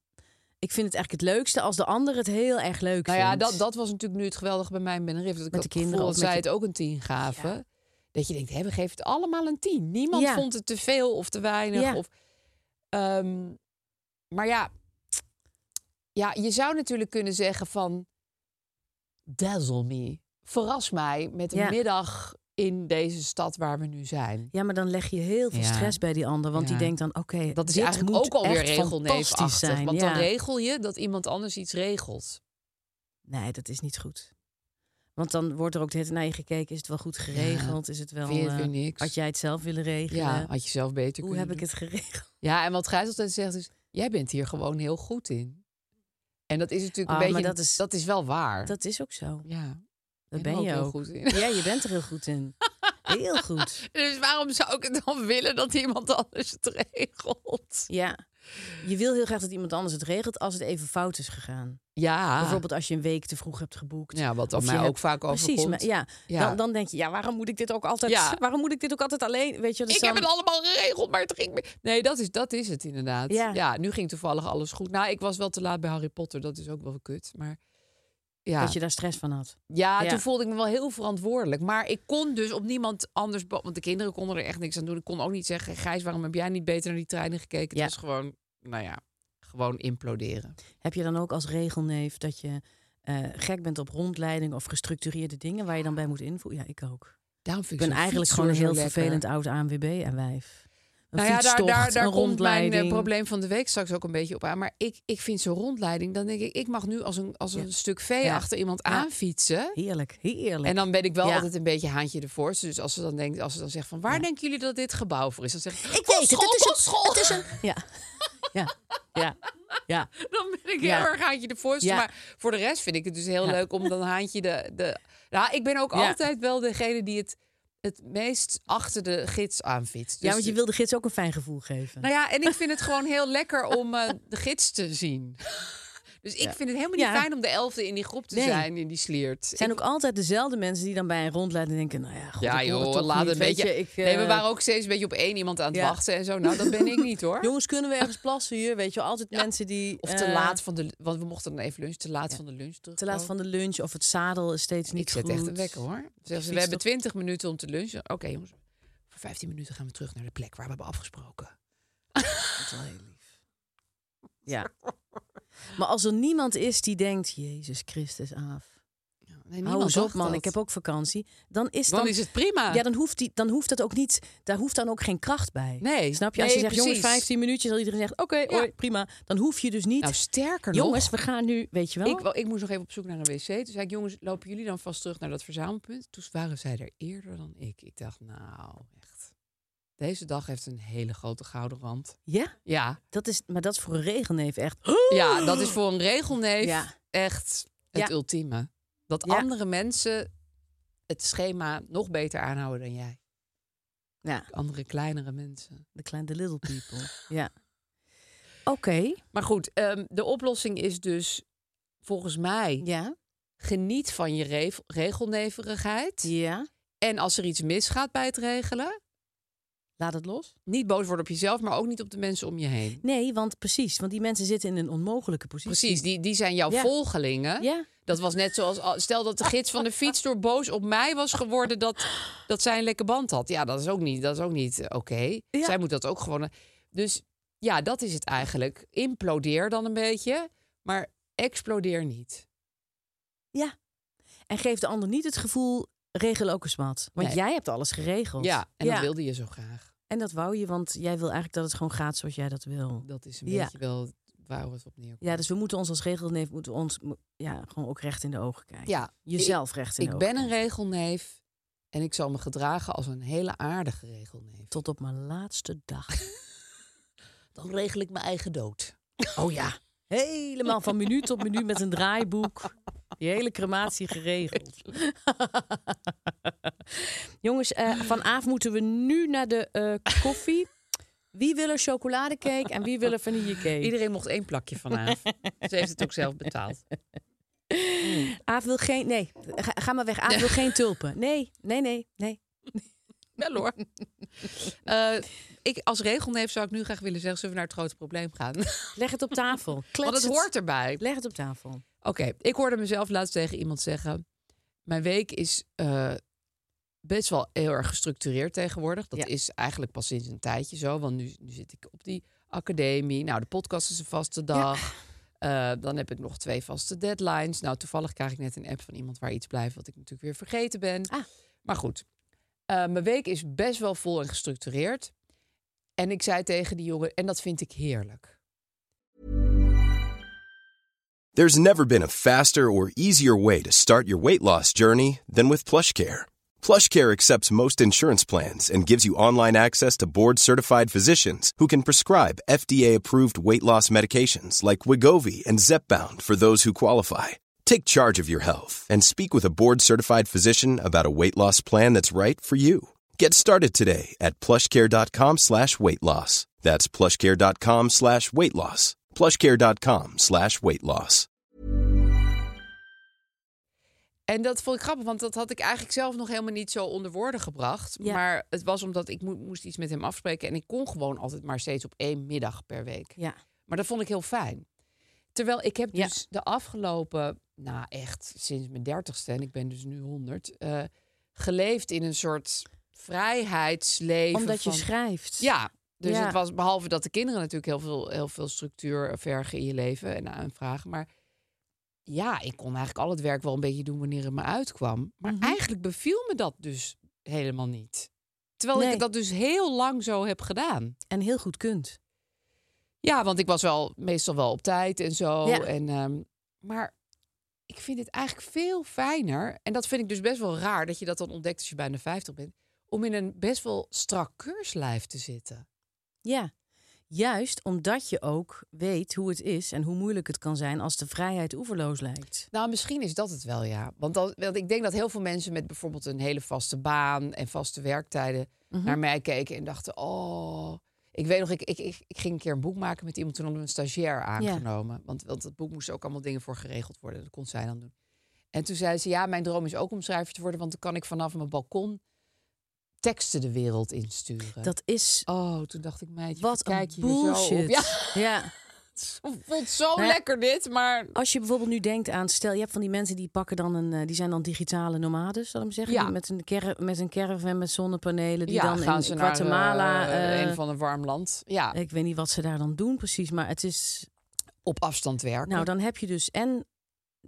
Speaker 2: ik vind het eigenlijk het leukste als de ander het heel erg leuk
Speaker 1: Nou
Speaker 2: vindt.
Speaker 1: ja, dat, dat was natuurlijk nu het geweldige bij mij en Ben Riff. Dat ik had
Speaker 2: Met de
Speaker 1: het gevoel
Speaker 2: kinderen
Speaker 1: dat
Speaker 2: of met
Speaker 1: zij
Speaker 2: je-
Speaker 1: het ook een tien gaven. Dat je denkt, hé, we geven het allemaal een tien. Niemand
Speaker 2: Ja.
Speaker 1: vond het te veel of te weinig.
Speaker 2: Ja.
Speaker 1: Of, Ehm, maar ja, ja, je zou natuurlijk kunnen zeggen van... Dazzle me. Verras mij met een
Speaker 2: Ja.
Speaker 1: middag in deze stad waar we nu zijn.
Speaker 2: Ja, maar dan leg je heel veel
Speaker 1: Ja.
Speaker 2: stress bij die ander, want
Speaker 1: Ja.
Speaker 2: die denkt dan, oké,
Speaker 1: Dat is
Speaker 2: dit
Speaker 1: eigenlijk
Speaker 2: moet
Speaker 1: ook alweer
Speaker 2: echt fantastisch
Speaker 1: regelneefachtig.
Speaker 2: zijn.
Speaker 1: Want
Speaker 2: ja.
Speaker 1: dan regel je dat iemand anders iets regelt.
Speaker 2: Nee, dat is niet goed. Want dan wordt er ook de hele tijd naar je gekeken. Is het wel goed geregeld? Is het wel...
Speaker 1: Vind je het weer
Speaker 2: eh,
Speaker 1: niks?
Speaker 2: Had jij het zelf willen regelen?
Speaker 1: Ja, had je zelf beter
Speaker 2: Hoe
Speaker 1: kunnen
Speaker 2: heb
Speaker 1: doen.
Speaker 2: ik het geregeld?
Speaker 1: Ja, en wat Gijs altijd zegt is... jij bent hier gewoon heel goed in. En dat is natuurlijk
Speaker 2: Ah,
Speaker 1: een
Speaker 2: maar
Speaker 1: beetje...
Speaker 2: dat is-
Speaker 1: wel waar.
Speaker 2: Dat is ook zo.
Speaker 1: ja,
Speaker 2: Daar
Speaker 1: Ik
Speaker 2: ben
Speaker 1: ben
Speaker 2: je
Speaker 1: ook heel
Speaker 2: ook.
Speaker 1: goed in.
Speaker 2: Ja, je bent er heel goed in.
Speaker 1: (laughs)
Speaker 2: Heel goed.
Speaker 1: Dus waarom zou ik het dan willen dat iemand anders het regelt?
Speaker 2: Ja. Je wil heel graag dat iemand anders het regelt als het even fout is gegaan.
Speaker 1: Ja,
Speaker 2: Bijvoorbeeld als je een week te vroeg hebt geboekt.
Speaker 1: Ah. Ja, wat
Speaker 2: Of
Speaker 1: mij
Speaker 2: je
Speaker 1: ook
Speaker 2: hebt-
Speaker 1: vaak
Speaker 2: Precies,
Speaker 1: overkomt.
Speaker 2: maar ja,
Speaker 1: Ja.
Speaker 2: Dan, dan denk je, ja, waarom moet ik dit ook altijd,
Speaker 1: Ja.
Speaker 2: (laughs) waarom moet ik dit ook altijd alleen? Weet je, dus
Speaker 1: ik
Speaker 2: dan-
Speaker 1: heb het allemaal geregeld, maar het ging... me- Nee, dat is, dat is het inderdaad.
Speaker 2: Ja.
Speaker 1: nu ging toevallig alles goed. Nou, ik was wel te laat bij Harry Potter. Dat is ook wel kut, maar... Ja.
Speaker 2: dat je daar stress van had.
Speaker 1: Ja,
Speaker 2: Ja.
Speaker 1: toen voelde ik me wel heel verantwoordelijk. Maar ik kon dus op niemand anders... bo- Want de kinderen konden er echt niks aan doen. Ik kon ook niet zeggen... Gijs, waarom heb jij niet beter naar die treinen gekeken?
Speaker 2: Ja.
Speaker 1: Het was gewoon, nou ja, gewoon imploderen.
Speaker 2: Heb je dan ook als regelneef dat je eh, gek bent op rondleiding of gestructureerde dingen waar je dan bij moet invoeren? Ja, ik ook.
Speaker 1: Daarom vind
Speaker 2: Ik
Speaker 1: ik zo'n
Speaker 2: ben eigenlijk
Speaker 1: fietstoer
Speaker 2: gewoon een heel
Speaker 1: zo lekker.
Speaker 2: vervelend oud ANWB en wijf. Een
Speaker 1: Nou ja, daar,
Speaker 2: fietstocht,
Speaker 1: daar, daar
Speaker 2: een
Speaker 1: komt mijn eh,
Speaker 2: rondleiding.
Speaker 1: probleem van de week straks ook een beetje op aan. Maar ik, ik vind zo'n rondleiding... Dan denk ik, ik mag nu als een, als een stuk vee
Speaker 2: Ja.
Speaker 1: achter iemand
Speaker 2: Ja.
Speaker 1: aanfietsen...
Speaker 2: Heerlijk, heerlijk.
Speaker 1: En dan ben ik wel
Speaker 2: Ja.
Speaker 1: altijd een beetje haantje de voorste. Dus als ze dan denkt, als ze dan zegt van waar denken jullie dat dit gebouw voor is, dan zeg ik,
Speaker 2: ik weet het,
Speaker 1: kostschool,
Speaker 2: het is een,
Speaker 1: kostschool.
Speaker 2: het is een, ja, ja, ja, ja.
Speaker 1: (laughs) Dan ben ik
Speaker 2: Ja.
Speaker 1: heel erg haantje de voorste.
Speaker 2: Ja.
Speaker 1: Maar voor de rest vind ik het dus heel
Speaker 2: Ja.
Speaker 1: leuk om dan haantje de... de... Nou, ik ben ook
Speaker 2: Ja.
Speaker 1: altijd wel degene die het het meest achter de gids aanfietst.
Speaker 2: ja,
Speaker 1: Dus-
Speaker 2: want je wil de gids ook een fijn gevoel geven.
Speaker 1: Nou ja, en ik vind het gewoon heel
Speaker 2: (laughs)
Speaker 1: lekker om eh, de gids te zien. Dus ik vind het helemaal niet
Speaker 2: Ja.
Speaker 1: fijn om de elfde in die groep te
Speaker 2: Nee.
Speaker 1: zijn, in die sliert.
Speaker 2: Het zijn ook altijd dezelfde mensen die dan bij een rondleiding denken... nou ja, goed,
Speaker 1: Ja,
Speaker 2: ik hoor het
Speaker 1: joh,
Speaker 2: toch
Speaker 1: laat
Speaker 2: niet,
Speaker 1: een
Speaker 2: weet
Speaker 1: beetje.
Speaker 2: je, ik,
Speaker 1: Nee, we
Speaker 2: eh,
Speaker 1: waren ook steeds een beetje op één iemand aan het
Speaker 2: ja.
Speaker 1: wachten en zo. Nou, dat ben ik niet
Speaker 2: (laughs)
Speaker 1: hoor.
Speaker 2: Jongens, kunnen we ergens plassen hier? Weet je, wel, altijd mensen die...
Speaker 1: Of te
Speaker 2: eh,
Speaker 1: laat van de. Want we mochten dan even lunch. Te laat van de lunch terug.
Speaker 2: Te laat van de lunch of het zadel is steeds niet
Speaker 1: Ik zet
Speaker 2: goed.
Speaker 1: echt een wekker hoor. Zeggen ze, we
Speaker 2: fiets
Speaker 1: hebben
Speaker 2: toch-
Speaker 1: 20 minuten om te lunchen. Oké jongens, voor 15 minuten gaan we terug naar de plek waar we hebben afgesproken.
Speaker 2: Dat is wel heel lief. (laughs) Ja. Maar als er niemand is die denkt, Jezus Christus, af.
Speaker 1: Nee, niemand
Speaker 2: Hou eens op,
Speaker 1: dacht
Speaker 2: man.
Speaker 1: dat.
Speaker 2: Ik heb ook vakantie. Dan is,
Speaker 1: Dan is het prima.
Speaker 2: Ja, dan hoeft, die, dan hoeft dat ook niet. Daar hoeft dan ook geen kracht bij.
Speaker 1: Nee,
Speaker 2: Snap je? Als
Speaker 1: nee,
Speaker 2: je zegt, jongens,
Speaker 1: precies.
Speaker 2: 15 minuutjes, dat iedereen zegt, oké,
Speaker 1: Ja.
Speaker 2: hoi, prima. Dan hoef je dus niet.
Speaker 1: Nou, sterker
Speaker 2: jongens,
Speaker 1: nog.
Speaker 2: we gaan nu, weet je wel.
Speaker 1: Ik, wou- ik moest nog even op zoek naar een wc. Toen zei ik, jongens, lopen jullie dan vast terug naar dat verzamelpunt? Toen waren zij er eerder dan ik. Ik dacht, nou, echt. Deze dag heeft een hele grote gouden rand.
Speaker 2: ja,
Speaker 1: Ja,
Speaker 2: dat is, maar dat is voor een regenneef echt.
Speaker 1: ja dat is voor een regelneef
Speaker 2: Ja.
Speaker 1: echt het
Speaker 2: Ja.
Speaker 1: ultieme. Dat
Speaker 2: Ja.
Speaker 1: andere mensen het schema nog beter aanhouden dan jij.
Speaker 2: Ja,
Speaker 1: Andere kleinere mensen.
Speaker 2: de kleine de little
Speaker 1: (laughs)
Speaker 2: people. ja. Oké.
Speaker 1: Maar goed, ehm, de oplossing is dus volgens mij...
Speaker 2: Ja.
Speaker 1: geniet van je rev- regelneverigheid.
Speaker 2: Ja.
Speaker 1: En als er iets misgaat bij het regelen,
Speaker 2: Laat het los.
Speaker 1: niet boos worden op jezelf, maar ook niet op de mensen om je heen.
Speaker 2: Nee, want precies, want die mensen zitten in een onmogelijke positie.
Speaker 1: Precies, die, die zijn jouw
Speaker 2: Ja.
Speaker 1: volgelingen.
Speaker 2: Ja.
Speaker 1: Dat was net zoals, al- stel dat de gids van de fiets door boos op mij was geworden dat, dat zij een lekke band had. Ja, dat is ook niet, dat is ook niet eh, oké.
Speaker 2: Ja.
Speaker 1: Zij moet dat ook gewoon. Dus ja, dat is het eigenlijk. Implodeer dan een beetje, maar explodeer niet.
Speaker 2: Ja. En geef de ander niet het gevoel, regel ook eens wat. Want
Speaker 1: Nee.
Speaker 2: jij hebt alles geregeld.
Speaker 1: Ja, en dat
Speaker 2: Ja.
Speaker 1: wilde je zo graag.
Speaker 2: En dat wou je, want jij wil eigenlijk dat het gewoon gaat zoals jij dat wil.
Speaker 1: Dat is een
Speaker 2: Ja.
Speaker 1: beetje wel waar het op neerkomt.
Speaker 2: Ja, dus we moeten ons als regelneef moeten we ons mo- ja, gewoon ook recht in de ogen kijken.
Speaker 1: Ja,
Speaker 2: Jezelf recht in de
Speaker 1: Ik
Speaker 2: ogen.
Speaker 1: ben een regelneef en ik zal me gedragen als een hele aardige regelneef.
Speaker 2: Tot op mijn laatste dag. (laughs)
Speaker 1: Dan regel ik mijn eigen dood.
Speaker 2: Oh ja. Helemaal van minuut tot minuut met een draaiboek. Die hele crematie geregeld. (laughs) Jongens, eh, vanavond moeten we nu naar de eh, koffie. Wie wil er chocoladecake en wie wil er vanillecake?
Speaker 1: Iedereen mocht één plakje (laughs) vanaf. Ze heeft het ook zelf betaald.
Speaker 2: Aaf wil geen... Nee, ga, ga maar weg. Aaf wil geen tulpen. Nee, nee, nee, nee.
Speaker 1: Wel hoor. Eh, ik, als regelneef zou ik nu graag willen zeggen... zullen we naar het grote probleem gaan?
Speaker 2: Leg het op tafel.
Speaker 1: Want
Speaker 2: Klets
Speaker 1: het hoort erbij.
Speaker 2: Leg het op tafel.
Speaker 1: Oké, ik hoorde mezelf laatst tegen iemand zeggen... mijn week is eh, best wel heel erg gestructureerd tegenwoordig. Dat
Speaker 2: Ja.
Speaker 1: is eigenlijk pas sinds een tijdje zo. Want nu, nu zit ik op die academie. Nou, de podcast is een vaste dag. Eh, dan heb ik nog twee vaste deadlines. Nou, toevallig krijg ik net een app van iemand waar iets blijft... wat ik natuurlijk weer vergeten ben.
Speaker 2: Ah.
Speaker 1: Maar goed, eh, mijn week is best wel vol en gestructureerd. En ik zei tegen die jongen... en dat vind ik heerlijk.
Speaker 3: There's never been a faster or easier way to start your weight loss journey than with PlushCare. PlushCare accepts most insurance plans and gives you online access to board-certified physicians who can prescribe FDA-approved weight loss medications like Wigovi and Zepbound for those who qualify. Take charge of your health and speak with a board-certified physician about a weight loss plan that's right for you. Get started today at plushcare.com slash weight loss. That's plushcare.com slash weight loss. plushcare.com slash weight loss.
Speaker 1: En dat vond ik grappig, want dat had ik eigenlijk zelf nog helemaal niet zo onder woorden gebracht.
Speaker 2: Ja.
Speaker 1: Maar het was omdat ik mo- moest iets met hem afspreken. En ik kon gewoon altijd maar steeds op één middag per week.
Speaker 2: Ja.
Speaker 1: Maar dat vond ik heel fijn. Terwijl ik heb
Speaker 2: Ja.
Speaker 1: dus de afgelopen, nou echt sinds mijn dertigste, en ik ben dus nu honderd, geleefd in een soort vrijheidsleven.
Speaker 2: Omdat je
Speaker 1: van-
Speaker 2: schrijft.
Speaker 1: ja, dus
Speaker 2: Ja.
Speaker 1: het was behalve dat de kinderen natuurlijk heel veel, heel veel structuur vergen in je leven en aanvragen. Maar ja, ik kon eigenlijk al het werk wel een beetje doen wanneer het me uitkwam. Maar
Speaker 2: Mhm.
Speaker 1: eigenlijk beviel me dat dus helemaal niet. Terwijl
Speaker 2: Nee.
Speaker 1: ik dat dus heel lang zo heb gedaan.
Speaker 2: En heel goed kunt.
Speaker 1: Ja, want ik was wel meestal wel op tijd en zo.
Speaker 2: Ja.
Speaker 1: En, ehm, maar ik vind het eigenlijk veel fijner. En dat vind ik dus best wel raar dat je dat dan ontdekt als je bijna 50 bent. Om in een best wel strak keurslijf te zitten.
Speaker 2: Ja. Juist omdat je ook weet hoe het is en hoe moeilijk het kan zijn als de vrijheid oeverloos lijkt.
Speaker 1: Nou, misschien is dat het wel, ja. Want, dan, want ik denk dat heel veel mensen met bijvoorbeeld een hele vaste baan en vaste werktijden
Speaker 2: Mhm.
Speaker 1: naar mij keken en dachten: Oh, ik weet nog, ik, ik, ik, ik ging een keer een boek maken met iemand toen hadden we een stagiair aangenomen. Want, want dat boek moest ook allemaal dingen voor geregeld worden. Dat kon zij dan doen. En toen zei ze: Ja, mijn droom is ook om schrijver te worden, want dan kan ik vanaf mijn balkon teksten de wereld insturen.
Speaker 2: Dat is
Speaker 1: Oh, toen dacht ik, meidje,
Speaker 2: wat
Speaker 1: kijk
Speaker 2: een
Speaker 1: je hier Zo op?
Speaker 2: bullshit.
Speaker 1: Ja, (laughs)
Speaker 2: ja.
Speaker 1: ik vond het zo
Speaker 2: Nou ja,
Speaker 1: lekker dit, maar
Speaker 2: Als je bijvoorbeeld nu denkt aan, stel je hebt van die mensen die pakken dan een, eh, die zijn dan digitale nomades, zal ik maar zeggen,
Speaker 1: Ja.
Speaker 2: Die met een carav- met een caravan met zonnepanelen, die
Speaker 1: ja,
Speaker 2: dan
Speaker 1: gaan
Speaker 2: in
Speaker 1: ze
Speaker 2: Guatemala,
Speaker 1: naar eh,
Speaker 2: eh,
Speaker 1: een van een warm land. Ja,
Speaker 2: ik weet niet wat ze daar dan doen precies, maar het is,
Speaker 1: op afstand werken.
Speaker 2: nou dan heb je dus en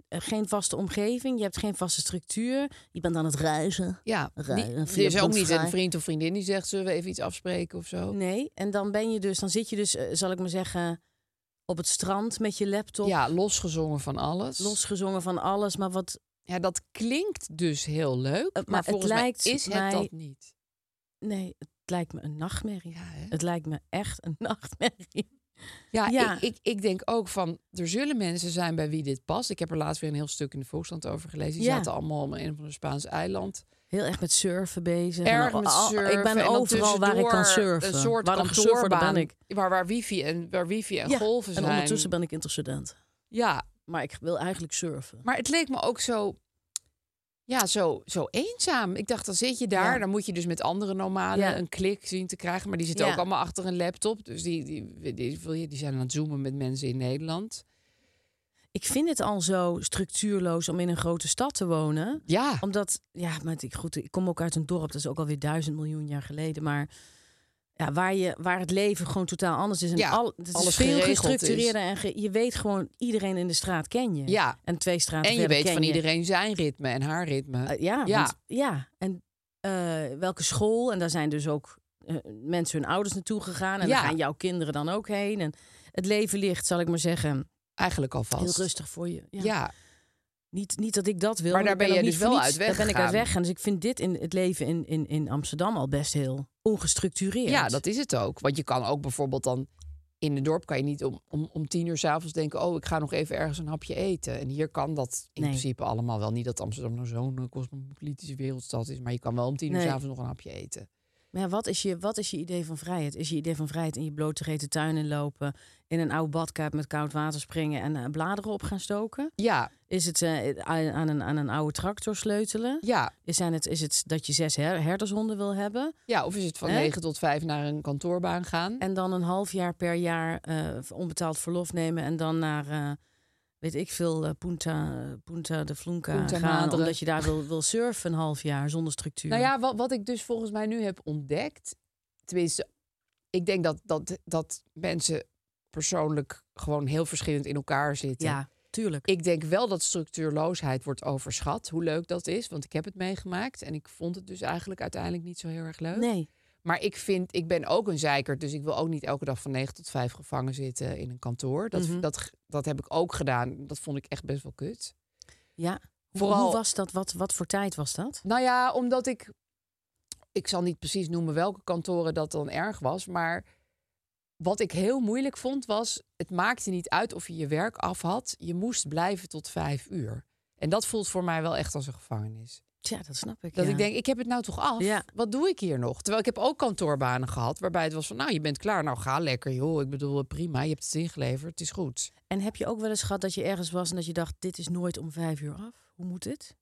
Speaker 2: eh, geen vaste omgeving, je hebt geen vaste structuur, je bent aan het reizen.
Speaker 1: Ja,
Speaker 2: Raar,
Speaker 1: die-
Speaker 2: een
Speaker 1: er
Speaker 2: vriend
Speaker 1: is ook
Speaker 2: komt
Speaker 1: niet
Speaker 2: vrij.
Speaker 1: een vriend of vriendin die zegt... zullen we even iets afspreken of zo?
Speaker 2: Nee, en dan ben je dus, dan zit je dus, eh, zal ik maar zeggen, op het strand met je laptop,
Speaker 1: Ja, losgezongen van alles.
Speaker 2: losgezongen van alles, maar wat
Speaker 1: Ja, dat klinkt dus heel leuk,
Speaker 2: Eh, maar
Speaker 1: maar,
Speaker 2: het
Speaker 1: volgens
Speaker 2: lijkt
Speaker 1: mij is het
Speaker 2: mij-
Speaker 1: dat niet.
Speaker 2: Nee, het lijkt me een nachtmerrie.
Speaker 1: Ja, hè?
Speaker 2: Het lijkt me echt een (laughs) nachtmerrie.
Speaker 1: Ja,
Speaker 2: Ja.
Speaker 1: Ik, ik, ik denk ook van, er zullen mensen zijn bij wie dit past. Ik heb er laatst weer een heel stuk in de Volkskrant over gelezen. Die
Speaker 2: Ja.
Speaker 1: zaten allemaal op een van de Spaans eiland.
Speaker 2: Heel erg met surfen bezig. en
Speaker 1: Erg
Speaker 2: al-
Speaker 1: met
Speaker 2: al-
Speaker 1: surfen.
Speaker 2: Ik ben
Speaker 1: en dan
Speaker 2: overal waar ik kan
Speaker 1: tussendoor
Speaker 2: surfen.
Speaker 1: Een soort
Speaker 2: waar een surfer, daar
Speaker 1: kantoorbaan
Speaker 2: ben ik.
Speaker 1: Waar, waar wifi en, waar wifi en
Speaker 2: Ja,
Speaker 1: golven zijn.
Speaker 2: En ondertussen ben ik interstudent.
Speaker 1: Ja,
Speaker 2: Maar ik wil eigenlijk surfen.
Speaker 1: maar het leek me ook zo... Ja, zo, zo eenzaam. Ik dacht, dan zit je daar.
Speaker 2: Ja.
Speaker 1: Dan moet je dus met andere nomaden
Speaker 2: Ja.
Speaker 1: een klik zien te krijgen. Maar die zitten
Speaker 2: Ja.
Speaker 1: ook allemaal achter een laptop. Dus die, die, die, die, die zijn aan het zoomen met mensen in Nederland.
Speaker 2: Ik vind het al zo structuurloos om in een grote stad te wonen.
Speaker 1: Ja.
Speaker 2: Omdat, ja, maar het- ik, goed, ik kom ook uit een dorp, dat is ook alweer duizend miljoen jaar geleden. Maar ja, waar, je, waar het leven gewoon totaal anders is. En
Speaker 1: Ja,
Speaker 2: al, het
Speaker 1: alles
Speaker 2: is veel
Speaker 1: geregeld is.
Speaker 2: gestructureerder. En ge- je weet gewoon, iedereen in de straat ken je.
Speaker 1: Ja.
Speaker 2: En twee straten
Speaker 1: En je
Speaker 2: verder
Speaker 1: weet
Speaker 2: ken
Speaker 1: van
Speaker 2: je.
Speaker 1: iedereen zijn ritme en haar ritme.
Speaker 2: Eh, ja,
Speaker 1: Ja.
Speaker 2: want- ja. En eh, welke school? En daar zijn dus ook eh, mensen hun ouders naartoe gegaan. En
Speaker 1: Ja.
Speaker 2: daar gaan jouw kinderen dan ook heen. En het leven ligt, zal ik maar zeggen,
Speaker 1: Eigenlijk alvast.
Speaker 2: heel rustig voor je.
Speaker 1: Ja.
Speaker 2: Ja. Niet, niet dat ik dat wil.
Speaker 1: Maar
Speaker 2: want
Speaker 1: daar
Speaker 2: ik
Speaker 1: ben
Speaker 2: ook
Speaker 1: je dus
Speaker 2: niet voor
Speaker 1: wel
Speaker 2: niets-
Speaker 1: uit
Speaker 2: Daar ben ik uit
Speaker 1: weggegaan.
Speaker 2: weggegaan. Dus ik vind dit in het leven in, in, in Amsterdam al best heel ongestructureerd.
Speaker 1: ja, dat is het ook. Want je kan ook bijvoorbeeld dan... In het dorp kan je niet om, om, om tien uur s'avonds denken... oh, ik ga nog even ergens een hapje eten. En hier kan dat in
Speaker 2: Nee.
Speaker 1: principe allemaal wel. Niet dat Amsterdam nou zo'n eh, cosmopolitische wereldstad is... maar je kan wel om tien uur
Speaker 2: Nee.
Speaker 1: s'avonds nog een hapje eten.
Speaker 2: Maar ja, wat, is je, wat is je idee van vrijheid? Is je idee van vrijheid in je blote reet de tuin inlopen... in een oude badkuip met koud water springen en eh, bladeren op gaan stoken?
Speaker 1: Ja,
Speaker 2: Is het eh, aan, aan een, aan een oude tractor sleutelen?
Speaker 1: ja.
Speaker 2: Is, zijn het, is het dat je zes her- herdershonden wil hebben?
Speaker 1: ja, of is het van
Speaker 2: Hè?
Speaker 1: negen tot vijf naar een kantoorbaan gaan?
Speaker 2: En dan een half jaar per jaar eh, onbetaald verlof nemen. En dan naar, eh, weet ik veel, eh, Punta, Punta de Flunca
Speaker 1: Punta
Speaker 2: gaan.
Speaker 1: Madre.
Speaker 2: Omdat je daar wil, wil surfen een half jaar zonder structuur.
Speaker 1: Nou ja, wat, wat ik dus volgens mij nu heb ontdekt. Tenminste, ik denk dat, dat, dat mensen persoonlijk gewoon heel verschillend in elkaar zitten.
Speaker 2: Ja, tuurlijk.
Speaker 1: Ik denk wel dat structuurloosheid wordt overschat. Hoe leuk dat is, want ik heb het meegemaakt. En ik vond het dus eigenlijk uiteindelijk niet zo heel erg leuk.
Speaker 2: nee,
Speaker 1: Maar ik vind, ik ben ook een zeiker, dus ik wil ook niet elke dag van 9 tot 5 gevangen zitten in een kantoor. Dat,
Speaker 2: Mhm.
Speaker 1: dat, dat heb ik ook gedaan. Dat vond ik echt best wel kut.
Speaker 2: ja.
Speaker 1: Vooral-
Speaker 2: Hoe was dat? Wat, wat voor tijd was dat?
Speaker 1: Nou ja, omdat ik. Ik zal niet precies noemen welke kantoren dat dan erg was. Maar wat ik heel moeilijk vond was. Het maakte niet uit of je je werk af had. Je moest blijven tot vijf uur. En dat voelt voor mij wel echt als een gevangenis.
Speaker 2: Tja, dat snap ik.
Speaker 1: Dat
Speaker 2: ja.
Speaker 1: ik denk, ik heb het nou toch af?
Speaker 2: Ja.
Speaker 1: Wat doe ik hier nog? Terwijl ik heb ook kantoorbanen gehad. Waarbij het was van, nou je bent klaar. Nou ga lekker joh. Ik bedoel, eh, prima. Je hebt het ingeleverd. Het is goed.
Speaker 2: En heb je ook wel eens gehad dat je ergens was en dat je dacht, dit is nooit om vijf uur af? Hoe moet dit?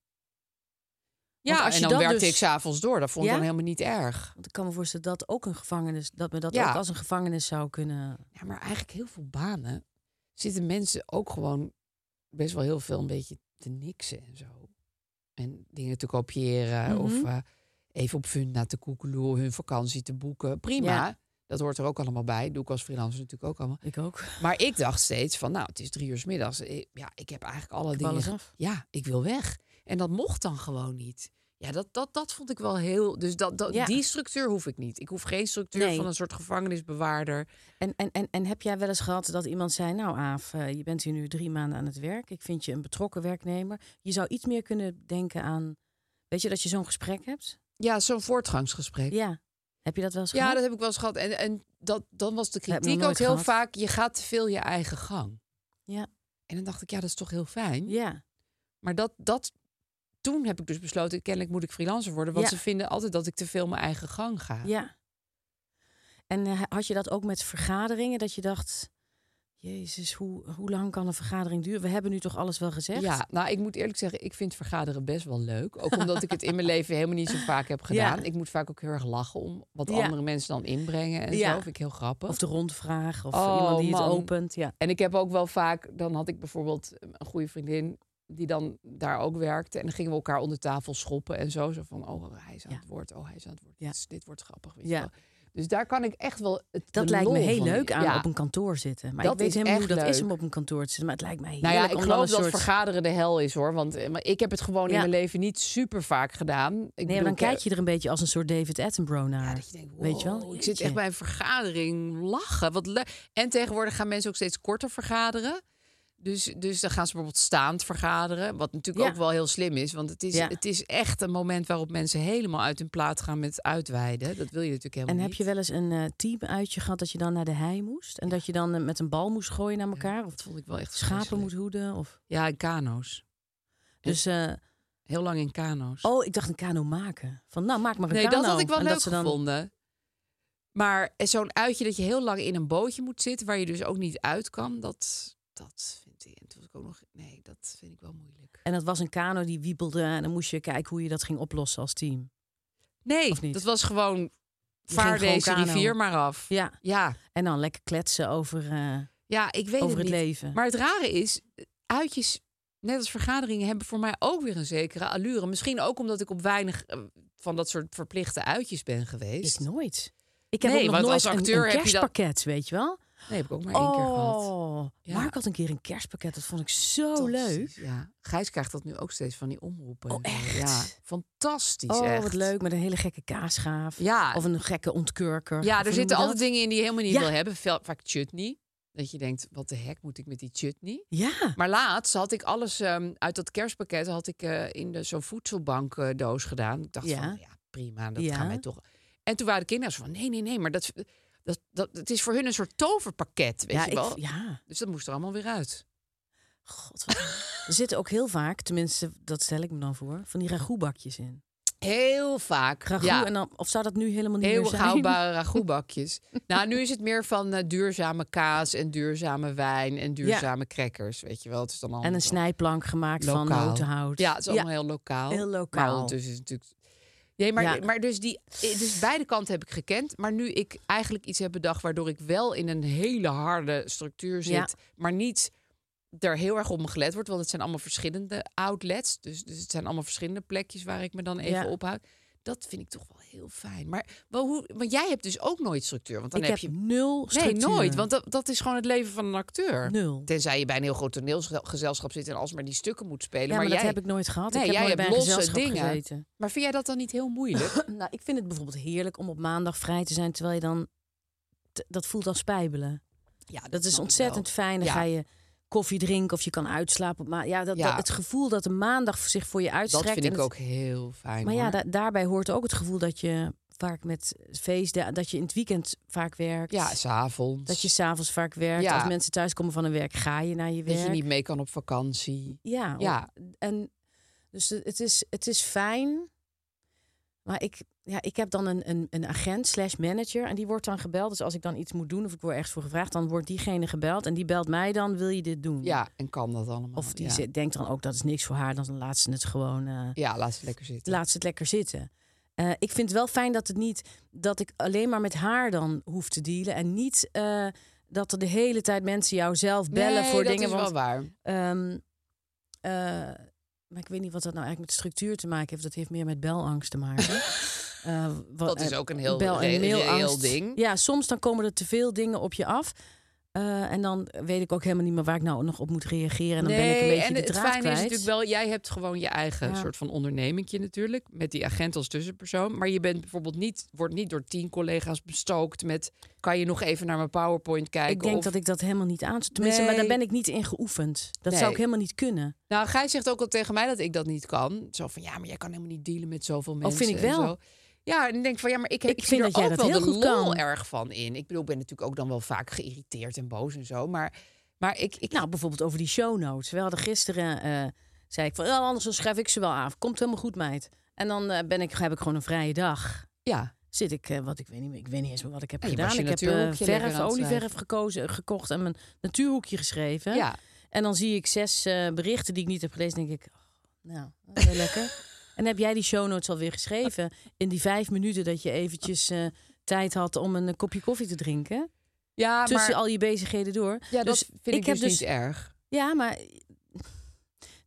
Speaker 1: Ja,
Speaker 2: als je
Speaker 1: en dan
Speaker 2: dat
Speaker 1: werkte
Speaker 2: dus-
Speaker 1: ik s'avonds door. Dat vond ik
Speaker 2: Ja?
Speaker 1: dan helemaal niet erg.
Speaker 2: Want ik kan me voorstellen dat ook een gevangenis, dat me dat
Speaker 1: Ja.
Speaker 2: ook als een gevangenis zou kunnen.
Speaker 1: Ja, maar eigenlijk heel veel banen zitten mensen ook gewoon best wel heel veel een beetje te niksen en zo. En dingen te kopiëren
Speaker 2: Mhm.
Speaker 1: of eh, even op Funda te koekeloeren, hun vakantie te boeken. Prima,
Speaker 2: Ja.
Speaker 1: dat hoort er ook allemaal bij. Doe ik als freelancer natuurlijk ook allemaal.
Speaker 2: Ik ook.
Speaker 1: Maar ik dacht steeds van, nou, het is drie uur 's middags. Eh, Ja, ik heb eigenlijk alle
Speaker 2: heb
Speaker 1: dingen...
Speaker 2: alles
Speaker 1: ge-
Speaker 2: af.
Speaker 1: Ja, ik wil weg. En dat mocht dan gewoon niet. Ja, dat, dat, dat vond ik wel heel... Dus dat, dat,
Speaker 2: Ja.
Speaker 1: die structuur hoef ik niet. Ik hoef geen structuur
Speaker 2: Nee.
Speaker 1: van een soort gevangenisbewaarder.
Speaker 2: En, en, en, en heb jij wel eens gehad dat iemand zei, nou Aaf, eh, je bent hier nu drie maanden aan het werk. Ik vind je een betrokken werknemer. Je zou iets meer kunnen denken aan, weet je, dat je zo'n gesprek hebt?
Speaker 1: Ja, zo'n voortgangsgesprek.
Speaker 2: Ja. Heb je dat wel eens
Speaker 1: Ja,
Speaker 2: gehad?
Speaker 1: dat heb ik wel eens gehad. En, en dat, dan was de
Speaker 2: Heb ik nog
Speaker 1: kritiek ook
Speaker 2: nooit
Speaker 1: heel
Speaker 2: gehad.
Speaker 1: vaak... je gaat te veel je eigen gang.
Speaker 2: Ja.
Speaker 1: En dan dacht ik, ja, dat is toch heel fijn.
Speaker 2: Ja.
Speaker 1: Maar dat, dat, toen heb ik dus besloten... kennelijk moet ik freelancer worden... want
Speaker 2: Ja.
Speaker 1: ze vinden altijd dat ik te veel mijn eigen gang ga.
Speaker 2: Ja. En eh, had je dat ook met vergaderingen? Dat je dacht, jezus, hoe, hoe lang kan een vergadering duren? We hebben nu toch alles wel gezegd?
Speaker 1: Ja, nou, ik moet eerlijk zeggen, ik vind vergaderen best wel leuk. Ook omdat ik het
Speaker 2: (laughs)
Speaker 1: in mijn leven helemaal niet zo vaak heb gedaan.
Speaker 2: Ja.
Speaker 1: Ik moet vaak ook heel erg lachen om wat
Speaker 2: Ja.
Speaker 1: andere mensen dan inbrengen en
Speaker 2: Ja.
Speaker 1: zo. Vind ik heel grappig.
Speaker 2: Of de rondvraag, of
Speaker 1: Oh,
Speaker 2: iemand die
Speaker 1: man.
Speaker 2: het opent. Ja.
Speaker 1: En ik heb ook wel vaak, dan had ik bijvoorbeeld een goede vriendin die dan daar ook werkte. En dan gingen we elkaar onder tafel schoppen en zo. Zo van, oh, hij is aan
Speaker 2: Ja.
Speaker 1: het woord, oh, hij is aan het woord.
Speaker 2: Ja.
Speaker 1: Dit, is- dit wordt grappig. Weet je
Speaker 2: Ja.
Speaker 1: wel. Dus daar kan ik echt wel. Het,
Speaker 2: Dat
Speaker 1: de
Speaker 2: lijkt me
Speaker 1: lol
Speaker 2: heel
Speaker 1: van-
Speaker 2: leuk aan
Speaker 1: ja.
Speaker 2: op een kantoor zitten. Maar
Speaker 1: Dat
Speaker 2: ik weet
Speaker 1: is
Speaker 2: helemaal niet hoe
Speaker 1: echt
Speaker 2: dat is
Speaker 1: leuk.
Speaker 2: om op een kantoor te zitten. Maar het lijkt mij
Speaker 1: Nou ja,
Speaker 2: heerlijk
Speaker 1: ik
Speaker 2: om dan
Speaker 1: geloof
Speaker 2: een
Speaker 1: dat
Speaker 2: soort...
Speaker 1: vergaderen de hel is hoor. Want eh, maar ik heb het gewoon in
Speaker 2: Ja.
Speaker 1: mijn leven niet super vaak gedaan. Ik
Speaker 2: Nee, maar
Speaker 1: bedoel,
Speaker 2: dan
Speaker 1: ik, eh,
Speaker 2: kijk je er een beetje als een soort David Attenborough naar.
Speaker 1: dat je denkt,
Speaker 2: Weet je wel?
Speaker 1: wow, Ik zit
Speaker 2: Jeetje.
Speaker 1: echt bij een vergadering lachen. Wat le- en tegenwoordig gaan mensen ook steeds korter vergaderen. Dus, dus dan gaan ze bijvoorbeeld staand vergaderen. Wat natuurlijk
Speaker 2: Ja.
Speaker 1: ook wel heel slim is. Want het is,
Speaker 2: Ja.
Speaker 1: het is echt een moment waarop mensen helemaal uit hun plaat gaan met uitweiden. Dat wil je natuurlijk helemaal
Speaker 2: En
Speaker 1: niet.
Speaker 2: heb je wel eens een eh, teamuitje gehad dat je dan naar de hei moest? En dat je dan eh, met een bal moest gooien naar elkaar? Of
Speaker 1: Dat vond ik wel echt
Speaker 2: schapen
Speaker 1: vreselijk.
Speaker 2: moet hoeden? Of...
Speaker 1: Ja, in kano's.
Speaker 2: Dus, eh,
Speaker 1: Heel lang in kano's.
Speaker 2: oh, ik dacht een kano maken. Van, nou, maak maar een
Speaker 1: nee,
Speaker 2: kano.
Speaker 1: dat had ik wel
Speaker 2: en
Speaker 1: leuk
Speaker 2: dat ze dan...
Speaker 1: gevonden. Maar zo'n uitje dat je heel lang in een bootje moet zitten... waar je dus ook niet uit kan, dat, dat vind ik... En toen was ik ook nog... Nee, dat vind ik wel moeilijk.
Speaker 2: En dat was een kano die wiebelde. En dan moest je kijken hoe je dat ging oplossen als team. Of
Speaker 1: Nee,
Speaker 2: niet?
Speaker 1: dat was gewoon...
Speaker 2: ging
Speaker 1: Vaar
Speaker 2: gewoon
Speaker 1: deze
Speaker 2: kano.
Speaker 1: rivier maar af.
Speaker 2: Ja.
Speaker 1: Ja,
Speaker 2: En dan lekker kletsen over, eh,
Speaker 1: ja ik weet
Speaker 2: over
Speaker 1: het
Speaker 2: het
Speaker 1: niet.
Speaker 2: leven.
Speaker 1: Maar het rare is, uitjes, net als vergaderingen, hebben voor mij ook weer een zekere allure. Misschien ook omdat ik op weinig eh, van dat soort verplichte uitjes ben geweest.
Speaker 2: Ik nooit. Ik heb
Speaker 1: Nee,
Speaker 2: ook nog
Speaker 1: want
Speaker 2: nooit
Speaker 1: als acteur
Speaker 2: een, een
Speaker 1: heb je dat-
Speaker 2: kerstpakket, weet je wel?
Speaker 1: Nee, heb ik ook maar één keer gehad.
Speaker 2: Oh,
Speaker 1: Ja.
Speaker 2: Mark had een keer een kerstpakket. Dat vond ik zo
Speaker 1: Fantastisch,
Speaker 2: leuk.
Speaker 1: Ja. Gijs krijgt dat nu ook steeds van die omroepen.
Speaker 2: Oh, echt?
Speaker 1: Ja, fantastisch
Speaker 2: Oh,
Speaker 1: echt.
Speaker 2: wat leuk. Met een hele gekke kaasgaaf.
Speaker 1: Ja.
Speaker 2: Of een gekke ontkurker.
Speaker 1: Ja,
Speaker 2: Of
Speaker 1: er
Speaker 2: hoe
Speaker 1: zitten
Speaker 2: noem je
Speaker 1: altijd
Speaker 2: dat?
Speaker 1: dingen in die je helemaal niet
Speaker 2: Ja.
Speaker 1: wil hebben. Veel- Vaak chutney. Dat je denkt, wat de hek moet ik met die chutney?
Speaker 2: Ja.
Speaker 1: Maar laatst had ik alles ehm, uit dat kerstpakket had ik eh, in de- zo'n voedselbankdoos gedaan. Ik dacht
Speaker 2: Ja.
Speaker 1: van, ja, prima, dat
Speaker 2: Ja.
Speaker 1: gaan wij toch. En toen waren de kinderen zo van, nee, nee, nee, maar dat, dat, dat, het is voor hun een soort toverpakket, weet
Speaker 2: ja,
Speaker 1: je
Speaker 2: ik-
Speaker 1: wel.
Speaker 2: ja.
Speaker 1: Dus dat moest er allemaal weer uit.
Speaker 2: God, wat...
Speaker 1: (laughs)
Speaker 2: er zitten ook heel vaak, tenminste, dat stel ik me dan voor, van die ragoutbakjes in.
Speaker 1: Heel vaak.
Speaker 2: Ragout,
Speaker 1: ja.
Speaker 2: en dan, of zou dat nu helemaal niet meer
Speaker 1: Eeuwig
Speaker 2: zijn? (laughs)
Speaker 1: houdbare ragoutbakjes. nou, nu is het meer van eh, duurzame kaas en duurzame wijn en duurzame crackers, weet je wel. Het is dan allemaal
Speaker 2: En een
Speaker 1: zo
Speaker 2: snijplank gemaakt van
Speaker 1: lokaal.
Speaker 2: notenhout.
Speaker 1: Ja, het is allemaal heel lokaal.
Speaker 2: Heel lokaal.
Speaker 1: Maar ondertussen is het natuurlijk... Nee, maar,
Speaker 2: Ja.
Speaker 1: maar dus, die, dus beide kanten heb ik gekend. Maar nu ik eigenlijk iets heb bedacht... waardoor ik wel in een hele harde structuur zit...
Speaker 2: Ja.
Speaker 1: maar niet er heel erg op me gelet wordt... want het zijn allemaal verschillende outlets. Dus, dus het zijn allemaal verschillende plekjes... waar ik me dan even
Speaker 2: Ja.
Speaker 1: ophoud. Dat vind ik toch wel heel fijn. Maar wel hoe, want jij hebt dus ook nooit structuur. Want dan
Speaker 2: ik
Speaker 1: heb
Speaker 2: heb
Speaker 1: je...
Speaker 2: nul
Speaker 1: Nee,
Speaker 2: structuur.
Speaker 1: nooit. Want dat, dat is gewoon het leven van een acteur.
Speaker 2: Nul.
Speaker 1: Tenzij je bij een heel groot toneelgezelschap zit en alsmaar die stukken moet spelen.
Speaker 2: Ja, maar,
Speaker 1: maar
Speaker 2: dat
Speaker 1: jij-
Speaker 2: heb ik nooit gehad.
Speaker 1: Nee,
Speaker 2: ik heb
Speaker 1: jij
Speaker 2: nooit
Speaker 1: hebt
Speaker 2: bij een
Speaker 1: losse
Speaker 2: gezelschap
Speaker 1: dingen.
Speaker 2: gezeten.
Speaker 1: Maar vind jij dat dan niet heel
Speaker 2: (laughs)
Speaker 1: moeilijk?
Speaker 2: Nou, ik vind het bijvoorbeeld heerlijk om op maandag vrij te zijn, terwijl je dan t- dat voelt als spijbelen.
Speaker 1: ja,
Speaker 2: Dat is ontzettend fijn. Dan ga je koffie drinken of je kan uitslapen. op ma- ja, dat,
Speaker 1: Ja.
Speaker 2: dat- het gevoel dat de maandag zich voor je
Speaker 1: Dat
Speaker 2: uitstrekt.
Speaker 1: vind
Speaker 2: en
Speaker 1: ik
Speaker 2: het-
Speaker 1: ook heel fijn.
Speaker 2: Maar ja,
Speaker 1: hoor.
Speaker 2: da- daarbij hoort ook het gevoel dat je vaak met feesten, dat je in het weekend vaak werkt.
Speaker 1: ja, s'avonds.
Speaker 2: dat je s'avonds vaak werkt.
Speaker 1: Ja.
Speaker 2: Als mensen thuiskomen van hun werk, ga je naar je werk.
Speaker 1: dat je niet mee kan op vakantie.
Speaker 2: Ja, of-
Speaker 1: Ja.
Speaker 2: en dus het het is, het is fijn. Maar ik, ja, ik heb dan een, een, een agent slash manager en die wordt dan gebeld. Dus als ik dan iets moet doen of ik word ergens voor gevraagd, dan wordt diegene gebeld en die belt mij dan, wil je dit doen?
Speaker 1: Ja, en kan dat allemaal.
Speaker 2: Of die
Speaker 1: ja.
Speaker 2: zit- denkt dan ook, dat is niks voor haar, dan laat ze het gewoon... eh,
Speaker 1: Ja, laat ze lekker zitten.
Speaker 2: laat ze het lekker zitten. Eh, ik vind het wel fijn dat het niet dat ik alleen maar met haar dan hoef te dealen en niet eh, dat er de hele tijd mensen jou zelf bellen
Speaker 1: Nee,
Speaker 2: voor
Speaker 1: dat
Speaker 2: dingen.
Speaker 1: is wel
Speaker 2: want,
Speaker 1: waar.
Speaker 2: ehm, eh, maar ik weet niet wat dat nou eigenlijk met structuur te maken heeft. Dat heeft meer met belangst te maken.
Speaker 1: (laughs)
Speaker 2: Eh, wat-
Speaker 1: Dat is
Speaker 2: eh,
Speaker 1: ook een heel
Speaker 2: bel- en
Speaker 1: re- reëel
Speaker 2: mailangst.
Speaker 1: ding.
Speaker 2: Ja, soms dan komen er te veel dingen op je af. Eh, en dan weet ik ook helemaal niet meer waar ik nou nog op moet reageren. En dan ben ik een
Speaker 1: Nee,
Speaker 2: beetje
Speaker 1: en
Speaker 2: de
Speaker 1: het
Speaker 2: draad
Speaker 1: fijne
Speaker 2: kwijt.
Speaker 1: is natuurlijk wel, jij hebt gewoon je eigen
Speaker 2: Ja.
Speaker 1: soort van ondernemingje natuurlijk. Met die agent als tussenpersoon. Maar je bent bijvoorbeeld niet, wordt niet door tien collega's bestookt met kan je nog even naar mijn PowerPoint kijken?
Speaker 2: Ik denk
Speaker 1: of,
Speaker 2: dat ik dat helemaal niet aan. Tenminste, maar daar
Speaker 1: Nee.
Speaker 2: ben ik niet in geoefend. Dat
Speaker 1: Nee.
Speaker 2: zou ik helemaal niet kunnen.
Speaker 1: Nou, Gij zegt ook al tegen mij dat ik dat niet kan. Zo van ja, maar jij kan helemaal niet dealen met zoveel mensen.
Speaker 2: Oh, vind ik
Speaker 1: en
Speaker 2: wel.
Speaker 1: zo. Ja, en ik denk van ja, maar ik, ik,
Speaker 2: Ik
Speaker 1: zie
Speaker 2: vind
Speaker 1: er
Speaker 2: dat jij
Speaker 1: ook
Speaker 2: dat
Speaker 1: wel
Speaker 2: heel
Speaker 1: de
Speaker 2: goed
Speaker 1: lol
Speaker 2: kan.
Speaker 1: erg van in. Ik bedoel, ik ben natuurlijk ook dan wel vaak geïrriteerd en boos en zo. Maar, maar ik, ik
Speaker 2: Nou, bijvoorbeeld over die show notes. We hadden gisteren, eh, zei ik van, "Oh, anders dan schrijf ik ze wel aan. Komt helemaal goed, meid. En dan eh, ben ik, heb ik gewoon een vrije dag.
Speaker 1: ja,
Speaker 2: Zit ik, eh, wat ik weet niet meer, ik weet niet eens meer wat ik heb
Speaker 1: Ja, je was
Speaker 2: gedaan.
Speaker 1: je
Speaker 2: Ik heb eh,
Speaker 1: natuurhoekje lekker
Speaker 2: verf,
Speaker 1: aan het
Speaker 2: olieverf
Speaker 1: schrijven.
Speaker 2: gekozen, gekocht en mijn natuurhoekje geschreven.
Speaker 1: ja.
Speaker 2: En dan zie ik zes eh, berichten die ik niet heb gelezen. denk ik, oh, nou, dat
Speaker 1: (laughs)
Speaker 2: is wel lekker. En heb jij die show notes alweer geschreven? In die vijf minuten dat je eventjes eh, tijd had om een kopje koffie te drinken.
Speaker 1: Ja,
Speaker 2: tussen
Speaker 1: maar,
Speaker 2: al je bezigheden door.
Speaker 1: ja,
Speaker 2: dus
Speaker 1: dat vind ik,
Speaker 2: ik heb
Speaker 1: dus,
Speaker 2: dus-
Speaker 1: niet erg.
Speaker 2: eh, Ja, maar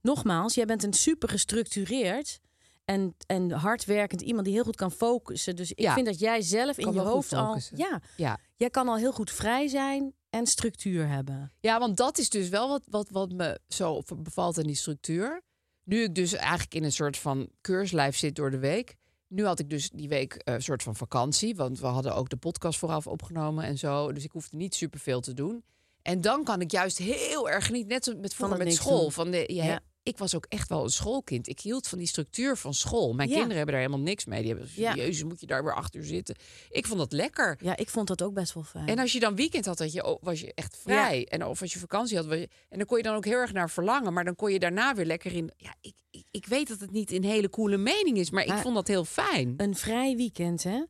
Speaker 2: nogmaals, jij bent een super gestructureerd. en, en hardwerkend iemand die heel goed kan focussen. Dus ik
Speaker 1: Ja.
Speaker 2: vind dat jij zelf in
Speaker 1: Kan
Speaker 2: je
Speaker 1: wel goed
Speaker 2: hoofd al...
Speaker 1: focussen.
Speaker 2: Ja,
Speaker 1: Ja.
Speaker 2: jij kan al heel goed vrij zijn en structuur hebben.
Speaker 1: Ja, want dat is dus wel wat, wat, wat me zo v- bevalt aan die structuur. Nu ik dus eigenlijk in een soort van keurslijf zit door de week. Nu had ik dus die week eh, een soort van vakantie. Want we hadden ook de podcast vooraf opgenomen en zo. Dus ik hoefde niet superveel te doen. En dan kan ik juist heel erg genieten. Net zoals met vroeger
Speaker 2: het
Speaker 1: met
Speaker 2: niks
Speaker 1: school.
Speaker 2: doen.
Speaker 1: Van de, je-
Speaker 2: Ja.
Speaker 1: Ik was ook echt wel een schoolkind. Ik hield van die structuur van school. Mijn
Speaker 2: Ja.
Speaker 1: kinderen hebben daar helemaal niks mee. Die hebben
Speaker 2: Ja.
Speaker 1: jezus, moet je daar weer acht uur zitten. Ik vond dat lekker.
Speaker 2: Ja, ik vond dat ook best wel fijn.
Speaker 1: En als je dan weekend had, had je, ook- was je echt vrij. En of als je vakantie had. was je- en dan kon je dan ook heel erg naar verlangen. Maar dan kon je daarna weer lekker in. Ja, ik, ik, ik weet dat het niet een hele coole mening is. Maar, ik
Speaker 2: Maar-
Speaker 1: vond dat heel fijn.
Speaker 2: Een vrij weekend, hè?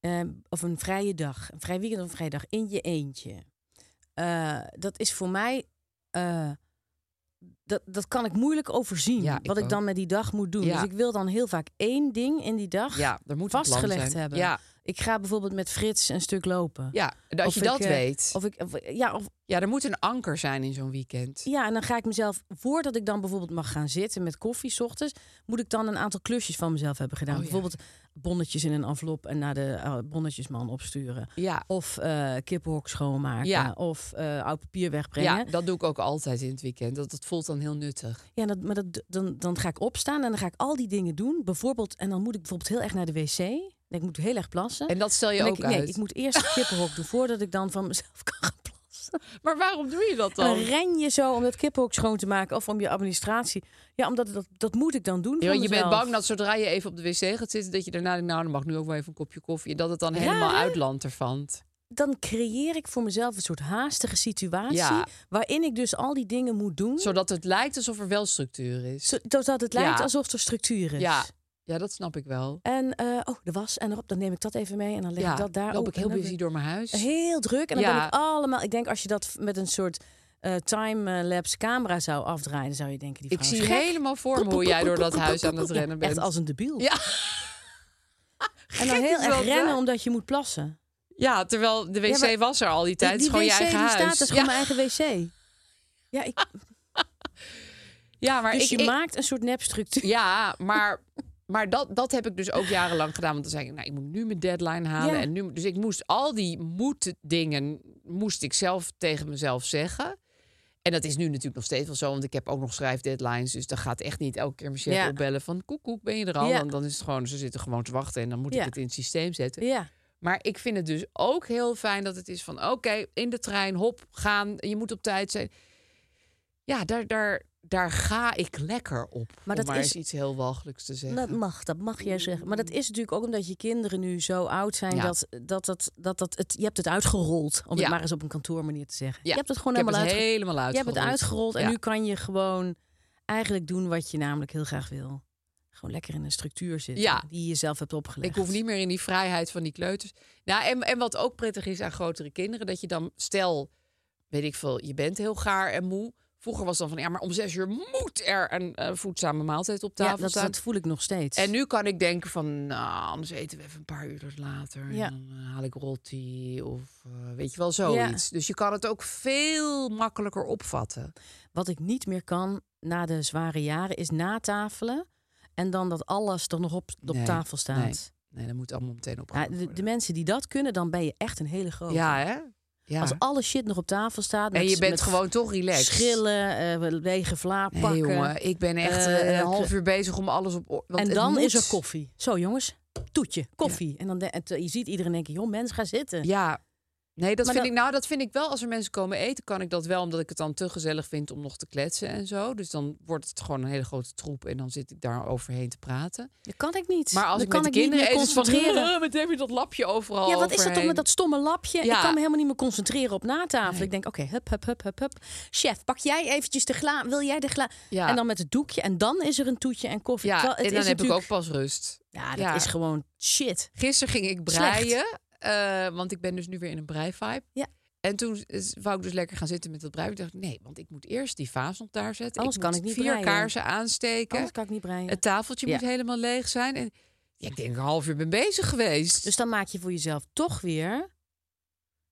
Speaker 2: Eh, of een vrije dag. Een vrij weekend of een vrije dag in je eentje. Eh, dat is voor mij. eh, dat, dat kan ik moeilijk overzien.
Speaker 1: Ja, ik
Speaker 2: wat ik
Speaker 1: ook.
Speaker 2: dan met die dag moet doen.
Speaker 1: Ja.
Speaker 2: Dus ik wil dan heel vaak één ding in die dag
Speaker 1: Ja, er moet een plan
Speaker 2: vastgelegd
Speaker 1: zijn.
Speaker 2: hebben.
Speaker 1: Ja.
Speaker 2: Ik ga bijvoorbeeld met Frits een stuk lopen.
Speaker 1: Ja, dat
Speaker 2: Of
Speaker 1: je
Speaker 2: ik,
Speaker 1: dat
Speaker 2: eh,
Speaker 1: weet.
Speaker 2: Of ik, of- ja, of,
Speaker 1: ja, er moet een anker zijn in zo'n weekend.
Speaker 2: ja, en dan ga ik mezelf, voordat ik dan bijvoorbeeld mag gaan zitten met koffie 's ochtends, moet ik dan een aantal klusjes van mezelf hebben gedaan.
Speaker 1: Oh, ja.
Speaker 2: bijvoorbeeld bonnetjes in een envelop en naar de eh, bonnetjesman opsturen.
Speaker 1: Ja.
Speaker 2: Of eh kippenhok schoonmaken.
Speaker 1: Ja.
Speaker 2: Of eh, oud papier wegbrengen.
Speaker 1: Ja,
Speaker 2: Ja,
Speaker 1: dat doe ik ook altijd in het weekend. Dat, dat voelt dan heel nuttig.
Speaker 2: dat, maar dat, dan, dan ga ik opstaan en dan ga ik al die dingen doen. Bijvoorbeeld, en dan moet ik bijvoorbeeld heel erg naar de wc. Nee, ik moet heel erg plassen.
Speaker 1: En dat stel je
Speaker 2: Dan
Speaker 1: ook
Speaker 2: denk ik, nee,
Speaker 1: uit.
Speaker 2: ik moet eerst het kippenhok doen voordat ik dan van mezelf (laughs) kan gaan plassen.
Speaker 1: Maar waarom doe je dat
Speaker 2: En dan
Speaker 1: dan?
Speaker 2: ren je zo om dat kippenhok schoon te maken of om je administratie. Ja, omdat dat, dat moet ik dan doen.
Speaker 1: Ja,
Speaker 2: voor
Speaker 1: want je bent
Speaker 2: mezelf.
Speaker 1: bang dat zodra je even op de wc gaat zitten, dat je daarna denkt, nou, dan mag ik nu ook wel even een kopje koffie. En dat het dan
Speaker 2: Raar,
Speaker 1: helemaal
Speaker 2: hè?
Speaker 1: uitlandt ervan.
Speaker 2: Dan creëer ik voor mezelf een soort haastige situatie.
Speaker 1: Ja.
Speaker 2: Waarin ik dus al die dingen moet doen.
Speaker 1: Zodat het lijkt alsof er wel structuur is.
Speaker 2: Zodat het
Speaker 1: Ja.
Speaker 2: lijkt alsof er structuur is.
Speaker 1: Ja. ja, dat snap ik wel.
Speaker 2: En eh, oh, de was en erop, dan neem ik dat even mee en dan leg
Speaker 1: ja,
Speaker 2: ik dat daar
Speaker 1: loop
Speaker 2: op.
Speaker 1: ik
Speaker 2: en
Speaker 1: heel
Speaker 2: dan
Speaker 1: busy door mijn huis.
Speaker 2: Heel druk en dan
Speaker 1: Ja.
Speaker 2: ben ik allemaal. Ik denk als je dat met een soort eh time-lapse camera zou afdraaien, dan zou je denken die
Speaker 1: ik
Speaker 2: vrouw
Speaker 1: zie
Speaker 2: is gek.
Speaker 1: helemaal voor me hoe jij door dat huis aan het rennen bent.
Speaker 2: Echt als een
Speaker 1: (laughs)
Speaker 2: debiel.
Speaker 1: Ja.
Speaker 2: En dan
Speaker 1: Gek
Speaker 2: heel
Speaker 1: is dat,
Speaker 2: erg
Speaker 1: hè?
Speaker 2: rennen omdat je moet plassen.
Speaker 1: Ja, terwijl de wc
Speaker 2: Ja, maar
Speaker 1: was er al die tijd. Het is
Speaker 2: die
Speaker 1: gewoon
Speaker 2: wc
Speaker 1: je eigen
Speaker 2: die
Speaker 1: huis.
Speaker 2: staat, dat is
Speaker 1: ja.
Speaker 2: gewoon mijn eigen wc. Ja, ik,
Speaker 1: ja, maar
Speaker 2: dus
Speaker 1: ik,
Speaker 2: je
Speaker 1: ik-
Speaker 2: maakt een soort nepstructuur.
Speaker 1: Ja, maar, maar dat, dat heb ik dus ook jarenlang gedaan. Want dan zei ik, nou, ik moet nu mijn deadline halen.
Speaker 2: Ja.
Speaker 1: En nu, dus ik moest al die moet-dingen moest ik zelf tegen mezelf zeggen. En dat is nu natuurlijk nog steeds wel zo, want ik heb ook nog schrijfdeadlines. Dus dan gaat echt niet elke keer mijn chef
Speaker 2: Ja.
Speaker 1: opbellen van koek, koek, ben je er al?
Speaker 2: Ja.
Speaker 1: Want dan is het gewoon, ze zitten gewoon te wachten en dan moet ik
Speaker 2: Ja.
Speaker 1: het in het systeem zetten.
Speaker 2: Ja.
Speaker 1: Maar ik vind het dus ook heel fijn dat het is van... oké, in de trein, hop, gaan, je moet op tijd zijn. Ja, daar, daar, daar ga ik lekker op. Maar dat is iets heel walgelijks te zeggen.
Speaker 2: Dat mag, dat mag jij zeggen. Maar dat is natuurlijk ook omdat je kinderen nu zo oud zijn
Speaker 1: Ja.
Speaker 2: dat, dat, dat, dat, dat het, je hebt het uitgerold. Om
Speaker 1: Ja.
Speaker 2: het maar eens op een kantoormanier te zeggen.
Speaker 1: Ja,
Speaker 2: Je hebt het gewoon
Speaker 1: ik heb
Speaker 2: helemaal,
Speaker 1: het
Speaker 2: uitge-
Speaker 1: helemaal
Speaker 2: Je hebt het
Speaker 1: uitgerold.
Speaker 2: uitgerold en
Speaker 1: Ja.
Speaker 2: nu kan je gewoon eigenlijk doen wat je namelijk heel graag wil. Gewoon lekker in een structuur zitten
Speaker 1: Ja.
Speaker 2: die je zelf hebt opgelegd.
Speaker 1: Ik hoef niet meer in die vrijheid van die kleuters. Nou, en, en wat ook prettig is aan grotere kinderen, dat je dan, stel, weet ik veel, je bent heel gaar en moe. Vroeger was dan van, ja, maar om zes uur moet er een eh, voedzame maaltijd op
Speaker 2: ja,
Speaker 1: tafel
Speaker 2: dat,
Speaker 1: staan.
Speaker 2: dat voel ik nog steeds.
Speaker 1: En nu kan ik denken van, nou, anders eten we even een paar uur later.
Speaker 2: Ja.
Speaker 1: En dan eh, haal ik rotti of eh, weet je wel, zoiets. Dus je kan het ook veel makkelijker opvatten.
Speaker 2: Wat ik niet meer kan na de zware jaren is natafelen. En dan dat alles er nog op, op
Speaker 1: Nee,
Speaker 2: tafel staat.
Speaker 1: Nee, nee dat moet allemaal meteen op.
Speaker 2: Ja, de, de mensen die dat kunnen, dan ben je echt een hele grote.
Speaker 1: ja, hè? Ja.
Speaker 2: Als alle shit nog op tafel staat.
Speaker 1: en
Speaker 2: met-
Speaker 1: je bent
Speaker 2: met
Speaker 1: gewoon toch relaxed.
Speaker 2: Schillen, eh, lege vla
Speaker 1: Nee,
Speaker 2: pakken.
Speaker 1: jongen, ik ben echt eh,
Speaker 2: eh,
Speaker 1: een half uur bezig om alles op orde. want
Speaker 2: en
Speaker 1: het
Speaker 2: dan
Speaker 1: moet.
Speaker 2: is er koffie. Zo jongens, toetje, koffie. En dan de- en te- je ziet iedereen denken, joh, mens, ga zitten.
Speaker 1: Ja. Nee, dat
Speaker 2: Maar
Speaker 1: vind
Speaker 2: dan-
Speaker 1: ik nou, dat vind ik wel. Als er mensen komen eten, kan ik dat wel, omdat ik het dan te gezellig vind om nog te kletsen en zo. Dus dan wordt het gewoon een hele grote troep en dan zit ik daar overheen te praten.
Speaker 2: Dat kan ik niet.
Speaker 1: Maar als
Speaker 2: dan
Speaker 1: ik
Speaker 2: kan
Speaker 1: met
Speaker 2: ik
Speaker 1: de kinderen
Speaker 2: niet meer
Speaker 1: eet, is het van, (laughs)
Speaker 2: concentreren.
Speaker 1: "Eh, wat heb je dat lapje overal
Speaker 2: Ja, wat is dat toch
Speaker 1: overheen?"
Speaker 2: met dat stomme lapje?
Speaker 1: Ja.
Speaker 2: Ik kan me helemaal niet meer concentreren op natafel.
Speaker 1: Nee.
Speaker 2: Ik denk, oké, hup, hup, hup, hup, hup. Chef, pak jij eventjes de gla. Wil jij de gla?
Speaker 1: Ja.
Speaker 2: En dan met het doekje. En dan is er een toetje en koffie.
Speaker 1: Ja,
Speaker 2: Terwijl het
Speaker 1: en dan
Speaker 2: is
Speaker 1: heb
Speaker 2: natuurlijk-
Speaker 1: ik ook pas rust.
Speaker 2: Ja, dat
Speaker 1: Ja.
Speaker 2: is gewoon shit.
Speaker 1: Gisteren ging ik
Speaker 2: Slecht.
Speaker 1: breien, eh, want ik ben dus nu weer in een breivibe.
Speaker 2: Ja.
Speaker 1: En toen is- wou ik dus lekker gaan zitten met dat breien. Ik dacht, nee, want ik moet eerst die vaas nog daar zetten.
Speaker 2: Anders kan
Speaker 1: moet
Speaker 2: ik niet
Speaker 1: vier
Speaker 2: breien.
Speaker 1: kaarsen aansteken.
Speaker 2: Anders kan ik niet breien.
Speaker 1: Het tafeltje
Speaker 2: Ja.
Speaker 1: moet helemaal leeg zijn. En ja, ik denk een half uur ben bezig geweest.
Speaker 2: Dus dan maak je voor jezelf toch weer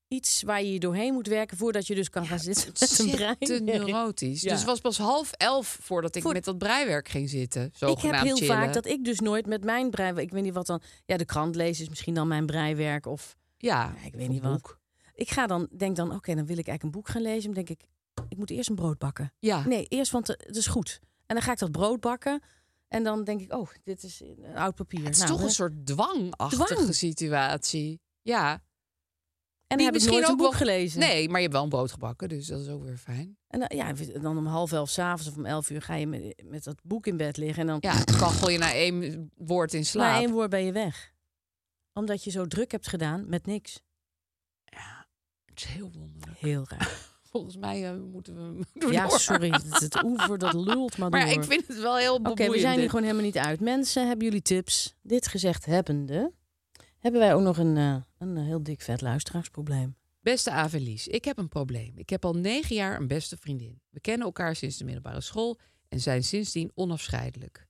Speaker 2: iets waar je je doorheen moet werken voordat je dus kan gaan
Speaker 1: (laughs)
Speaker 2: zitten
Speaker 1: Het
Speaker 2: met een
Speaker 1: zit te
Speaker 2: breinwerk.
Speaker 1: neurotisch.
Speaker 2: Ja.
Speaker 1: Dus het was pas half elf voordat ik
Speaker 2: Voor-
Speaker 1: met dat breiwerk ging zitten.
Speaker 2: Ik heb
Speaker 1: zogenaamd
Speaker 2: heel
Speaker 1: chillen.
Speaker 2: vaak dat ik dus nooit met mijn breiwerk... Ik weet niet wat dan... Ja, de krant lezen is misschien dan mijn breiwerk of...
Speaker 1: Ja,
Speaker 2: Ja, ik weet niet wat.
Speaker 1: boek.
Speaker 2: Ik ga dan, denk dan, oké, dan wil ik eigenlijk een boek gaan lezen. Dan denk ik, ik moet eerst een brood bakken.
Speaker 1: Ja,
Speaker 2: Nee, eerst, want eh, het is goed. En dan ga ik dat brood bakken. En dan denk ik, oh, dit is een oud papier.
Speaker 1: het is
Speaker 2: Nou,
Speaker 1: toch
Speaker 2: hè.
Speaker 1: een soort dwangachtige
Speaker 2: Dwang.
Speaker 1: situatie. Ja.
Speaker 2: En
Speaker 1: die
Speaker 2: dan heb ik
Speaker 1: misschien
Speaker 2: nooit een
Speaker 1: ook
Speaker 2: boek
Speaker 1: wel-
Speaker 2: gelezen.
Speaker 1: Nee, maar je hebt wel een brood gebakken, dus dat is ook weer fijn.
Speaker 2: En dan, ja, dan om half elf s'avonds of om elf uur ga je met, met dat boek in bed liggen. En dan
Speaker 1: Ja, kachel je na één woord in slaap.
Speaker 2: na één woord ben je weg. Omdat je zo druk hebt gedaan met niks.
Speaker 1: Het is heel wonderlijk.
Speaker 2: Heel raar.
Speaker 1: (laughs) Volgens mij eh, moeten we hem (laughs)
Speaker 2: ja,
Speaker 1: door.
Speaker 2: sorry. Het, het oever, dat lult maar
Speaker 1: (laughs)
Speaker 2: door.
Speaker 1: Maar ja, ik vind het wel heel
Speaker 2: Oké,
Speaker 1: boeiend.
Speaker 2: we zijn hier gewoon helemaal niet uit. Mensen, hebben jullie tips? Dit gezegd hebbende, hebben wij ook nog een, eh, een heel dik vet luisteraarsprobleem.
Speaker 1: Beste Avelies, ik heb een probleem. Ik heb al negen jaar een beste vriendin. We kennen elkaar sinds de middelbare school en zijn sindsdien onafscheidelijk.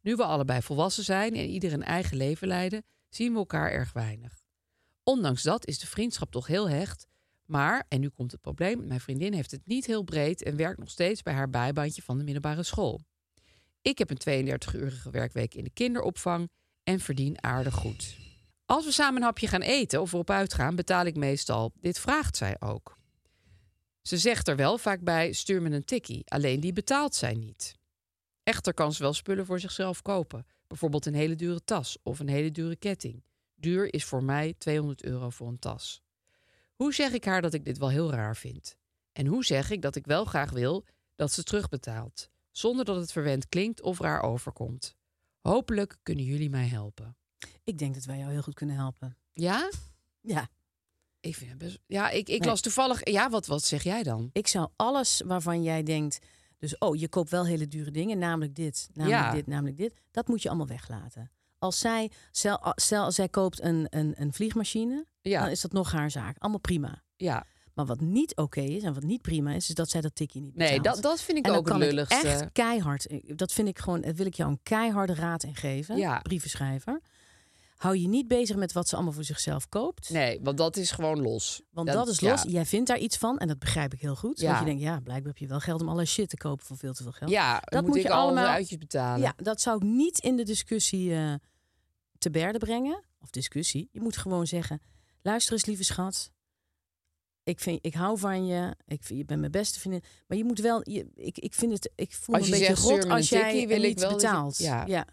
Speaker 1: Nu we allebei volwassen zijn en ieder een eigen leven leiden, zien we elkaar erg weinig. Ondanks dat is de vriendschap toch heel hecht. Maar, en nu komt het probleem, mijn vriendin heeft het niet heel breed en werkt nog steeds bij haar bijbaantje van de middelbare school. Ik heb een 32-urige werkweek in de kinderopvang en verdien aardig goed. Als we samen een hapje gaan eten of erop uitgaan, betaal ik meestal. Dit vraagt zij ook. Ze zegt er wel vaak bij: stuur me een tikkie. Alleen die betaalt zij niet. Echter kan ze wel spullen voor zichzelf kopen. Bijvoorbeeld een hele dure tas of een hele dure ketting. Duur is voor mij 200 euro voor een tas. Hoe zeg ik haar dat ik dit wel heel raar vind? En hoe zeg ik dat ik wel graag wil dat ze terugbetaalt, zonder dat het verwend klinkt of raar overkomt? Hopelijk kunnen jullie mij helpen.
Speaker 2: Ik denk dat wij jou heel goed kunnen helpen.
Speaker 1: Ja?
Speaker 2: Ja.
Speaker 1: Ik vind het best... Ja, ik, ik
Speaker 2: Nee.
Speaker 1: las toevallig... Ja, wat, wat zeg jij dan?
Speaker 2: Ik zou alles waarvan jij denkt, dus oh, je koopt wel hele dure dingen, namelijk dit, namelijk
Speaker 1: Ja.
Speaker 2: dit, namelijk dit, dat moet je allemaal weglaten. Als zij, stel, stel als zij koopt een, een, een vliegmachine,
Speaker 1: Ja.
Speaker 2: dan is dat nog haar zaak. Allemaal prima.
Speaker 1: Ja.
Speaker 2: Maar wat niet oké is en wat niet prima is, is dat zij dat tikje niet betaalt.
Speaker 1: Nee, dat, dat vind ik
Speaker 2: en dan
Speaker 1: ook het
Speaker 2: kan
Speaker 1: lulligste.
Speaker 2: Ik echt keihard. eh, Dat vind ik gewoon. Dat wil ik jou een keiharde raad in geven.
Speaker 1: Ja.
Speaker 2: Brievenschrijver. Hou je niet bezig met wat ze allemaal voor zichzelf koopt.
Speaker 1: Nee, want dat is gewoon los.
Speaker 2: Want dat, is los.
Speaker 1: Ja.
Speaker 2: Jij vindt daar iets van. En dat begrijp ik heel goed.
Speaker 1: Ja.
Speaker 2: Dat je denkt, ja, blijkbaar heb je wel geld om allerlei shit te kopen voor veel te veel geld.
Speaker 1: Ja, dat moet, ik allemaal uitjes betalen.
Speaker 2: Ja, dat zou ik niet in de discussie eh, te berden brengen. Of discussie. Je moet gewoon zeggen: luister eens, lieve schat. Ik, vind, ik hou van je. Ik, vind- je bent mijn beste vriendin. Maar je moet wel. Je, ik, ik, vind het, ik voel
Speaker 1: Als
Speaker 2: me
Speaker 1: je
Speaker 2: een beetje
Speaker 1: zegt, "Stuur
Speaker 2: rot
Speaker 1: me
Speaker 2: als
Speaker 1: een
Speaker 2: jij
Speaker 1: tikkie", wil
Speaker 2: er
Speaker 1: ik
Speaker 2: niet
Speaker 1: wel dat je-
Speaker 2: betaalt.
Speaker 1: ja.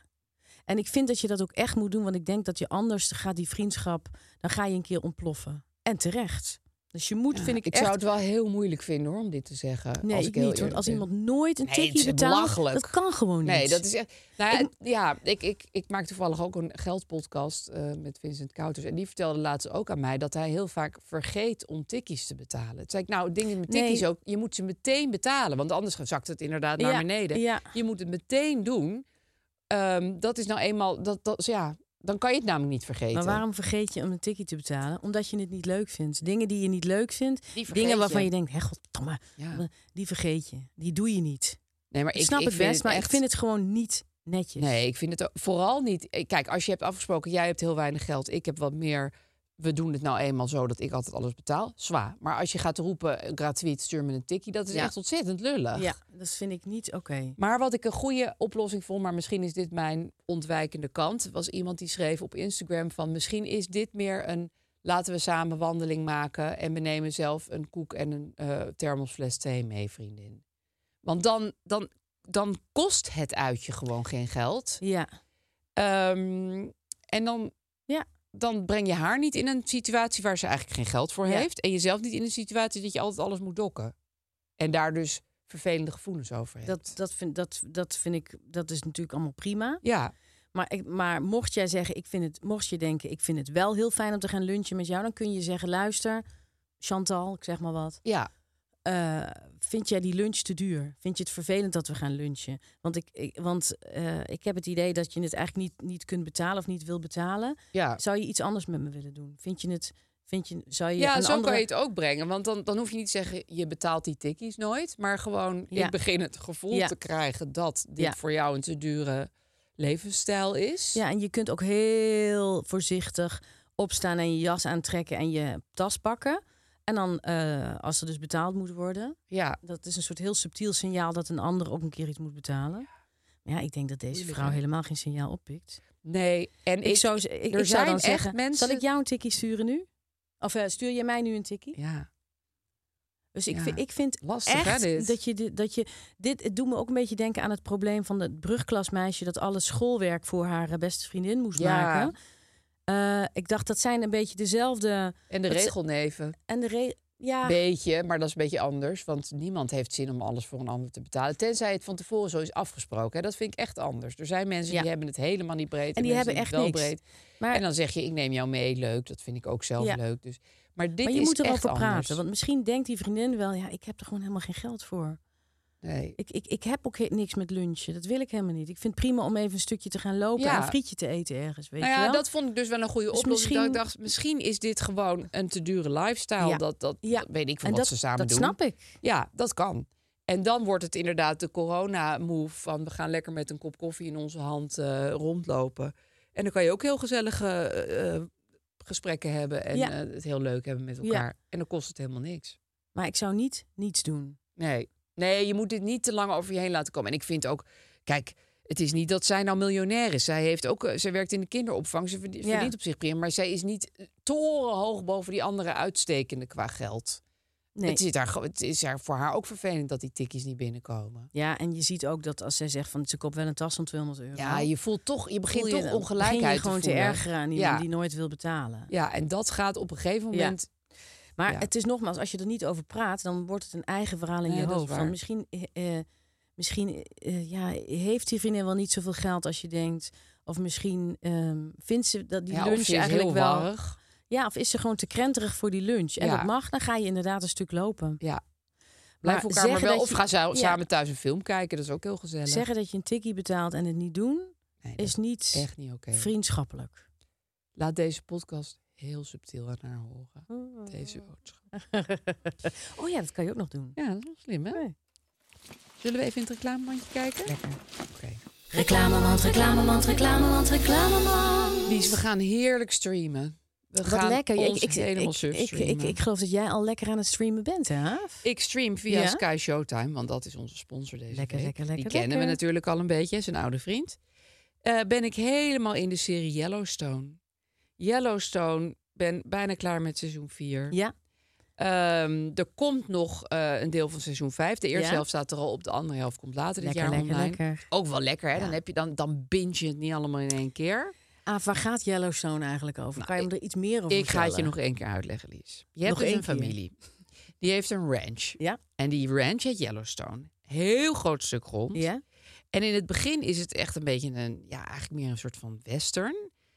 Speaker 2: En ik vind dat je dat ook echt moet doen. Want ik denk dat je anders gaat die vriendschap. Dan ga je een keer ontploffen. En terecht. Dus je moet,
Speaker 1: Ja,
Speaker 2: vind ik,
Speaker 1: ik
Speaker 2: echt...
Speaker 1: zou het wel heel moeilijk vinden hoor, om dit te zeggen.
Speaker 2: Nee,
Speaker 1: als ik,
Speaker 2: ik,
Speaker 1: heel
Speaker 2: niet. Want
Speaker 1: eerlijk
Speaker 2: als
Speaker 1: ben.
Speaker 2: iemand nooit een
Speaker 1: Nee,
Speaker 2: tikkie
Speaker 1: het is
Speaker 2: betaalt,
Speaker 1: belachelijk.
Speaker 2: dat kan gewoon niet.
Speaker 1: Nee, dat is echt. Nou ja,
Speaker 2: Ik-
Speaker 1: het- ja, ik, ik, ik maak toevallig ook een geldpodcast eh, met Vincent Kouters. En die vertelde laatst ook aan mij dat hij heel vaak vergeet om tikkies te betalen. Toen zei ik, nou, dingen met
Speaker 2: Nee.
Speaker 1: tikkies ook, je moet ze meteen betalen. Want anders zakt het inderdaad naar
Speaker 2: Ja,
Speaker 1: beneden.
Speaker 2: ja.
Speaker 1: Je moet het meteen doen. Ehm, dat is nou eenmaal, dat, dat, ja, dan kan je het namelijk niet vergeten.
Speaker 2: Maar waarom vergeet je om een tikkie te betalen? Omdat je het niet leuk vindt. Dingen die je niet leuk vindt,
Speaker 1: Die vergeet
Speaker 2: dingen waarvan
Speaker 1: je.
Speaker 2: je denkt, hè, goddamme,
Speaker 1: Ja.
Speaker 2: die vergeet je. Die doe je niet.
Speaker 1: Nee, maar
Speaker 2: Ik, snap het
Speaker 1: vind
Speaker 2: best, maar ik
Speaker 1: echt-
Speaker 2: vind het gewoon niet netjes.
Speaker 1: Nee, ik vind het ook- vooral niet. eh, Kijk, als je hebt afgesproken, jij hebt heel weinig geld, ik heb wat meer. We doen het nou eenmaal zo dat ik altijd alles betaal. Zwaar. Maar als je gaat roepen, eh, gratuit, stuur me een tikkie, dat is
Speaker 2: Ja.
Speaker 1: echt ontzettend lullig.
Speaker 2: Ja, dat vind ik niet oké.
Speaker 1: Maar wat ik een goede oplossing vond, maar misschien is dit mijn ontwijkende kant, was iemand die schreef op Instagram van misschien is dit meer een laten we samen wandeling maken en we nemen zelf een koek en een eh, thermosfles thee mee, vriendin. Want dan, dan, dan kost het uitje gewoon geen geld.
Speaker 2: Ja,
Speaker 1: Ehm, en dan,
Speaker 2: Ja.
Speaker 1: dan breng je haar niet in een situatie waar ze eigenlijk geen geld voor
Speaker 2: Ja.
Speaker 1: heeft. En jezelf niet in een situatie dat je altijd alles moet dokken. En daar dus vervelende gevoelens over hebt.
Speaker 2: dat, dat, vind, dat, dat vind ik, dat is natuurlijk allemaal prima.
Speaker 1: Ja,
Speaker 2: Maar, ik, maar mocht jij zeggen, ik vind het, mocht je denken, ik vind het wel heel fijn om te gaan lunchen met jou, dan kun je zeggen, luister, Chantal, ik zeg maar wat.
Speaker 1: ja.
Speaker 2: eh, vind jij die lunch te duur? Vind je het vervelend dat we gaan lunchen? Want ik, ik- want, eh, ik heb het idee dat je het eigenlijk niet, niet kunt betalen of niet wil betalen.
Speaker 1: Ja,
Speaker 2: Zou je iets anders met me willen doen? Vind je het? Vind je, zou je
Speaker 1: ja
Speaker 2: een
Speaker 1: zo
Speaker 2: andere...
Speaker 1: kan je het ook brengen. Want dan, dan hoef je niet te zeggen, je betaalt die tikkies nooit. Maar gewoon,
Speaker 2: Ja.
Speaker 1: ik begin het gevoel
Speaker 2: Ja.
Speaker 1: te krijgen dat dit
Speaker 2: Ja.
Speaker 1: voor jou een te dure levensstijl is.
Speaker 2: Ja, en je kunt ook heel voorzichtig opstaan en je jas aantrekken en je tas pakken. En dan eh, als er dus betaald moet worden,
Speaker 1: Ja,
Speaker 2: dat is een soort heel subtiel signaal dat een ander ook een keer iets moet betalen. Ja, ik denk dat deze
Speaker 1: Moeilijk,
Speaker 2: vrouw
Speaker 1: hè?
Speaker 2: helemaal geen signaal oppikt.
Speaker 1: nee. En
Speaker 2: Ik, zou, ze- ik, ik zou
Speaker 1: zijn
Speaker 2: dan
Speaker 1: echt
Speaker 2: zeggen,
Speaker 1: mensen-
Speaker 2: zal ik jou een tikkie sturen nu? Of eh, stuur je mij nu een tikkie?
Speaker 1: Ja,
Speaker 2: Dus ik,
Speaker 1: Ja.
Speaker 2: vind, ik vind
Speaker 1: lastig hè
Speaker 2: echt
Speaker 1: dit?
Speaker 2: dat je dit, dat je dit het doet me ook een beetje denken aan het probleem van het brugklasmeisje dat alle schoolwerk voor haar eh, beste vriendin moest
Speaker 1: Ja.
Speaker 2: maken. Eh, ik dacht dat zijn een beetje dezelfde
Speaker 1: En de
Speaker 2: dat ze-
Speaker 1: regelneven.
Speaker 2: en de re- ja
Speaker 1: Beetje, maar dat is een beetje anders. Want niemand heeft zin om alles voor een ander te betalen. Tenzij het van tevoren zo is afgesproken. Hè. Dat vind ik echt anders. Er zijn mensen
Speaker 2: Ja.
Speaker 1: die hebben het helemaal niet breed.
Speaker 2: en die
Speaker 1: mensen
Speaker 2: hebben echt
Speaker 1: het wel
Speaker 2: niks.
Speaker 1: breed.
Speaker 2: Maar,
Speaker 1: En dan zeg je, ik neem jou mee, leuk. Dat vind ik ook zelf
Speaker 2: Ja.
Speaker 1: leuk. Dus, maar dit
Speaker 2: maar je
Speaker 1: is
Speaker 2: moet er wel
Speaker 1: echt
Speaker 2: voor praten,
Speaker 1: anders.
Speaker 2: want misschien denkt die vriendin wel ja ik heb er gewoon helemaal geen geld voor.
Speaker 1: Nee.
Speaker 2: Ik, ik, ik heb ook he- niks met lunchen. Dat wil ik helemaal niet. Ik vind het prima om even een stukje te gaan lopen
Speaker 1: Ja.
Speaker 2: en een frietje te eten ergens, weet
Speaker 1: Nou
Speaker 2: je
Speaker 1: ja,
Speaker 2: wel?
Speaker 1: dat vond ik dus wel een goede
Speaker 2: Dus
Speaker 1: oplossing. dat
Speaker 2: misschien-
Speaker 1: ik dacht, misschien is dit gewoon een te dure lifestyle.
Speaker 2: Ja.
Speaker 1: Dat, dat,
Speaker 2: Ja.
Speaker 1: dat weet ik van
Speaker 2: en
Speaker 1: wat
Speaker 2: dat,
Speaker 1: ze samen
Speaker 2: dat
Speaker 1: doen.
Speaker 2: snap ik.
Speaker 1: Ja, dat kan. En dan wordt het inderdaad de corona-move van we gaan lekker met een kop koffie in onze hand eh, rondlopen. En dan kan je ook heel gezellige eh, eh, gesprekken hebben en
Speaker 2: Ja.
Speaker 1: eh, het heel leuk hebben met
Speaker 2: Ja.
Speaker 1: elkaar. En dan kost het helemaal niks.
Speaker 2: Maar ik zou niet niets doen.
Speaker 1: Nee. nee, je moet dit niet te lang over je heen laten komen. En ik vind ook, kijk, het is niet dat zij nou miljonair is. Zij, heeft ook, eh, zij werkt in de kinderopvang, ze verdient,
Speaker 2: Ja.
Speaker 1: verdient op zich prima. Maar zij is niet eh, torenhoog boven die andere uitstekende qua geld.
Speaker 2: Nee.
Speaker 1: Het, zit haar, ge- het is haar, voor haar ook vervelend dat die tikkies niet binnenkomen.
Speaker 2: Ja, en je ziet ook dat als zij zegt van ze koopt wel een tas van 200 euro.
Speaker 1: Ja, je voelt toch, je begint
Speaker 2: voel
Speaker 1: toch
Speaker 2: dan-
Speaker 1: ongelijkheid
Speaker 2: begin je gewoon te,
Speaker 1: voelen.
Speaker 2: ergeren aan iemand
Speaker 1: ja.
Speaker 2: die nooit wil betalen.
Speaker 1: Ja, en dat gaat op een gegeven
Speaker 2: Ja.
Speaker 1: moment.
Speaker 2: Maar
Speaker 1: Ja.
Speaker 2: het is nogmaals, als je er niet over praat, dan wordt het een eigen verhaal in
Speaker 1: Nee,
Speaker 2: je
Speaker 1: dat is
Speaker 2: hoofd. Van
Speaker 1: waar.
Speaker 2: misschien eh, eh, misschien eh, ja, heeft die vriendin wel niet zoveel geld als je denkt. Of misschien ehm, vindt ze dat die
Speaker 1: Ja,
Speaker 2: lunch
Speaker 1: of ze is
Speaker 2: eigenlijk
Speaker 1: heel
Speaker 2: wel.
Speaker 1: warrig.
Speaker 2: Ja, of is ze gewoon te krenterig voor die lunch? En
Speaker 1: Ja.
Speaker 2: dat mag, dan ga je inderdaad een stuk lopen.
Speaker 1: Ja. Blijf
Speaker 2: Maar
Speaker 1: elkaar maar
Speaker 2: zeggen
Speaker 1: wel.
Speaker 2: dat
Speaker 1: Of
Speaker 2: je-
Speaker 1: ga zou-
Speaker 2: ja.
Speaker 1: samen thuis een film kijken. Dat is ook heel gezellig.
Speaker 2: Zeggen dat je een tikkie betaalt en het niet doen,
Speaker 1: Nee, dat
Speaker 2: is niet
Speaker 1: echt niet oké. (laughs)
Speaker 2: vriendschappelijk.
Speaker 1: Laat deze podcast heel subtiel aan haar horen. Deze boodschap.
Speaker 2: Oh ja, dat kan je ook nog doen.
Speaker 1: Ja, dat is wel slim, hè? Zullen we even in het reclamebandje kijken? Lekker. Oké.
Speaker 4: Reclamemand, reclamemand, reclamemand, reclamemand.
Speaker 1: Lies, we gaan heerlijk streamen. We
Speaker 2: Wat
Speaker 1: gaan
Speaker 2: lekker.
Speaker 1: Ons
Speaker 2: ik, ik,
Speaker 1: helemaal
Speaker 2: ik,
Speaker 1: surf
Speaker 2: ik, ik,
Speaker 1: streamen.
Speaker 2: ik geloof dat jij al lekker aan het streamen bent, hè? Haaf?
Speaker 1: Ik stream via
Speaker 2: Ja?
Speaker 1: Sky Showtime, want dat is onze sponsor deze
Speaker 2: Lekker,
Speaker 1: week.
Speaker 2: lekker, lekker,
Speaker 1: Die kennen we
Speaker 2: lekker.
Speaker 1: natuurlijk al een beetje, is een oude vriend. Eh, ben ik helemaal in de serie Yellowstone. Yellowstone, ben bijna klaar met seizoen 4.
Speaker 2: Ja.
Speaker 1: Ehm, er komt nog eh, een deel van seizoen 5. De eerste
Speaker 2: Ja.
Speaker 1: helft staat er al op, de andere helft komt later dit
Speaker 2: Lekker,
Speaker 1: jaar
Speaker 2: lekker,
Speaker 1: online.
Speaker 2: lekker.
Speaker 1: Ook wel lekker, hè? Dan, heb je dan, dan binge je het niet allemaal in één keer.
Speaker 2: Ah, waar gaat Yellowstone eigenlijk over? kan je me er iets meer over
Speaker 1: Nou, Ik ga het je
Speaker 2: vertellen?
Speaker 1: nog één keer uitleggen, Lies. Je hebt
Speaker 2: Nog
Speaker 1: dus
Speaker 2: één
Speaker 1: een
Speaker 2: keer.
Speaker 1: familie. Die heeft een ranch.
Speaker 2: Ja?
Speaker 1: En die ranch heet Yellowstone. Heel groot stuk grond.
Speaker 2: Ja?
Speaker 1: En in het begin is het echt een beetje een, ja, eigenlijk meer een soort van western.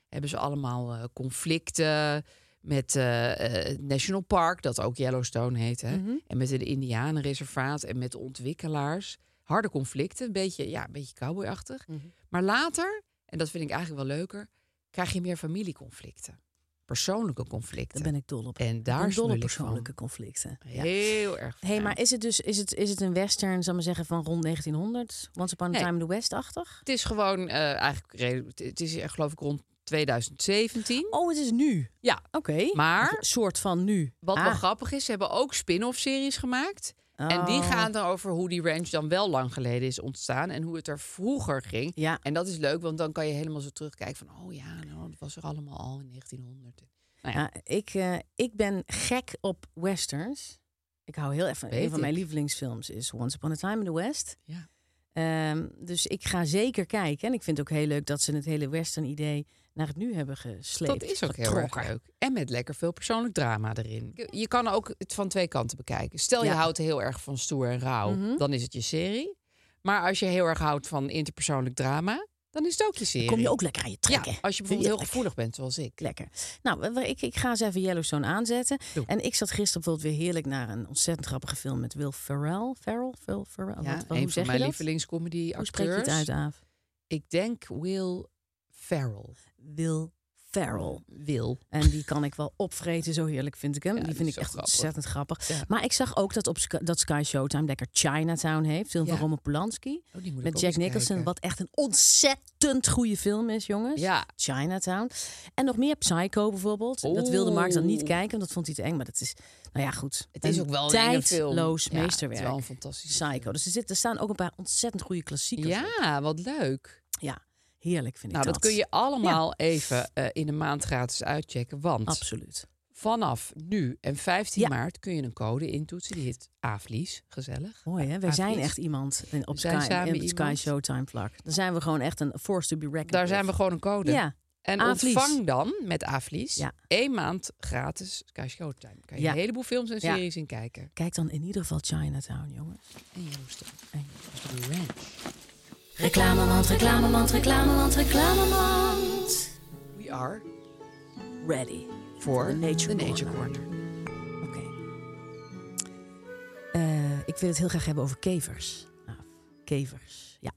Speaker 1: Hebben ze allemaal eh, conflicten met eh, eh, het National Park, dat ook Yellowstone heet. Hè?
Speaker 2: Mhm.
Speaker 1: En met de Indianenreservaat en met de ontwikkelaars. Harde conflicten, een beetje, ja, een beetje cowboyachtig.
Speaker 2: Mhm.
Speaker 1: Maar later, en dat vind ik eigenlijk wel leuker, krijg je meer familieconflicten. Persoonlijke conflicten.
Speaker 2: Daar ben ik dol op.
Speaker 1: En
Speaker 2: Ik
Speaker 1: daar
Speaker 2: ben dol
Speaker 1: smul
Speaker 2: op
Speaker 1: ik
Speaker 2: persoonlijke
Speaker 1: van.
Speaker 2: conflicten. Ja.
Speaker 1: Heel erg
Speaker 2: hey,
Speaker 1: fijn.
Speaker 2: maar is het dus is het, is het een western, zal ik maar zeggen, van rond 1900? Once Upon a
Speaker 1: Nee.
Speaker 2: Time in the West-achtig?
Speaker 1: Het is gewoon eh, eigenlijk, redelijk- het is eh, geloof ik rond 2017.
Speaker 2: Oh, het is nu.
Speaker 1: Ja,
Speaker 2: Oké.
Speaker 1: Maar-
Speaker 2: Een soort van nu.
Speaker 1: Wat
Speaker 2: Ah.
Speaker 1: wel grappig is, ze hebben ook spin-off series gemaakt. En die
Speaker 2: Oh.
Speaker 1: gaan dan over hoe die ranch dan wel lang geleden is ontstaan en hoe het er vroeger ging.
Speaker 2: Ja.
Speaker 1: En dat is leuk, want dan kan je helemaal zo terugkijken van, oh ja, nou, dat was er allemaal al in 1900. Nou ja,
Speaker 2: Ja, ik, eh, ik ben gek op westerns. Ik hou heel even.
Speaker 1: Weet
Speaker 2: een van mijn
Speaker 1: ik.
Speaker 2: lievelingsfilms is Once Upon a Time in the West.
Speaker 1: ja.
Speaker 2: Ehm, dus ik ga zeker kijken. En ik vind het ook heel leuk dat ze het hele western-idee naar het nu hebben gesleept.
Speaker 1: dat is ook heel erg
Speaker 2: getrokken.
Speaker 1: leuk. En met lekker veel persoonlijk drama erin. Je- Je kan ook het van twee kanten bekijken. Stel je
Speaker 2: Ja. Mhm.
Speaker 1: houdt heel erg van stoer en rauw, dan is het je serie. Maar als je heel erg houdt van interpersoonlijk drama, dan is het ook je serie.
Speaker 2: Kom je ook lekker aan je trekken.
Speaker 1: Ja, als je bijvoorbeeld heel
Speaker 2: Heerlijk.
Speaker 1: gevoelig bent, zoals ik.
Speaker 2: Lekker. Nou, we- we- ik, ik ga eens even Yellowstone aanzetten.
Speaker 1: Doe.
Speaker 2: En ik zat gisteren bijvoorbeeld weer heerlijk naar een ontzettend grappige film met Will Ferrell. Ferrell? Will Ferrell?
Speaker 1: Ja,
Speaker 2: Nou, Wat- wat-
Speaker 1: een
Speaker 2: hoe
Speaker 1: van
Speaker 2: zeg
Speaker 1: mijn
Speaker 2: je dat?
Speaker 1: lievelingscomedy
Speaker 2: Hoe spreek je het
Speaker 1: acteurs.
Speaker 2: uit, Aaf?
Speaker 1: Ik denk Will Ferrell. Oh,
Speaker 2: Will Ferrell.
Speaker 1: Wil.
Speaker 2: En die kan ik wel opvreten, zo heerlijk vind ik hem.
Speaker 1: Ja,
Speaker 2: die
Speaker 1: die
Speaker 2: vind
Speaker 1: is
Speaker 2: ik echt
Speaker 1: zo grappig.
Speaker 2: ontzettend grappig.
Speaker 1: Ja.
Speaker 2: Maar ik zag ook dat, op Sky, dat Sky Showtime lekker Chinatown heeft. Film
Speaker 1: Ja.
Speaker 2: van Roman Polanski.
Speaker 1: Oh, die moet ik
Speaker 2: met
Speaker 1: ook
Speaker 2: Jack
Speaker 1: eens
Speaker 2: Nicholson.
Speaker 1: kijken.
Speaker 2: Wat echt een ontzettend goede film is, jongens.
Speaker 1: Ja.
Speaker 2: Chinatown. En nog meer Psycho bijvoorbeeld. Dat wilde Mark dan niet
Speaker 1: Oeh.
Speaker 2: kijken, want dat vond hij te eng. Maar dat is, nou ja, goed.
Speaker 1: Het is ook wel een enge film.
Speaker 2: tijdloos
Speaker 1: Ja, het is
Speaker 2: meesterwerk.
Speaker 1: wel een fantastische
Speaker 2: Psycho.
Speaker 1: film.
Speaker 2: Dus er, zit, er staan ook een paar ontzettend goede klassiekers. op.
Speaker 1: Ja, wat leuk.
Speaker 2: ja. Heerlijk vind
Speaker 1: Nou,
Speaker 2: ik
Speaker 1: dat,
Speaker 2: dat.
Speaker 1: kun je allemaal even eh, in een maand gratis uitchecken. Want
Speaker 2: Absoluut.
Speaker 1: vanaf nu en 15
Speaker 2: Ja.
Speaker 1: maart kun je een code intoetsen. Die heet AFLIES. Gezellig.
Speaker 2: Mooi hè, wij
Speaker 1: Ah,
Speaker 2: zijn
Speaker 1: precies.
Speaker 2: echt iemand in- op
Speaker 1: We zijn
Speaker 2: Sky,
Speaker 1: samen
Speaker 2: in het Sky
Speaker 1: iemand.
Speaker 2: Showtime vlak. Dan zijn we gewoon echt een force to be reckoned
Speaker 1: Daar
Speaker 2: with.
Speaker 1: zijn we gewoon een code.
Speaker 2: Ja.
Speaker 1: En
Speaker 2: Avlies.
Speaker 1: ontvang dan met AFLIES
Speaker 2: Ja.
Speaker 1: één maand gratis Sky Showtime. Kan je
Speaker 2: Ja.
Speaker 1: een heleboel films en
Speaker 2: Ja.
Speaker 1: series in kijken.
Speaker 2: Kijk dan in ieder geval Chinatown, jongens.
Speaker 1: En Joost. En Joost Ranch.
Speaker 2: Reclamemand, reclamemand, reclamemand, reclamemand.
Speaker 1: We are
Speaker 2: Ready.
Speaker 1: voor
Speaker 2: The
Speaker 1: de
Speaker 2: Nature
Speaker 1: Nature, Corner.
Speaker 2: Oké. Eh, ik wil het heel graag hebben over kevers. Nou, kevers, ja.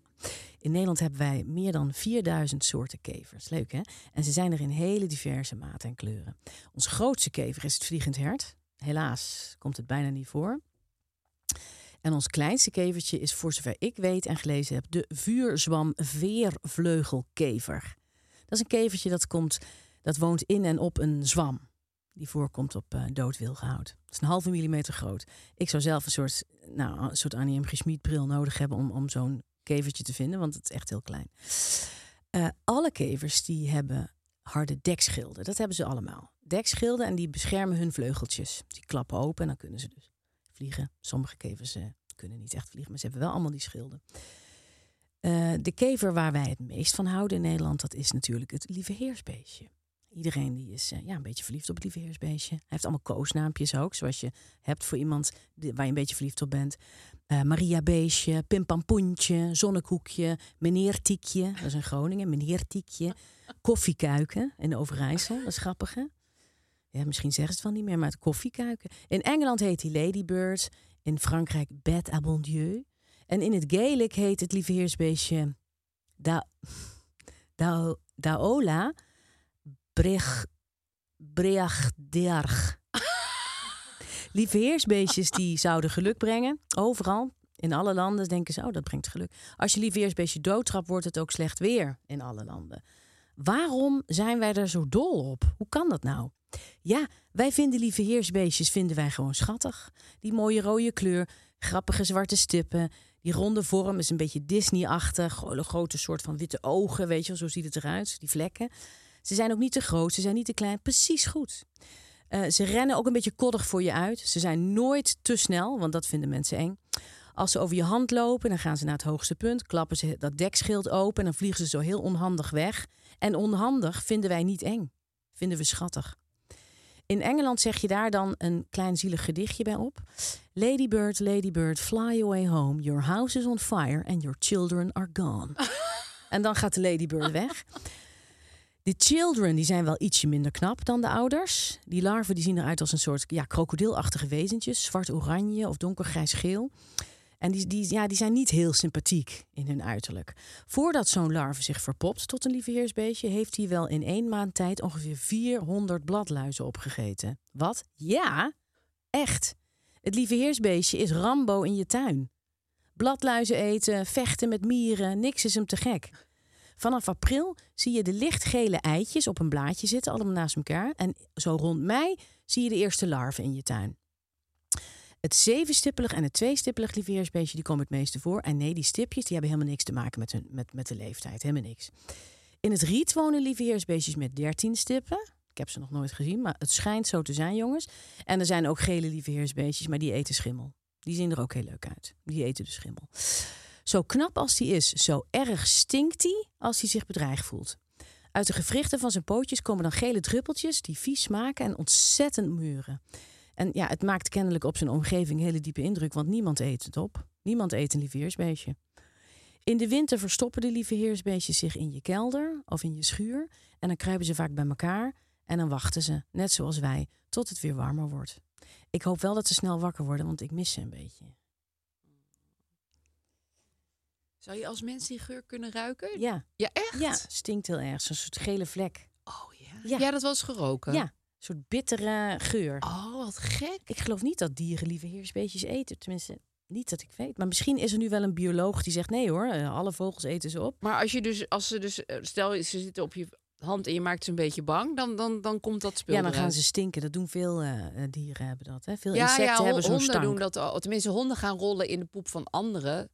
Speaker 2: In Nederland hebben wij meer dan 4000 soorten kevers. Leuk, hè? En ze zijn er in hele diverse maten en kleuren. Ons grootste kever is het vliegend hert. Helaas komt het bijna niet voor. En ons kleinste kevertje is, voor zover ik weet en gelezen heb, de vuurzwam veervleugelkever. Dat is een kevertje dat, komt, dat woont in en op een zwam die voorkomt op eh doodwilgehout. Het is een halve millimeter groot. Ik zou zelf een soort, nou, een soort Annie M. G. Schmid bril nodig hebben om, om zo'n kevertje te vinden, want het is echt heel klein. Eh, alle kevers die hebben harde dekschilden. Dat hebben ze allemaal. Dekschilden en die beschermen hun vleugeltjes. Die klappen open en dan kunnen ze dus vliegen. Sommige kevers eh, kunnen niet echt vliegen, maar ze hebben wel allemaal die schilden. Eh, de kever waar wij het meest van houden in Nederland, dat is natuurlijk het lieve heersbeestje. Iedereen die is eh, ja, een beetje verliefd op het lieveheersbeestje. Hij heeft allemaal koosnaampjes ook, zoals je hebt voor iemand die- waar je een beetje verliefd op bent. Eh Maria Beestje, Pimpampoentje, Zonnekoekje, Meneertiekje, dat is in Groningen, Meneertiekje. Koffiekuiken in Overijssel, dat is grappig hè? Ja, misschien zeggen ze het wel niet meer, maar het koffiekuiken. In Engeland heet hij Ladybird, in Frankrijk Bête à bon Dieu. En in het Gaelic heet het lieveheersbeestje da, (laughs) da, Daola. Brech, Breachdearg. Lieve heersbeestjes die zouden geluk brengen. Overal, in alle landen denken ze, oh dat brengt geluk. Als je lieve heersbeestje doodtrapt, wordt het ook slecht weer in alle landen. Waarom zijn wij daar zo dol op? Hoe kan dat nou? Ja, wij vinden lieve heersbeestjes vinden wij gewoon schattig. Die mooie rode kleur, grappige zwarte stippen, die ronde vorm is een beetje Disney-achtig. Gewoon Een grote soort van witte ogen, weet je wel, zo ziet het eruit, die vlekken. Ze zijn ook niet te groot, ze zijn niet te klein. Precies goed. Eh, ze rennen ook een beetje koddig voor je uit. Ze zijn nooit te snel, want dat vinden mensen eng. Als ze over je hand lopen, dan gaan ze naar het hoogste punt, klappen ze dat dekschild open en dan vliegen ze zo heel onhandig weg. En onhandig vinden wij niet eng, vinden we schattig. In Engeland zeg je daar dan een klein zielig gedichtje bij op. Ladybird, Ladybird, fly away home. Your house is on fire and your children are gone. en dan gaat de Ladybird weg. De children die zijn wel ietsje minder knap dan de ouders. Die larven die zien eruit als een soort ja, krokodilachtige wezentjes. Zwart-oranje of donkergrijs-geel. En die, die, ja, die zijn niet heel sympathiek in hun uiterlijk. Voordat zo'n larve zich verpopt tot een lieveheersbeestje... heeft hij wel in één maand tijd ongeveer 400 bladluizen opgegeten. Wat? Ja, echt. Het lieveheersbeestje is Rambo in je tuin. Bladluizen eten, vechten met mieren, niks is hem te gek. Vanaf april zie je de lichtgele eitjes op een blaadje zitten, allemaal naast elkaar. En zo rond mei zie je de eerste larven in je tuin. Het zevenstippelig en het tweestippelig lieveheersbeestje die komen het meeste voor. En nee, die stipjes die hebben helemaal niks te maken met, hun, met, met de leeftijd. Helemaal niks. In het riet wonen lieveheersbeestjes met 13 stippen. Ik heb ze nog nooit gezien, maar het schijnt zo te zijn, jongens. En er zijn ook gele lieveheersbeestjes, maar die eten schimmel. Die zien er ook heel leuk uit. Die eten de schimmel. Zo knap als hij is, zo erg stinkt hij als hij zich bedreigd voelt. Uit de gewrichten van zijn pootjes komen dan gele druppeltjes die vies smaken en ontzettend muren. En ja, het maakt kennelijk op zijn omgeving hele diepe indruk, want niemand eet het op. Niemand eet een lieveheersbeestje. In de winter verstoppen de lieveheersbeestjes zich in je kelder of in je schuur. En dan kruipen ze vaak bij elkaar en dan wachten ze, net zoals wij, tot het weer warmer wordt. Ik hoop wel dat ze snel wakker worden, want ik mis ze een beetje.
Speaker 1: Zou je als mens die geur kunnen ruiken?
Speaker 2: Ja.
Speaker 1: Ja, echt?
Speaker 2: Ja, stinkt heel erg. Zo'n soort gele vlek.
Speaker 1: Oh ja.
Speaker 2: Ja.
Speaker 1: Ja, dat was geroken.
Speaker 2: Ja, een soort bittere geur.
Speaker 1: Oh, wat gek.
Speaker 2: Ik geloof niet dat dieren lieve heersbeestjes eten. Tenminste, niet dat ik weet. Maar misschien is er nu wel een bioloog die zegt... nee hoor, eh, alle vogels eten ze op.
Speaker 1: Maar als je dus, als ze dus, eh, stel ze zitten op je hand en je maakt ze een beetje bang, dan, dan, dan komt dat spul
Speaker 2: Ja, dan
Speaker 1: eruit.
Speaker 2: gaan ze stinken. Dat doen veel eh, eh, dieren hebben dat. Hè? Veel
Speaker 1: ja,
Speaker 2: insecten
Speaker 1: ja, hon-
Speaker 2: hebben zo'n
Speaker 1: honden
Speaker 2: stank.
Speaker 1: doen dat al. Tenminste, honden gaan rollen in de poep van anderen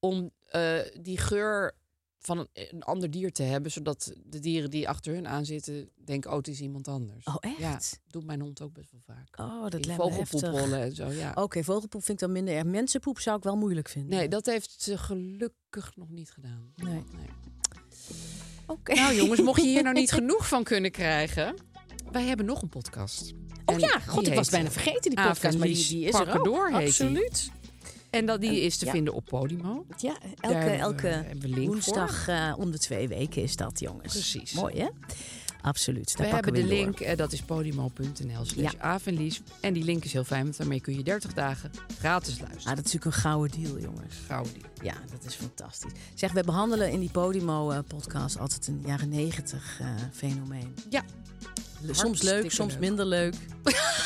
Speaker 1: om eh, die geur van een, een ander dier te hebben, zodat de dieren die achter hun aan zitten denken, oh, het is iemand anders.
Speaker 2: Oh,
Speaker 1: Ja,
Speaker 2: echt?
Speaker 1: doet mijn hond ook best wel vaak.
Speaker 2: Oh, dat
Speaker 1: In
Speaker 2: lijkt me
Speaker 1: vogelpoep
Speaker 2: heftig.
Speaker 1: rollen en zo, ja.
Speaker 2: Oké, vogelpoep vind ik dan minder erg. Mensenpoep zou ik wel moeilijk vinden.
Speaker 1: Nee, dat heeft ze gelukkig nog niet gedaan.
Speaker 2: Nee. Oké.
Speaker 1: Nou jongens, mocht
Speaker 2: (laughs)
Speaker 1: je hier nou niet genoeg van kunnen krijgen... Wij hebben nog een podcast.
Speaker 2: Oh
Speaker 1: En
Speaker 2: ja,
Speaker 1: die
Speaker 2: god, ik was
Speaker 1: heet
Speaker 2: bijna vergeten die
Speaker 1: Aaf en
Speaker 2: podcast. Maar die,
Speaker 1: Lies
Speaker 2: die is er ook.
Speaker 1: Parkendoor heet die.
Speaker 2: Absoluut.
Speaker 1: En dat die is te
Speaker 2: ja.
Speaker 1: vinden op Podimo.
Speaker 2: Ja,
Speaker 1: Daar
Speaker 2: elke,
Speaker 1: hebben we-
Speaker 2: elke
Speaker 1: hebben we link voor.
Speaker 2: woensdag eh, om de twee weken is dat, jongens.
Speaker 1: Precies.
Speaker 2: Mooi, hè? Absoluut.
Speaker 1: We
Speaker 2: Daar
Speaker 1: hebben de
Speaker 2: pakken we in door.
Speaker 1: link, eh, dat is podimo.nl slash
Speaker 2: Ja.
Speaker 1: avenlies. En die link is heel fijn, want daarmee kun je 30 dagen gratis
Speaker 2: Ah,
Speaker 1: luisteren.
Speaker 2: dat is natuurlijk een gouden deal, jongens.
Speaker 1: Gauw die.
Speaker 2: Ja, dat is fantastisch. Zeg, we behandelen in die Podimo-podcast altijd een jaren negentig eh, fenomeen.
Speaker 1: Ja,
Speaker 2: Le- soms
Speaker 1: Hartstikke
Speaker 2: leuk, soms
Speaker 1: leuk.
Speaker 2: minder (laughs) leuk.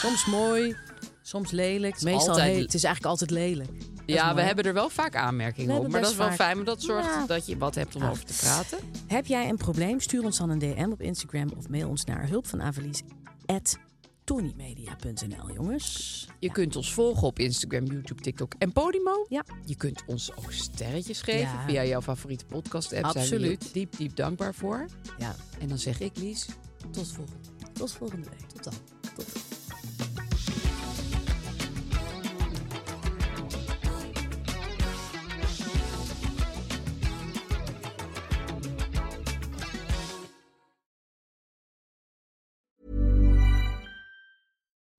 Speaker 2: soms mooi, soms lelijk. Meestal
Speaker 1: altijd-
Speaker 2: heel- Het is eigenlijk altijd lelijk. Dat is
Speaker 1: ja we
Speaker 2: mooi.
Speaker 1: hebben er wel vaak
Speaker 2: We
Speaker 1: aanmerkingen op.
Speaker 2: hebben
Speaker 1: Maar dat is
Speaker 2: best
Speaker 1: wel
Speaker 2: vaak-
Speaker 1: fijn, maar dat zorgt
Speaker 2: Ja.
Speaker 1: dat je wat hebt om
Speaker 2: Ah.
Speaker 1: over te praten.
Speaker 2: Heb jij een probleem? Stuur ons dan een DM op Instagram of mail ons naar hulpvanavelies@tonymedia.nl, jongens.
Speaker 1: Je kunt ons volgen op Instagram, YouTube, TikTok en Podimo.
Speaker 2: Ja.
Speaker 1: Je kunt ons ook sterretjes geven
Speaker 2: Ja.
Speaker 1: via jouw favoriete podcast-app. Zijn we
Speaker 2: Absoluut.
Speaker 1: je diep, diep dankbaar voor.
Speaker 2: Ja,
Speaker 1: En dan zeg ik, Lies, tot volgende
Speaker 2: tot volgende week. Tot dan. Tot dan.